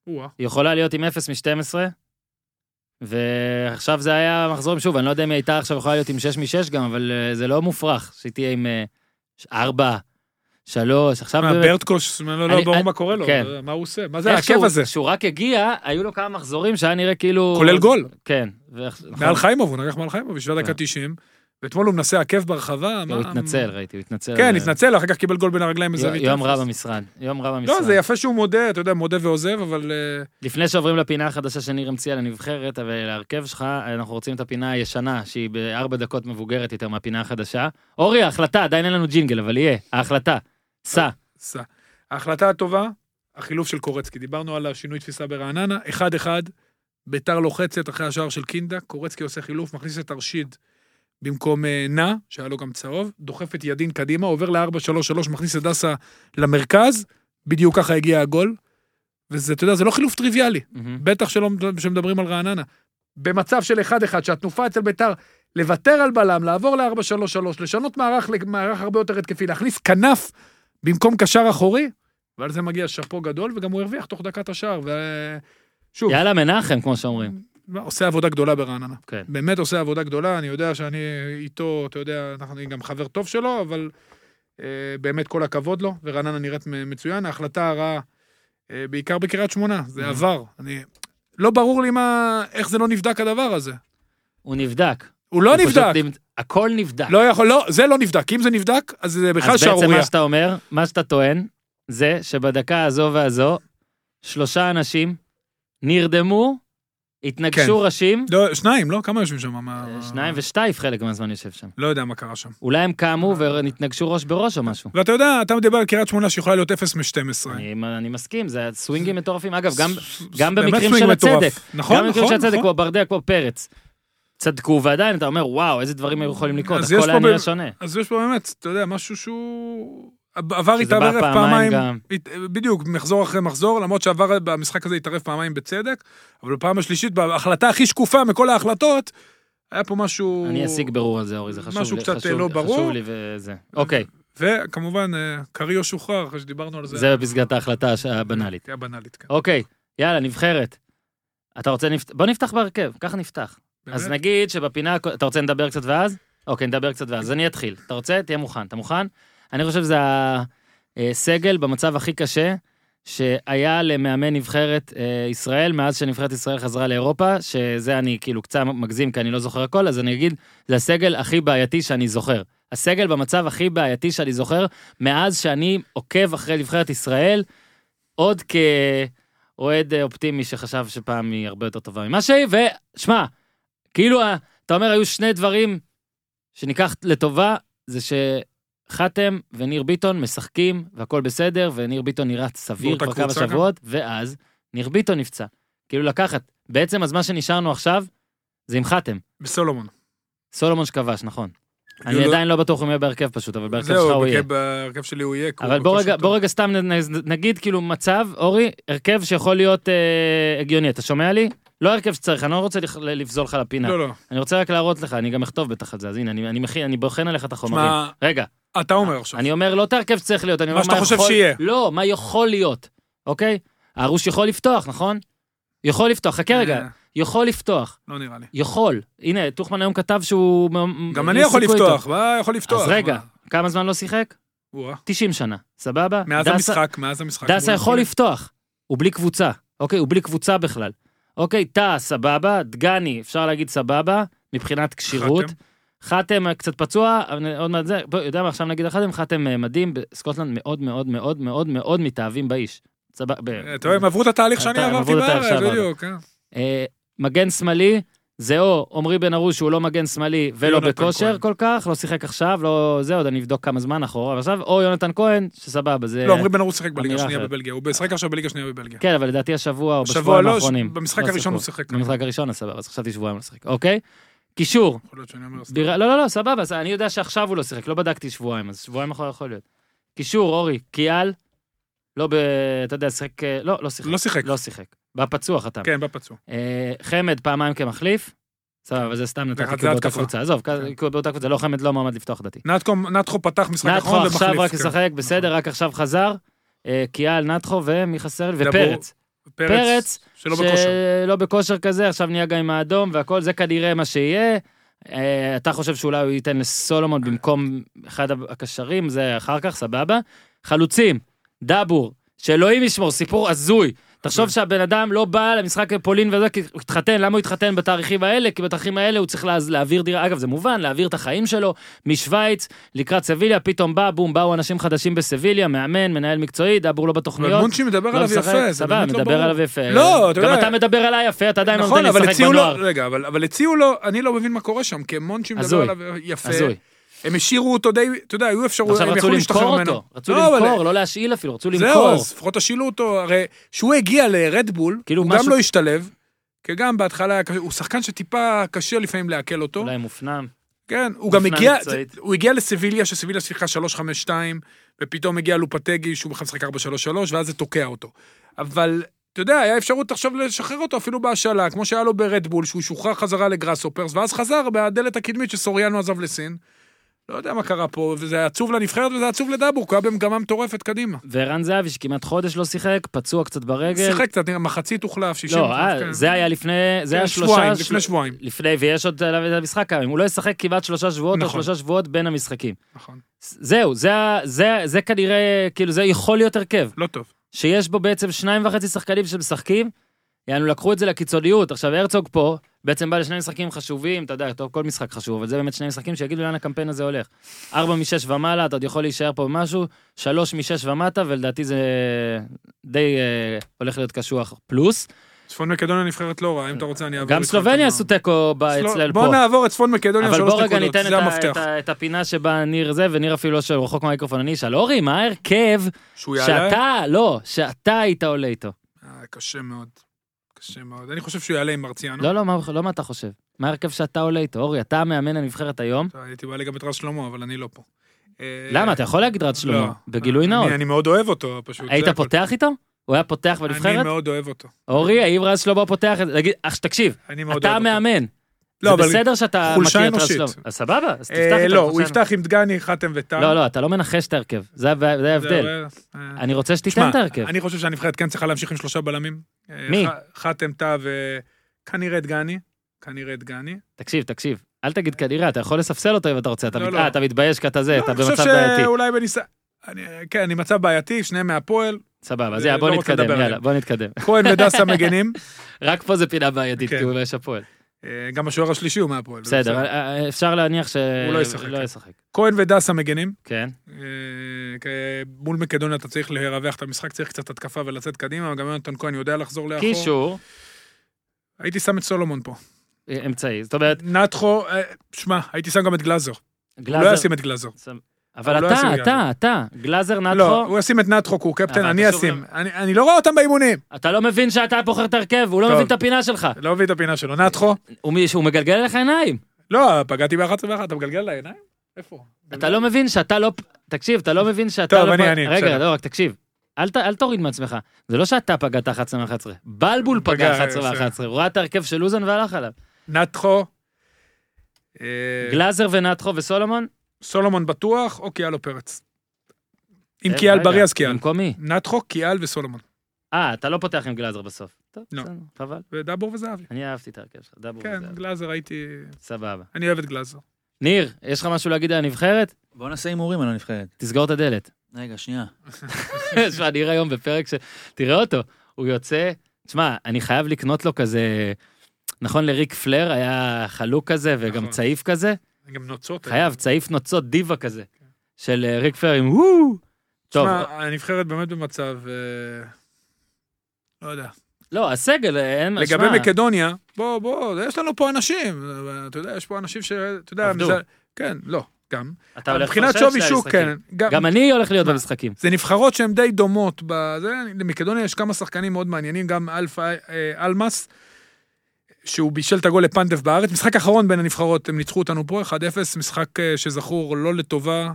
B: או-אה.
A: היא יכולה להיות עם 0 מ-12, ועכשיו זה היה מחזור, שוב, אני לא יודע אם היא הייתה עכשיו יכולה להיות עם 6 מ-6 גם, אבל אה, זה לא מופרך, שהיא תהיה עם 4, 3, עכשיו...
B: מה,
A: באמת-
B: ברטקוש, לא לא
A: אני-
B: ברור
A: אני-
B: מה קורה לו,
A: כן.
B: מה הוא עושה? מה זה
A: איכשהו,
B: העקב הזה?
A: כשהוא רק הגיע, היו לו כמה מחזורים שהיה נראה כאילו...
B: כולל גול.
A: כן. ואח- נכון.
B: מעל חיימוב, הוא נגח מעל חיימוב בשביל
A: כן.
B: דקה 90, ואתמול הוא מנסה עקב ברחבה.
A: הוא
B: מה-
A: התנצל, ראיתי, הוא התנצל.
B: כן,
A: אה,
B: התנצל, אחר כך קיבל גול בין הרגליים
A: יום-
B: בזווית.
A: יום
B: אפס.
A: רע במשרד, יום רע במשרד.
B: לא, זה יפה שהוא מודה, אתה יודע, מודה ועוזב, אבל... אה,
A: לפני שעוברים לפינה החדשה שניר המציאה לנבחרת ולהרכב שלך, אנחנו רוצים את הפינה הישנה, שהיא בארבע דקות מבוגרת יותר מהפינה החדשה. אורי, ההחלטה, עדיין אין לנו ג'ינגל, אבל יהיה, ההחלטה. סע.
B: סע. ההחלטה הטובה, החילוף של קורצקי. דיברנו על השינוי תפיסה ברעננה, 1-1, ביתר לוחצת אחרי השער של קינדה, קורצקי עושה חילוף, מכניס את ארשיד במקום אה, נע, שהיה לו גם צהוב, דוחף את ידין קדימה, עובר ל-4-3-3, מכניס את דסה למרכז, בדיוק ככה הגיע הגול. וזה, אתה יודע, זה לא חילוף טריוויאלי,
A: Mm-hmm.
B: בטח שלא שמדברים על רעננה. במצב של 1-1, שהתנופה אצל ביתר, לוותר על בלם, לעבור ל-4-3-3, לשנות מערך למערך הרבה יותר התקפי, להכניס כנף במקום קשר אחורי, ועל זה מגיע שאפו גדול, וגם הוא הרוויח תוך דקת השער, ושוב,
A: יאללה, מנחם, כמו שאומרים.
B: עושה עבודה גדולה ברעננה.
A: כן.
B: באמת עושה עבודה גדולה, אני יודע שאני איתו, אתה יודע, אנחנו אני גם חבר טוב שלו, אבל אה, באמת כל הכבוד לו, ורעננה נראית מ- מצוין. ההחלטה הרעה, אה, בעיקר בקריית שמונה,
A: Mm-hmm.
B: זה עבר. אני, לא ברור לי מה, איך זה לא נבדק הדבר הזה.
A: הוא נבדק.
B: הוא לא
A: הוא פשוט
B: נבדק.
A: נבד- הכל נבדק.
B: לא יכול, לא, זה לא נבדק. כי אם זה נבדק, אז זה בכלל
A: אז בעצם
B: שערורייה.
A: מה שאתה אומר, מה שאתה טוען, זה שבדקה הזו והזו, שלושה אנשים נרדמו, התנגשו ראשים,
B: לא, שניים, לא? כמה יושבים שם? מה-
A: אה, שניים ושטייף חלק מהזמן יושב שם.
B: לא יודע מה קרה שם.
A: אולי הם קמו
B: אה.
A: ונתנגשו ראש בראש או משהו.
B: ואתה יודע, אתה מדבר על קריית שמונה שיכולה להיות 0 מ-12.
A: אני, אני מסכים, זה סווינגים מטורפים. אגב, גם,
B: ס-
A: גם
B: באמת
A: במקרים
B: סווינג
A: של
B: מטורף.
A: הצדק.
B: נכון,
A: גם במקרים
B: נכון,
A: של הצדק,
B: נכון.
A: כמו ברדע, כמו פרץ. צדקו, ועדיין אתה אומר, וואו, איזה דברים היו יכולים לקרות,
B: אז יש
A: הכל היה
B: פה
A: נראה
B: ב-
A: שונה.
B: אז יש פה באמת, אתה יודע, משהו שהוא... עבר
A: שזה
B: התערב
A: בא
B: פעמיים,
A: גם.
B: הת- בדיוק, מחזור אחרי מחזור, למרות שעבר במשחק הזה התערב פעמיים בצדק, אבל בפעם השלישית, בהחלטה הכי שקופה מכל ההחלטות, היה פה משהו...
A: אני אשיג ברור על זה, אורי, זה חשוב
B: משהו
A: לי,
B: קצת,
A: חשוב,
B: לא ברור.
A: חשוב לי וזה. אוקיי,
B: וכמובן, אה, קריו שוחרר, אחרי שדיברנו על זה.
A: זה בפסגת ההחלטה הש- הבנאלית.
B: היה בנאלית, כן.
A: אוקיי, יאללה, נבחרת. אתה רוצה, נפ- בוא נפתח בהרכב, ככה נפתח. אז
B: באמת?
A: נגיד שבפינה, הכ- אתה רוצה נדבר קצת ואז? אוקיי, נדבר קצת ואז. אז אני אתחיל. אתה רוצה? תהיה מוכן. אתה מוכן? אני חושב שזה הסגל במצב הכי קשה שהיה למאמן נבחרת אה, ישראל מאז שנבחרת ישראל חזרה לאירופה, שזה אני כאילו קצת מגזים כי אני לא זוכר הכל, אז אני אגיד, זה הסגל הכי בעייתי שאני זוכר. הסגל במצב הכי בעייתי שאני זוכר מאז שאני עוקב אחרי נבחרת ישראל, עוד כאוהד אה, אופטימי שחשב שפעם היא הרבה יותר טובה ממה שהיא, ושמע, כאילו, ה- אתה אומר, היו שני דברים שניקח לטובה, זה שחתם וניר ביטון משחקים והכל בסדר, וניר ביטון נראה סביר
B: באותה
A: כבר כמה
B: קבוצה גם.
A: שבועות, ואז ניר ביטון נפצע. כאילו לקחת, בעצם אז מה שנשארנו עכשיו, זה עם חתם.
B: בסולומון.
A: סולומון שכבש, נכון. אני
B: כאילו-
A: עדיין לא בטוח אם הוא יהיה בהרכב פשוט, אבל בהרכב שלך
B: זהו,
A: הוא יהיה.
B: בכ- בהרכב שלי הוא יהיה. כי הוא
A: אבל בוא
B: בכושר
A: רגע,
B: טוב.
A: בוא רגע סתם נ- נ- נגיד כאילו מצב, אורי, הרכב שיכול להיות אה, הגיוני, אתה שומע לי? לא הרכב שצריך, אני לא רוצה לכ- לבזול לך לפינה.
B: לא, לא.
A: אני רוצה רק להראות לך, אני גם אכתוב בטח על זה, אז הנה, אני, אני, מכין, אני בוחן עליך את החומרים.
B: שמע,
A: רגע,
B: אתה אומר עכשיו.
A: אני אומר לא את ההרכב שצריך להיות, אני
B: מה
A: אומר
B: שאתה חושב
A: יכול...
B: שיהיה.
A: לא, מה יכול להיות, אוקיי? הרוש יכול לפתוח, נכון? יכול לפתוח, חכה כן, רגע,
B: אה,
A: יכול לפתוח,
B: לא נראה לי.
A: יכול. הנה, טוחמן היום כתב שהוא... מ-
B: גם
A: מ-
B: אני
A: יש
B: יכול
A: סיכוי
B: לפתוח,
A: איתו.
B: מה יכול לפתוח?
A: אז רגע,
B: מה?
A: כמה זמן לא שיחק?
B: או-אה.
A: 90 שנה, סבבה?
B: מאז
A: דסה-
B: המשחק, מאז המשחק.
A: דסה
B: מול
A: יכול
B: הפועל.
A: לפתוח, הוא בלי קבוצה, אוקיי? הוא בלי קבוצה בכלל. אוקיי, טאה, סבבה, דגני, אפשר להגיד סבבה, מבחינת כשירות.
B: חתם.
A: חתם אה, קצת פצוע, אבל עוד מעט זה, בוא, יודע מה, עכשיו נגיד על חתם, חתם אה, מדהים, בסקוטלנד מאוד מאוד מאוד מאוד מאוד מתאהבים באיש. סבבה. ב-
B: אה, אתה רואה, הם עברו את התהליך שאני
A: אתה- כן. הם
B: עברתי
A: עברו את התהליך
B: בארץ,
A: שעברת.
B: בדיוק. אה.
A: אה, מגן שמאלי, זה או עמרי בן ארוש, שהוא לא מגן שמאלי ולא
B: יונתן
A: בכושר
B: כהן.
A: כל כך, לא שיחק עכשיו, לא זה, עוד אני אבדוק כמה זמן אחורה, אבל עכשיו, או יונתן כהן, שסבבה, זה...
B: לא, עמרי בן ארוש שיחק בליגה
A: אמירה
B: השנייה
A: אחרת.
B: בבלגיה, הוא משחק עכשיו בליגה השנייה בבלגיה.
A: כן, אבל לדעתי השבוע או
B: השבוע
A: בשבועיים
B: לא,
A: האחרונים.
B: במשחק
A: לא
B: הראשון הוא
A: שיחקו.
B: שיחק.
A: במשחק הראשון, אז סבבה, אז חשבתי שבועיים לא שיחק, אוקיי? קישור,
B: יכול להיות שאני אומר,
A: בירה- לא, לא, לא, סבבה, אז אני יודע שעכשיו הוא לא שיחק, לא בדקתי שבועיים, אז שבועיים אחורה יכול להיות. קישור, אורי, קיאל, לא ב... אתה יודע, שיחק... אה, לא, לא שיחק.
B: לא שיחק.
A: לא שיחק. בפצוע חתם.
B: כן, בפצוע.
A: אה, חמד פעמיים כמחליף, סבבה, אבל זה סתם נתתי
B: זה
A: כי הוא באותה
B: התקפה.
A: קבוצה. עזוב, כי
B: כן.
A: כי הוא באותה קבוצה, לא, חמד לא מועמד לפתוח דעתי.
B: נתקו- נתחו פתח משחק
A: נתחו
B: אחרון
A: עכשיו רק
B: ומחליף. כן.
A: ישחק, בסדר, רק עכשיו חזר. אה, קיאל, נתחו, ומי חסר לי?
B: דבור,
A: ופרץ. פרץ,
B: נכון. שלא בכושר.
A: שלא בכושר כזה, עכשיו נהיה גם עם האדום והכל, זה כנראה מה שיהיה. אה, אתה חושב שאולי הוא ייתן לסולומון במקום אחד הקשרים, זה אחר כך, סבבה. חלוצים, דאבור, שאלוהים ישמור, סיפור הזוי. תחשוב
B: כן.
A: שהבן אדם לא בא למשחק בפולין וזה, כי הוא התחתן, למה הוא התחתן בתאריכים האלה? כי בתאריכים האלה הוא צריך לה- להעביר דירה, אגב, זה מובן, להעביר את החיים שלו משוויץ לקראת סביליה, פתאום בא, בום, באו אנשים חדשים בסביליה, מאמן, מנהל מקצועי, דאבור לא
B: אבל
A: בתוכניות.
B: מונצ'י מדבר
A: לא
B: עליו
A: משחק,
B: יפה, זה
A: סבבה,
B: באמת לא ברור.
A: מדבר עליו יפה.
B: לא, אתה
A: גם
B: יודע-
A: אתה מדבר עליי יפה, אתה עדיין לא נותן
B: נכון,
A: לי
B: אבל
A: לשחק
B: הציעו לו,
A: בנוער.
B: רגע, אבל אבל הציעו לו, אני לא מבין מה קורה שם, כי מונצ'י מדבר
A: הזוי.
B: עליו יפה.
A: הזוי.
B: הם השאירו אותו די, אתה יודע, היו אפשרויות,
A: עכשיו רצו
B: הם יכלו
A: למכור
B: להשתחרר ממנו.
A: אותו, רצו
B: לא, אבל-
A: למכור, לא להשאיל אפילו, רצו
B: זהו,
A: למכור.
B: אז לפחות תשאילו אותו, הרי כשהוא הגיע לרדבול,
A: כאילו
B: הוא
A: משהו-
B: גם לא השתלב, כי גם בהתחלה היה קשה, הוא שחקן שטיפה קשה לפעמים לעכל אותו.
A: אולי מופנם.
B: כן, הוא גם
A: אופנה
B: הגיע,
A: מקצועית.
B: הוא הגיע לסביליה, שסביליה שיחקה 3-5-2, ופתאום הגיע לופטגי, שהוא בכלל משחק 4-3-3, ואז זה תוקע אותו. אבל, אתה יודע, היה אפשרות עכשיו לשחרר אותו אפילו בהשאלה, כמו שהיה לו ברדבול, שהוא שוחרר חזרה לגראסופרס, ואז חזר בדלת הקדמית שסוריאנו עזב לסין. לא יודע מה קרה פה, וזה עצוב לנבחרת וזה עצוב לדאבור, כי הוא היה במגמה מטורפת קדימה.
A: וערן זהבי שכמעט חודש לא שיחק, פצוע קצת ברגל.
B: שיחק קצת, נראה, מחצית הוחלף, 60.
A: לא, אה, זה היה לפני, זה היה שלושה...
B: כן. שבועיים,
A: של-
B: לפני שבועיים.
A: לפני, ויש עוד עליו את המשחק היום. הוא לא ישחק כמעט שלושה שבועות או
B: נכון.
A: שלושה שבועות בין המשחקים.
B: נכון,
A: זהו, זה ה- זה- זה כנראה, כאילו, זה יכול להיות הרכב.
B: לא טוב.
A: שיש בו בעצם שניים וחצי שחקנים שמשחקים, יענו לקחו את זה לקיצוניות. עכשיו הרצוג פה, בעצם בא לשני משחקים חשובים, אתה יודע, טוב, כל משחק חשוב, אבל זה באמת שני משחקים שיגידו לאן הקמפיין הזה הולך. ארבע משש ומעלה, אתה עוד יכול להישאר פה במשהו, שלוש משש ומטה, ולדעתי זה די אה, הולך להיות קשוח פלוס.
B: צפון מקדוניה נבחרת לא רעה, אם אתה רוצה אני אעבור
A: גם
B: איתך
A: סלובניה
B: את ה-
A: עשו תיקו ב-
B: סלו-
A: אצלנו
B: בוא
A: פה.
B: נעבור את צפון מקדוניה
A: אבל
B: שלוש
A: בוא רגע ניתן
B: נקודות,
A: את
B: זה
A: ה- את
B: המפתח.
A: ה- את הפינה שבה ניר זה, וניר אפילו לא שהוא רחוק מהמיקרופון, אני אשאל, אורי, מה ההרכב
B: שהוא יעלה?
A: שאתה, לא, שאתה היית עולה איתו?
B: אה, קשה מאוד. קשה מאוד. אני חושב שהוא יעלה עם מרציאנו.
A: לא, לא, מה, לא מה אתה חושב. מה ההרכב שאתה עולה איתו? אורי, אתה המאמן הנבחרת היום.
B: אתה- הייתי מעלה גם את רז שלמה, אבל אני לא פה. אה,
A: למה? אתה יכול להגיד רד
B: לא.
A: שלמה. בגילוי
B: אני-
A: נאות.
B: אני מאוד אוהב אותו, פשוט.
A: היית
B: זה הכל.
A: פותח איתו? הוא היה פותח
B: אני
A: בנבחרת?
B: מאוד אוהב אותו.
A: אורי, האם רז שלמה פותח את זה? תגיד, אח, תקשיב,
B: אני מאוד
A: אתה
B: אוהב אותו.
A: המאמן.
B: לא,
A: זה
B: אבל-
A: בסדר שאתה
B: חולשה
A: מכיר את רז
B: אנושית.
A: שלמה. אז סבבה, אז תפתח
B: אה,
A: איתו.
B: לא, הוא
A: חולשה
B: יפתח עם דגני, חתם וטל.
A: אנושית. לא, לא, אתה לא מנחש את ההרכב. זה ה- זה
B: זה
A: ההבדל.
B: אבל- אה,
A: אני רוצה
B: תשמע,
A: שתיתן את ההרכב.
B: אני חושב שהנבחרת כן צריכה להמשיך עם שלושה בלמים. אה,
A: מי?
B: ח- חתם, אה, טאה וכנראה דגני. כנראה דגני.
A: תקשיב, תקשיב. אל תגיד כנראה, אתה יכול לספסל אותו אם אתה רוצה. אתה
B: לא,
A: מת-
B: לא.
A: אה, אתה מתבייש כי אתה זה,
B: לא,
A: אתה
B: אני חושב
A: במצב בעייתי.
B: שאולי בניסיון... כן, אני מצב בעייתי, שניהם מהפועל.
A: סבבה, אז
B: אה,
A: יאללה, בוא
B: לא רוצה
A: נתקדם,
B: לדבר
A: יאללה,
B: עליהם.
A: בוא נתקדם.
B: כהן ודסה מגנים.
A: רק פה זה פינה בעייתית,
B: כן.
A: כי הוא יש הפועל.
B: אה, גם השוער השלישי הוא מהפועל. זה
A: בסדר, אה, אה, אפשר להניח ש...
B: הוא לא ישחק.
A: לא ישחק,
B: כהן ודסה מגנים.
A: כן.
B: אה, כ- מול מקדוניה אתה צריך לרווח את המשחק, צריך קצת התקפה ולצאת קדימה, גם יונתן כהן יודע לחזור לאחור.
A: קישור,
B: הייתי שם את סולומון פה.
A: אה, אמצעי, זאת אומרת,
B: נתחו, אה, שמע, הייתי שם גם את גלאזר. הוא לא
A: גלאזר...
B: ישים את גלאזר.
A: אבל
B: הוא לא ישים
A: אתה, אתה,
B: גלאזר.
A: אתה, גלאזר
B: לא,
A: נתחו,
B: הוא ישים את נתחו, כי הוא קפטן,
A: אה, אבל
B: אני
A: חשוב
B: אשים.
A: גם-
B: אני אני לא רואה אותם באימונים.
A: אתה לא מבין שאתה בוחר את הרכב, הוא לא
B: טוב.
A: מבין את הפינה שלך.
B: לא מביא את הפינה שלו. נתחו?
A: הוא מי- שהוא מגלגל אליך עיניים.
B: לא, פגעתי ב-11 ו-1, אתה מגלגל לעיניים? איפה?
A: אתה לא מבין שאתה לא... תקשיב, אתה לא מבין שאתה לא...
B: טוב, אני-
A: פ-
B: אני,
A: רגע,
B: בסדר.
A: לא, רק תקשיב. אל ת- אל תוריד מעצמך. זה לא שאתה פגעת 11 מ-11. בלבול פגע
B: פגע,
A: 11
B: בסדר.
A: מ-11. הוא ראה את ההרכב של לוזן והלך עליו.
B: נתחו. אה,
A: גלאזר ונתחו וסולומון?
B: סולומון בטוח, או קיאלו פרץ. אם
A: אה,
B: קיאל
A: רגע,
B: בריא, אז קיאל.
A: במקומי.
B: נתחו, קיאל וסולומון.
A: אה, אתה לא פותח עם גלאזר בסוף. טוב,
B: לא.
A: בסדר, חבל.
B: ודבור וזהבי.
A: אני אהבתי את ההרכב שלך, דבור וזה.
B: כן, גלאזר הייתי...
A: סבבה.
B: אני אוהב את גלאזר.
A: ניר, יש לך משהו להגיד על הנבחרת?
F: בוא נעשה הימורים על הנבחרת.
A: תסגור את הדלת.
F: רגע, שנייה.
A: שמע, ניר היום בפרק ש... תראה אותו, הוא יוצא... תשמע, אני חייב לקנות לו כזה... נכון, לריק פלר היה חלוק כזה וגם
B: נכון. כן.
A: צעיף כזה.
B: גם נוצות.
A: חייב, צעיף נוצות דיווה כזה. של אה, ריק פלר עם וואו. טוב,
B: שמע, הנבחרת באמת במצב... אה, לא יודע.
A: לא, הסגל, אה, אין...
B: לגבי
A: שמע,
B: מקדוניה, בוא, בוא, יש לנו פה אנשים. אתה יודע, יש פה אנשים ש... אתה יודע...
A: עבדו.
B: מזה- כן, לא, גם.
A: אתה הולך
B: מבחינת
A: לפרשן
B: שווי
A: שני
B: שוק,
A: המשחקים.
B: כן.
A: גם אני הולך להיות במשחקים.
B: זה נבחרות שהן די דומות. בזה, למקדוניה יש כמה שחקנים מאוד מעניינים, גם אלפה, אה, אלמאס, שהוא בישל את הגול לפנדף בארץ. משחק אחרון בין הנבחרות, הם ניצחו אותנו פה 1-0, משחק אה, שזכור לא לטובה, אה,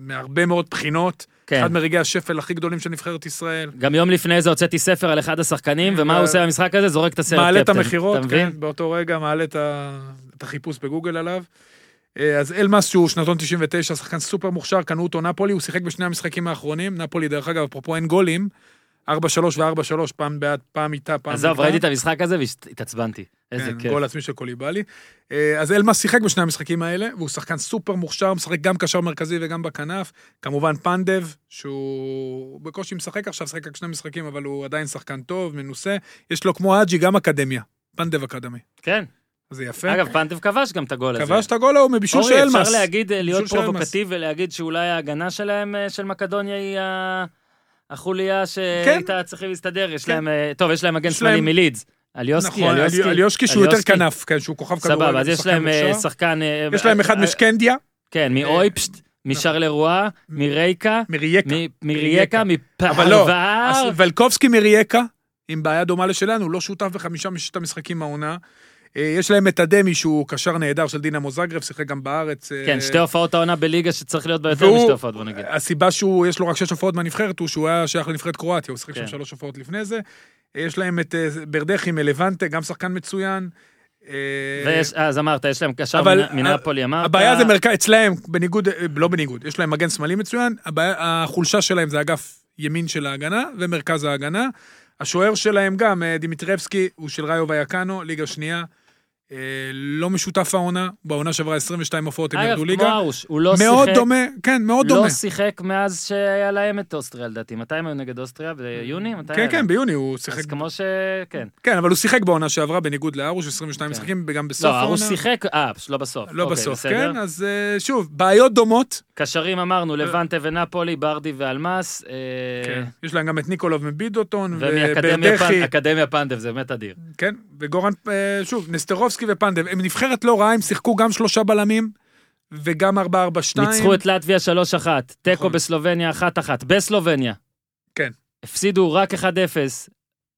B: מהרבה מאוד בחינות.
A: כן.
B: אחד מרגעי השפל הכי גדולים של נבחרת ישראל.
A: גם יום לפני זה הוצאתי ספר על אחד השחקנים, ומה הוא עושה במשחק הזה? זורק את הסרט קפטן.
B: כן, מעלה את המכירות,
A: אתה מבין?
B: כן, באותו רגע מעלה את ה- את החיפוש בגוגל עליו. אה, אז אלמאס שהוא שנתון 99, שחקן סופר מוכשר, קנו אותו נפולי, הוא שיחק בשני המשחקים האחרונים. נפולי, דרך אגב, אפרופו אין גולים, 4-3 ו-4-3, פעם בעד, פעם איתה, פעם נגדה.
A: עזוב, ראיתי את המשחק הזה והתעצבנתי. איזה
B: כן,
A: כיף.
B: גול עצמי של קוליבאלי. אה, אז אלמאס שיחק בשני המשחקים האלה, והוא שחקן סופר מוכשר, משחק גם קשר מרכזי וגם בכנף. כמובן פנדב, שהוא בקושי משחק עכשיו, שחק רק שני משחקים, אבל הוא עדיין שחקן טוב, מנוסה. יש לו כמו אג'י גם אקדמיה. פנדב אקדמי.
A: כן.
B: זה יפה.
A: אגב, פנטב כבש גם את הגול הזה.
B: כבש את הגול ההוא מבישול של
A: אורי,
B: אלמאס.
A: אפשר להגיד, אה, להיות
B: בישול של
A: פרובוקטיבי ולהגיד שאולי ההגנה שלהם, אה, של מקדוניה, היא ה- החוליה שהייתה צריכים להסתדר. יש
B: כן.
A: להם, אה, טוב, יש להם מגן
B: יש
A: שמאלי
B: להם-
A: מלידס. אליוסקי,
B: נכון,
A: אליוסקי.
B: אליושקי שהוא יותר
A: אליוסקי.
B: כנף, כן, שהוא כוכב כדורגל.
A: סבבה, אז יש
B: שחקן
A: להם אה,
B: מוכשר.
A: שחקן... אה,
B: יש להם אחד אה,
A: אה,
B: משקנדיה,
A: כן, מאויפשט, משרלרואה, מרייקה,
B: מרייקה.
A: מ- אה, מרייקה,
B: אבל לא,
A: מפרבר.
B: אז ולקובסקי מרייקה, עם בעיה דומה לשלנו, לא שותף בחמישה מששת המשחקים העונה. אה, יש להם את הדמי, שהוא קשר נהדר של דינמו זגרב, שיחק גם בארץ. אה,
A: כן, שתי הופעות העונה בליגה שצריך להיות בה יותר
B: והוא-
A: משתי הופעות, בוא נגיד.
B: הסיבה שהוא, יש לו רק שש הופעות מהנבחרת, הוא שהוא היה שייך לנבחרת קרואטיה, הוא שיחק
A: כן.
B: שם שלוש הופעות לפני זה. אה, יש להם את אה, ברדכי מלבנטה, גם שחקן מצוין. אה,
A: ויש, אז אמרת, יש להם קשר
B: אבל אה,
A: מנ- מנפולי, אמרת.
B: הבעיה זה מרכז, אצלהם, בניגוד, אה, לא בניגוד, יש להם מגן שמאלי מצוין, הבעיה, החולשה שלהם זה אגף ימין של ההגנה ומרכז ההגנה. השוער שלהם גם, אה, דימיטרבסקי, הוא של ראיו ויקאנו, ליגה שנייה. אה, לא משותף העונה, בעונה שעברה 22 הופעות הם ירדו
A: אגב, כמו
B: ליגה.
A: ארוש, הוא לא
B: מאוד
A: שיחק-
B: דומה, כן, מאוד דומה.
A: לא שיחק מאז שהיה להם את אוסטריה, לדעתי. מתי הם היו נגד אוסטריה? ביוני? מתי
B: כן,
A: היה
B: כן,
A: להם?
B: ביוני הוא שיחק.
A: אה, אז כמו ש... כן.
B: כן, אבל הוא שיחק בעונה שעברה, בניגוד לארוש, 22 משחקים, וגם בסוף
A: לא,
B: העונה.
A: ארוש שיחק, אה, פש- לא בסוף.
B: לא
A: אוקיי,
B: בסוף,
A: בסדר.
B: כן, אז אה, שוב, בעיות דומות.
A: קשרים אמרנו, לבנטה ונפולי, ברדי ואלמאס. אה,
B: כן. יש להם גם את ניקולוב מבידוטון,
A: ומאקדמיה
B: וברדכי,
A: פנ- אקדמיה פנדב, זה באמת אדיר.
B: כן, וגורן, אה, שוב, נסטרובסקי ופנדב, הם נבחרת לא רעה, הם שיחקו גם שלושה בלמים, וגם 4-4-2.
A: ניצחו את לטביה 3-1, תיקו
B: נכון.
A: בסלובניה 1-1, בסלובניה.
B: כן.
A: הפסידו רק 1-0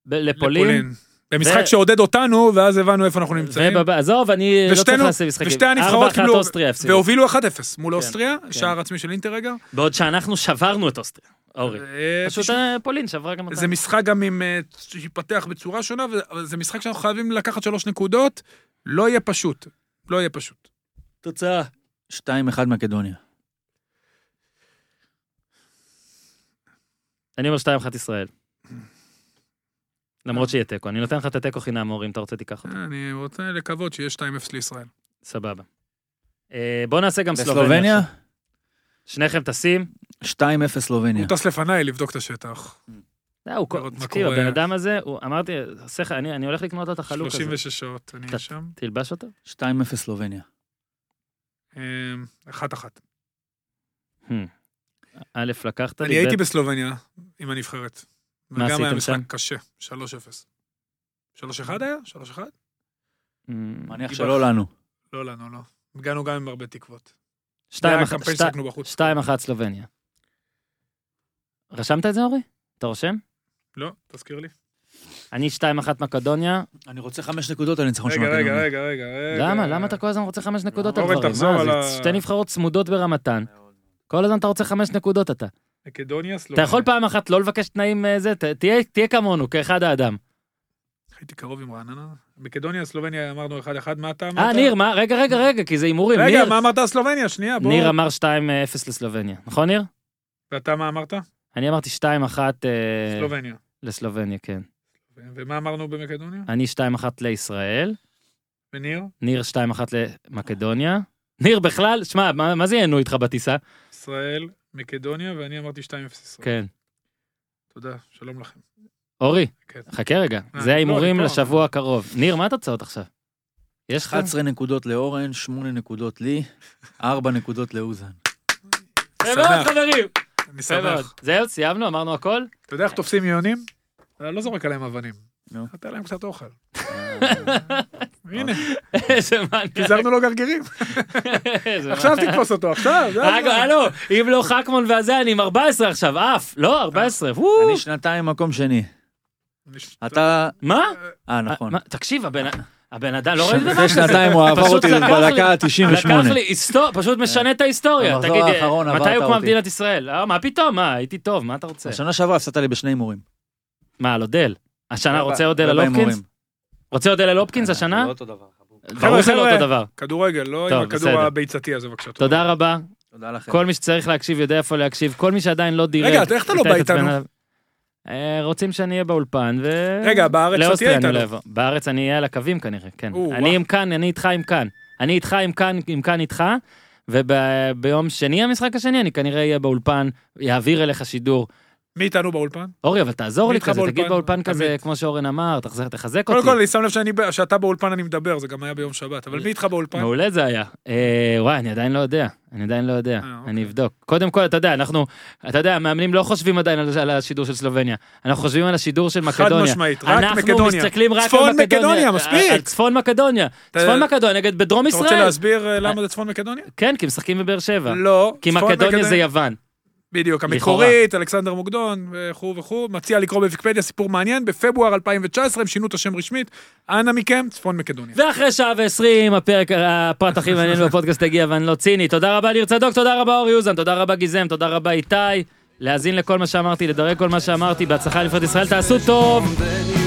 A: ב- לפולין.
B: במשחק
A: ו-
B: שעודד אותנו, ואז הבנו איפה אנחנו נמצאים.
A: ובב- עזוב, אני לא צריך
B: ושתינו-
A: לעשות משחקים.
B: ושתי הנבחרות
A: 4-1
B: קיבלו,
A: אוסטריה הפסידו.
B: והובילו 1-0
A: כן,
B: מול אוסטריה, שער עצמי של אינטרגר.
A: בעוד שאנחנו שברנו את אוסטריה, אורי.
B: אה,
A: פשוט
B: תשמע,
A: אה, פולין שברה גם
B: זה
A: אותנו.
B: משחק גם עם... אה, שיפתח בצורה שונה, וזה- אבל זה משחק שאנחנו חייבים לקחת שלוש נקודות, לא יהיה פשוט. לא יהיה פשוט.
F: תוצאה. 2-1 מקדוניה.
A: אני אומר 2-1 ישראל. למרות שיהיה תיקו, אני נותן לך את התיקו חינם, אורי, אם אתה רוצה תיקח אותו.
B: אני רוצה לקוות שיהיה 2-0 לישראל.
A: סבבה. אה, בוא נעשה גם סלובניה.
F: לסלובניה?
A: עכשיו. שניכם טסים.
F: 2-0 סלובניה.
B: הוא טס לפניי לבדוק את השטח.
A: אה, הוא כל-
B: לראות מה
A: תקשיב,
B: קורה.
A: הבן אדם הזה, הוא- אמרתי, עושה לך- אני אני הולך לקנות לו את החלוק הזה.
B: 36 שעות אני
A: אתה-
B: אהיה שם.
F: אוקיי. 2-0 סלובניה.
B: אמ, אחת-אחת.
A: Hmm. א', לקחת לי,
B: אני הייתי
A: ב',
B: בסלובניה עם הנבחרת.
A: מה
B: וגם היה
A: עשיתם
B: משחק
A: שם?
B: קשה, 3-0. 3-1 היה? 3-1?
A: אמ,
F: מניח
B: גיבח.
F: שלא לנו.
B: לא לנו, לא. הגענו גם עם הרבה תקוות. זה
A: שתיים
B: היה
A: אחת-
B: הקמפיין
A: שתי-
B: ששחקנו בחוץ.
A: שתיים אחת סלובניה. רשמת את זה, אורי? אתה רושם?
B: לא, תזכיר לי.
A: אני 2-1 מקדוניה.
F: אני רוצה חמש נקודות על ניצחון של
B: רגע,
F: מקדוניה.
B: רגע, רגע, רגע. רגע.
A: נכון למה? למה אתה כל הזמן רוצה חמש נקודות על
B: אורן,
A: דברים?
B: תחזור
A: מה,
B: על
A: זה
B: לא, ה-
A: שתי נבחרות צמודות ברמתן. כל הזמן אתה רוצה חמש נקודות אתה.
B: מקדוניה, סלובניה.
A: אתה יכול פעם אחת לא לבקש תנאים אה, זה, ת- תהיה- תהיה כמונו, כאחד האדם.
B: הייתי קרוב עם רעננה. מקדוניה, סלובניה, אמרנו 1-1, מה אתה אמרת?
A: אה, ניר, מה? רגע, רגע, רגע, כי זה הימורים.
B: רגע,
A: ניר-
B: מה אמרת על סלובניה? שנייה, בוא.
A: ניר אמר 2-0 לסלובניה. נכון, ניר?
B: ואתה מה אמרת?
A: אני אמרתי 2-1 אה,
B: סלובניה.
A: לסלובניה, כן.
B: ומה אמרנו במקדוניה?
A: אני 2-1 לישראל,
B: וניר?
A: ניר 2-1 למקדוניה. ניר בכלל, שמע, מה, מה זה יענו איתך בטיסה?
B: ישראל, מקדוניה, ואני אמרתי 2-0 ישראל.
A: כן.
B: תודה, שלום לכם.
A: אורי,
B: כן.
A: חכה רגע,
B: אה,
A: זה ההימורים
B: לא, אני פה.
A: לשבוע הקרוב. ניר, מה התוצאות עכשיו? יש לך?
F: 11 נקודות לאורן, 8 נקודות לי, 4 נקודות לאוזן.
A: יפה מאוד, חברים.
B: אני
A: יפה מאוד.
B: שמח.
A: זהו, סיימנו, אמרנו הכל?
B: אתה יודע איך תופסים יונים? אני לא זורק עליהם אבנים.
F: נו.
B: חטא להם קצת אוכל.
F: אה,
A: אה.
B: הנה,
A: איזה
F: כן.
A: מניאק.
B: פיזרנו לו גרגירים.
A: איזה מניאק.
B: עכשיו תתפוס אותו, עכשיו. זה
A: אה,
B: הזמן.
A: הלו, אם לא חכמון והזה, אני עם 14 עכשיו, עף. לא, 14. וואו.
F: אה. אני שנתיים מקום שני. אתה...
A: מה?
F: אה, נכון.
A: מה, תקשיב, הבן הבן אדם, לא ראיתי דבר
F: לפני שנתיים הוא עבר
A: פשוט
F: אותי
A: לקח לי-
F: בדקה
A: לקח
F: ה-98.
A: לי, היסטור- פשוט משנה את ההיסטוריה.
F: במחזור
A: תגיד,
F: האחרון
A: אה, מתי
F: עברת
A: הוקמה
F: אותי.
A: מדינת ישראל? אה, מה פתאום? מה, הייתי טוב, מה אתה רוצה?
F: השנה שעברה הפסדת לי בשני הימורים.
A: מה, על אודל? השנה רוצה אודל על
F: ארבע
A: הופקינס?
F: הימורים.
A: רוצה אודל על הופקינס כן, השנה?
F: זה לא אותו דבר, חבוב.
A: ברור שזה לא
B: חבר'ה.
A: אותו דבר.
B: כדורגל, לא עם
A: טוב,
B: הכדור
A: בסדר.
B: הביצתי הזה, בבקשה.
A: תודה רבה.
F: תודה לכם.
A: כל מי שצריך להקשיב יודע איפה להקשיב. כל מי שעדיין לא דירק.
B: כן. רגע, אתה- איך אתה לא
A: ייתן
B: בא
A: את עצמנו
B: איתנו?
A: עליו. אה, רוצים שאני אהיה באולפן, ו...
B: רגע, בארץ אתה
A: לאוסטריה
B: תהיה
A: אני לא
B: איתנו.
A: אבוא. בארץ אני אהיה על הקווים כנראה, כן.
B: או,
A: אני
B: וואו.
A: עם כאן, אני איתך עם כאן. אני איתך עם כאן, עם כאן איתך, וביום שני המשחק השני אני כנראה אהיה באולפן, יעביר אליך שידור.
B: מי איתנו באולפן?
A: אורי, אבל תעזור לי
B: איתך
A: כזה,
B: באולפן,
A: תגיד באולפן כזה,
B: תמיד.
A: כמו שאורן אמר, תחזר- תחזק אותי.
B: קודם כל, אני שם לב שאני ב- שאתה באולפן אני מדבר, זה גם היה ביום שבת, אבל מי איתך באולפן?
A: מעולה זה היה. אה, וואי, אני עדיין לא יודע. אני עדיין לא יודע.
B: אה, אוקיי.
A: אני אבדוק. קודם כל, אתה יודע, אנחנו, אתה יודע, המאמנים לא חושבים עדיין על על השידור של סלובניה. אנחנו חושבים על השידור של
B: חד
A: מקדוניה.
B: משמעית, רק
A: אנחנו
B: מקדוניה.
A: מסתכלים רק
B: צפון
A: על מקדוניה.
B: מקדוניה,
A: על-
B: מספיק.
A: על צפון מקדוניה.
B: אתה-
A: צפון מקדוניה נגד בדרום
B: אתה רוצה
A: ישראל.
B: להסביר אה, למה זה צפון מקדוניה?
A: כן, כי משחקים בבאר שבע.
B: לא.
A: כי
B: צפון
A: מקדוניה זה יוון.
B: בדיוק,
A: לכאורה.
B: המקורית, אלכסנדר מוקדון וכו' וכו', מציע לקרוא בוויקיפדיה סיפור מעניין, בפברואר 2019 הם שינו את השם רשמית, אנא מכם, צפון מקדוניה.
A: ואחרי שעה ועשרים, הפרק, הפרט הכי מעניין בפודקאסט הגיע, ואני לא ציני. תודה רבה ניר צדוק, תודה רבה אורי אוזן, תודה רבה גיזם, תודה רבה איתי. להאזין לכל מה שאמרתי, לדרג כל מה שאמרתי, בהצלחה לנבחרת ישראל, תעשו טוב.
C: Then you